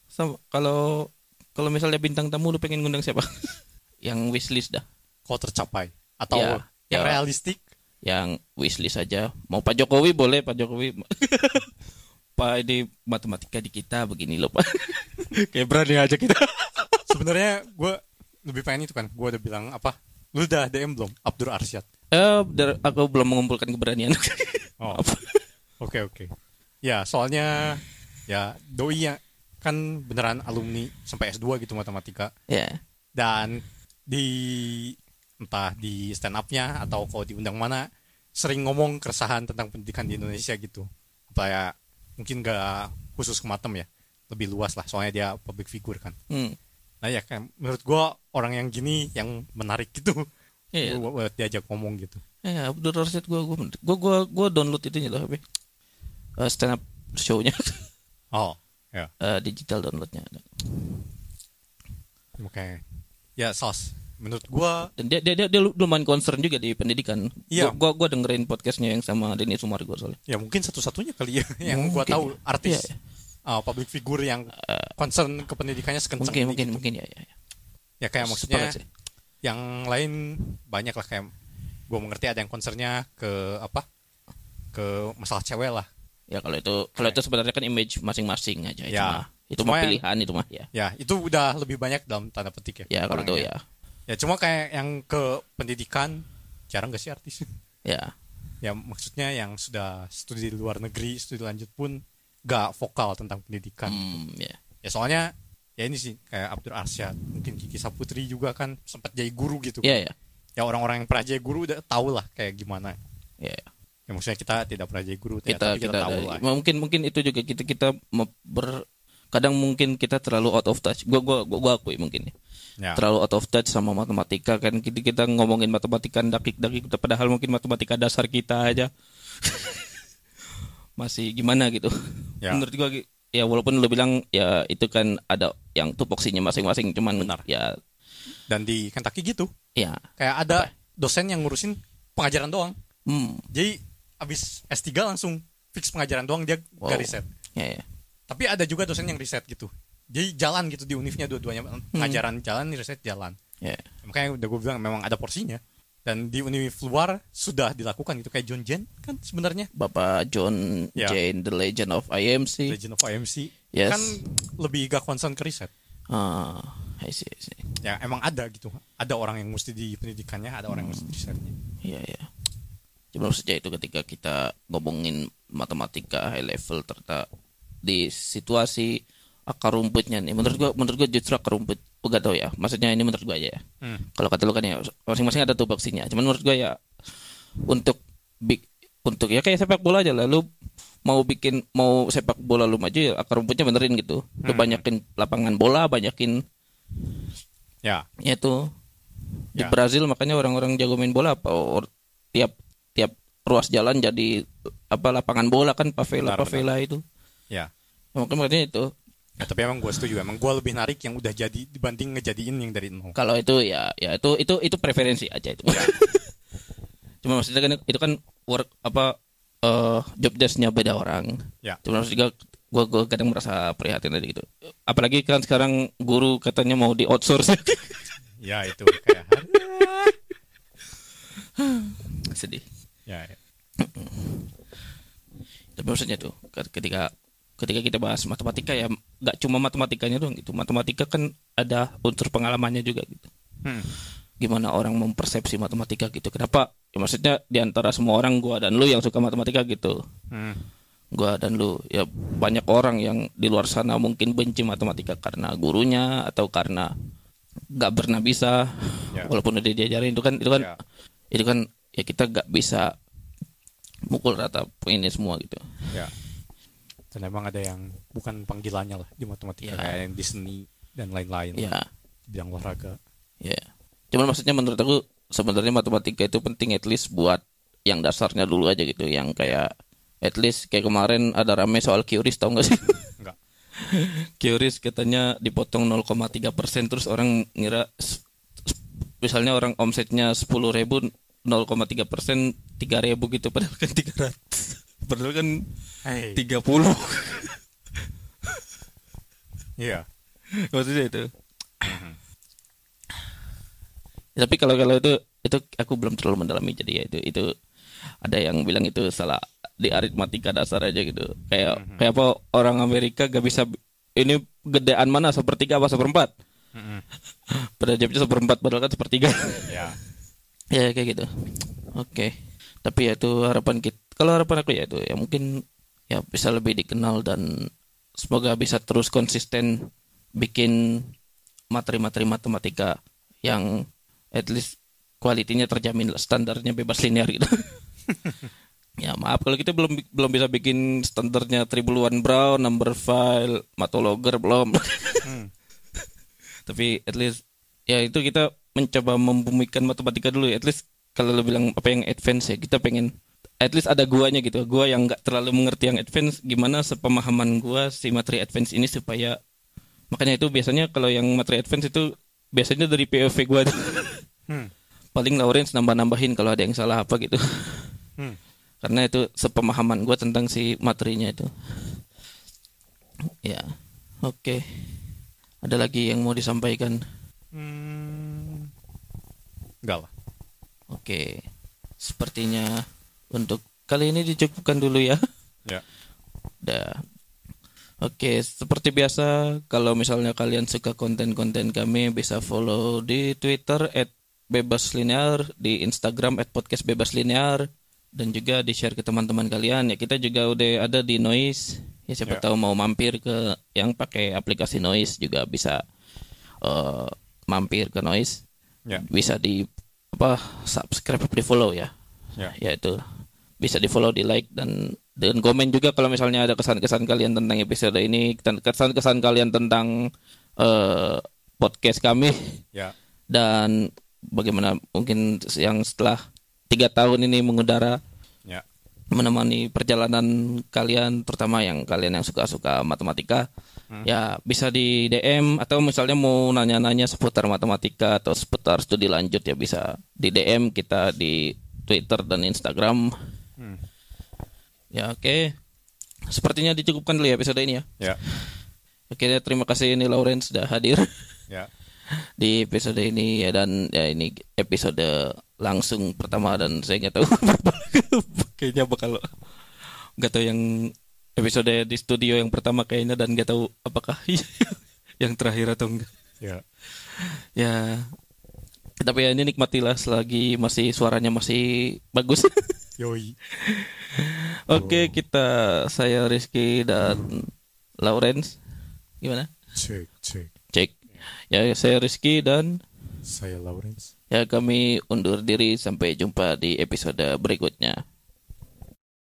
[SPEAKER 1] sama kalau kalau misalnya bintang tamu lu pengen ngundang siapa? yang wishlist dah.
[SPEAKER 2] kau tercapai atau
[SPEAKER 1] Ya,
[SPEAKER 2] yang
[SPEAKER 1] ya.
[SPEAKER 2] realistik
[SPEAKER 1] Yang wishlist aja. Mau Pak Jokowi boleh Pak Jokowi. Pak ini matematika di kita begini loh Pak. Kayak berani aja kita.
[SPEAKER 2] sebenarnya gue lebih pengen itu kan gue udah bilang apa lu udah DM belum Abdur Arsyad
[SPEAKER 1] Eh, bentar, aku belum mengumpulkan keberanian.
[SPEAKER 2] oh oke oke ya soalnya ya doi ya kan beneran alumni sampai S2 gitu matematika
[SPEAKER 1] ya.
[SPEAKER 2] dan di entah di stand up-nya atau kalau diundang mana sering ngomong keresahan tentang pendidikan di Indonesia gitu. Apa ya mungkin gak khusus ke Matem ya, lebih luas lah soalnya dia public figure kan.
[SPEAKER 1] Hmm.
[SPEAKER 2] Nah ya kan menurut gua orang yang gini yang menarik gitu.
[SPEAKER 1] Iya.
[SPEAKER 2] Gua- gua diajak ngomong gitu.
[SPEAKER 1] Ya, Abdul Rashid gua gua gua gua, gua download itunya loh HP. Eh, stand up show-nya
[SPEAKER 2] Oh, ya.
[SPEAKER 1] Eh, digital downloadnya
[SPEAKER 2] Oke. Ya, Sos. Menurut gua
[SPEAKER 1] dan dia dia dia, dia lu- lumayan concern juga di pendidikan.
[SPEAKER 2] Iya.
[SPEAKER 1] Gua, gua gua dengerin podcastnya yang sama Denny Sumargo soalnya.
[SPEAKER 2] ya mungkin satu-satunya kali ya yang gua
[SPEAKER 1] Mungkin.
[SPEAKER 2] tahu artis
[SPEAKER 1] Iya. Uh,
[SPEAKER 2] uh, public figure yang concern ke pendidikannya sekencang
[SPEAKER 1] Mungkin
[SPEAKER 2] ini
[SPEAKER 1] mungkin
[SPEAKER 2] gitu.
[SPEAKER 1] mungkin ya ya. ya.
[SPEAKER 2] Ya kayak
[SPEAKER 1] Sepakat
[SPEAKER 2] maksudnya
[SPEAKER 1] sih.
[SPEAKER 2] yang lain banyak lah kayak gue mengerti ada yang concernnya ke apa ke masalah cewek lah
[SPEAKER 1] Ya kalau itu kalau itu sebenarnya kan image masing-masing aja itu
[SPEAKER 2] Ya.
[SPEAKER 1] mah. Itu
[SPEAKER 2] Cuma
[SPEAKER 1] mah
[SPEAKER 2] yang-
[SPEAKER 1] pilihan itu mah ya.
[SPEAKER 2] ya itu udah lebih banyak dalam tanda petik
[SPEAKER 1] Ya
[SPEAKER 2] ya
[SPEAKER 1] kalau itu
[SPEAKER 2] orangnya.
[SPEAKER 1] ya.
[SPEAKER 2] ya cuma kayak yang ke pendidikan jarang gak sih artis
[SPEAKER 1] Ya.
[SPEAKER 2] ya maksudnya yang sudah studi di luar negeri studi lanjut pun gak vokal tentang pendidikan.
[SPEAKER 1] Hmm, ya.
[SPEAKER 2] Ya soalnya ya ini sih kayak Abdur Arsyad, mungkin Kiki Saputri juga kan sempat jadi guru gitu.
[SPEAKER 1] Ya, ya.
[SPEAKER 2] Ya orang-orang yang pernah jadi guru udah tau lah kayak gimana.
[SPEAKER 1] Ya,
[SPEAKER 2] Ya maksudnya kita tidak pernah jadi guru, ya,
[SPEAKER 1] kita
[SPEAKER 2] tapi kita,
[SPEAKER 1] kita,
[SPEAKER 2] tahu
[SPEAKER 1] ada-
[SPEAKER 2] lah.
[SPEAKER 1] mungkin mungkin itu juga kita kita me- ber kadang mungkin kita terlalu out of touch. Gua gua gua, gua akui mungkin ya.
[SPEAKER 2] Ya.
[SPEAKER 1] Terlalu out of touch sama matematika kan kita kita ngomongin matematika dakik-dakik padahal mungkin matematika dasar kita aja masih gimana gitu.
[SPEAKER 2] Ya.
[SPEAKER 1] Menurut gua gi- ya walaupun lu bilang ya itu kan ada yang tupoksinya masing-masing cuman
[SPEAKER 2] Benar.
[SPEAKER 1] ya
[SPEAKER 2] Dan di Kentucky gitu,
[SPEAKER 1] ya
[SPEAKER 2] kayak ada dosen yang ngurusin pengajaran doang.
[SPEAKER 1] hmm
[SPEAKER 2] Jadi abis S3 langsung fix pengajaran doang dia
[SPEAKER 1] Wow.
[SPEAKER 2] gak riset.
[SPEAKER 1] ya ya
[SPEAKER 2] Tapi ada juga dosen yang riset gitu. Jadi jalan gitu di univnya dua-duanya
[SPEAKER 1] Hmm.
[SPEAKER 2] pengajaran jalan, riset jalan.
[SPEAKER 1] ya
[SPEAKER 2] Makanya udah gue bilang memang ada porsinya. Dan di univ luar sudah dilakukan gitu kayak John Jen kan sebenarnya
[SPEAKER 1] Bapak John
[SPEAKER 2] Ya.
[SPEAKER 1] Jane The Legend of IMC
[SPEAKER 2] Legend of IMC
[SPEAKER 1] Iya. Yes.
[SPEAKER 2] kan lebih gak concern ke riset.
[SPEAKER 1] ah I see, I see.
[SPEAKER 2] Ya emang ada gitu. Ada orang yang mesti di pendidikannya, ada orang yang mesti di risetnya.
[SPEAKER 1] Iya iya. Cuma saja itu ketika kita ngomongin matematika high level serta di situasi akar rumputnya nih. Menurut gua menurut gua justru akar rumput gua gak tahu ya. Maksudnya ini menurut gua aja ya.
[SPEAKER 2] Hmm.
[SPEAKER 1] Kalau kata lu kan ya masing-masing ada tupoksinya. Cuman menurut gua ya untuk big untuk ya kayak sepak bola aja lah lu mau bikin mau sepak bola lu maju ya akar rumputnya benerin gitu. Lu banyakin lapangan bola, banyakin
[SPEAKER 2] Ya,
[SPEAKER 1] ya itu di
[SPEAKER 2] Ya.
[SPEAKER 1] Brazil makanya orang-orang jago main bola apa or- tiap tiap ruas jalan jadi apa lapangan bola kan pavela
[SPEAKER 2] Benar,
[SPEAKER 1] pavela itu
[SPEAKER 2] ya.
[SPEAKER 1] makanya makanya itu
[SPEAKER 2] Ya, tapi emang gue setuju emang gue lebih narik yang udah jadi dibanding ngejadiin yang dari nol.
[SPEAKER 1] kalau itu ya ya itu itu itu preferensi aja itu cuma maksudnya kan itu kan work apa eh job desknya beda orang
[SPEAKER 2] Ya.
[SPEAKER 1] cuma maksudnya gua gua kadang merasa prihatin aja gitu apalagi kan sekarang guru katanya mau di outsource
[SPEAKER 2] Ya itu kayak
[SPEAKER 1] sedih
[SPEAKER 2] ya, ya.
[SPEAKER 1] Tapi maksudnya tuh ketika ketika kita bahas matematika ya nggak cuma matematikanya doang gitu. Matematika kan ada unsur pengalamannya juga gitu.
[SPEAKER 2] Hmm.
[SPEAKER 1] Gimana orang mempersepsi matematika gitu. Kenapa? Ya, maksudnya di antara semua orang gua dan lu yang suka matematika gitu.
[SPEAKER 2] Hmm.
[SPEAKER 1] Gua dan lu ya banyak orang yang di luar sana mungkin benci matematika karena gurunya atau karena nggak pernah bisa
[SPEAKER 2] Ya.
[SPEAKER 1] walaupun udah diajarin itu kan itu kan
[SPEAKER 2] Ya.
[SPEAKER 1] itu kan ya kita nggak bisa mukul rata ini semua gitu.
[SPEAKER 2] Ya. Dan emang ada yang bukan panggilannya lah di
[SPEAKER 1] Ya.
[SPEAKER 2] matematika kayak yang di seni dan lain-lain
[SPEAKER 1] Ya.
[SPEAKER 2] di bidang olahraga.
[SPEAKER 1] Ya. Cuman maksudnya menurut aku sebenarnya matematika itu penting at least buat yang dasarnya dulu aja gitu, yang kayak at least kayak kemarin ada rame soal QRIS tau gak sih?
[SPEAKER 2] Enggak.
[SPEAKER 1] QRIS katanya dipotong 0,3 persen terus orang ngira s- s- misalnya orang omsetnya 10.000 ribu 0,3 persen 3 ribu gitu padahal kan 300 padahal kan
[SPEAKER 2] Hei.
[SPEAKER 1] 30
[SPEAKER 2] Iya.
[SPEAKER 1] maksudnya itu Ya, tapi kalau kalau itu itu aku belum terlalu mendalami jadi ya itu itu ada yang bilang itu salah di aritmatika dasar aja gitu kayak kayak apa orang Amerika gak bisa ini gedean mana sepertiga apa seperempat pada jawabnya seperempat padahal kan sepertiga
[SPEAKER 2] Ya.
[SPEAKER 1] ya kayak gitu oke tapi ya itu harapan kita kalau harapan aku ya itu ya mungkin ya bisa lebih dikenal dan semoga bisa terus konsisten bikin materi-materi matematika yang at least kualitinya terjamin lah, standarnya bebas linear gitu ya maaf kalau kita belum belum bisa bikin standarnya Tribuluan Brown number file matologer belum tapi at least ya itu kita mencoba membumikan matematika dulu ya. at least kalau lo bilang apa yang advance ya kita pengen at least ada guanya gitu gua yang nggak terlalu mengerti yang advance gimana sepemahaman gua si materi advance ini supaya makanya itu biasanya kalau yang materi advance itu biasanya dari POV gua tuh.
[SPEAKER 2] Hmm.
[SPEAKER 1] paling Lawrence nambah-nambahin kalau ada yang salah apa gitu
[SPEAKER 2] Hmm.
[SPEAKER 1] karena itu sepemahaman gua tentang si materinya itu ya oke ada lagi yang mau disampaikan
[SPEAKER 2] Hmm. Enggak lah.
[SPEAKER 1] Oke, sepertinya untuk kali ini dicukupkan dulu ya.
[SPEAKER 2] Ya.
[SPEAKER 1] Dah. Oke, seperti biasa, kalau misalnya kalian suka konten-konten kami, bisa follow di Twitter @bebaslinear, di Instagram @podcastbebaslinear, dan juga di share ke teman-teman kalian. Ya kita juga udah ada di Noise, Ya siapa
[SPEAKER 2] Ya.
[SPEAKER 1] tahu mau mampir ke yang pakai aplikasi Noise juga bisa eh, mampir ke Noise.
[SPEAKER 2] Ya.
[SPEAKER 1] Bisa di apa subscribe di follow ya.
[SPEAKER 2] Ya.
[SPEAKER 1] itu bisa di follow, di like dan dan komen juga kalau misalnya ada kesan-kesan kalian tentang episode ini, dan kesan-kesan kalian tentang eh, podcast kami
[SPEAKER 2] Ya.
[SPEAKER 1] dan bagaimana mungkin yang setelah tiga tahun ini mengudara
[SPEAKER 2] Ya.
[SPEAKER 1] menemani perjalanan kalian terutama yang kalian yang suka-suka matematika ya bisa di DM atau misalnya mau nanya-nanya seputar matematika atau seputar studi lanjut ya bisa di DM kita di Twitter dan Instagram
[SPEAKER 2] Hmm.
[SPEAKER 1] ya oke sepertinya dicukupkan dulu ya episode ini ya
[SPEAKER 2] Ya.
[SPEAKER 1] oke terima kasih ini Lawrence sudah hadir
[SPEAKER 2] Ya.
[SPEAKER 1] di episode ini ya dan ya ini episode langsung pertama dan saya nggak tahu berapa- kayaknya bakal nggak tahu yang episode di studio yang pertama kayaknya dan nggak tahu apakah yang terakhir atau enggak
[SPEAKER 2] Ya.
[SPEAKER 1] ya tapi ya ini nikmatilah selagi masih suaranya masih bagus
[SPEAKER 2] Yoi.
[SPEAKER 1] oke kita saya Rizky dan Lawrence gimana
[SPEAKER 2] Cek, cek.
[SPEAKER 1] cek ya saya Rizky dan
[SPEAKER 2] Saya Lawrence.
[SPEAKER 1] Ya, kami undur diri sampai jumpa di episode berikutnya.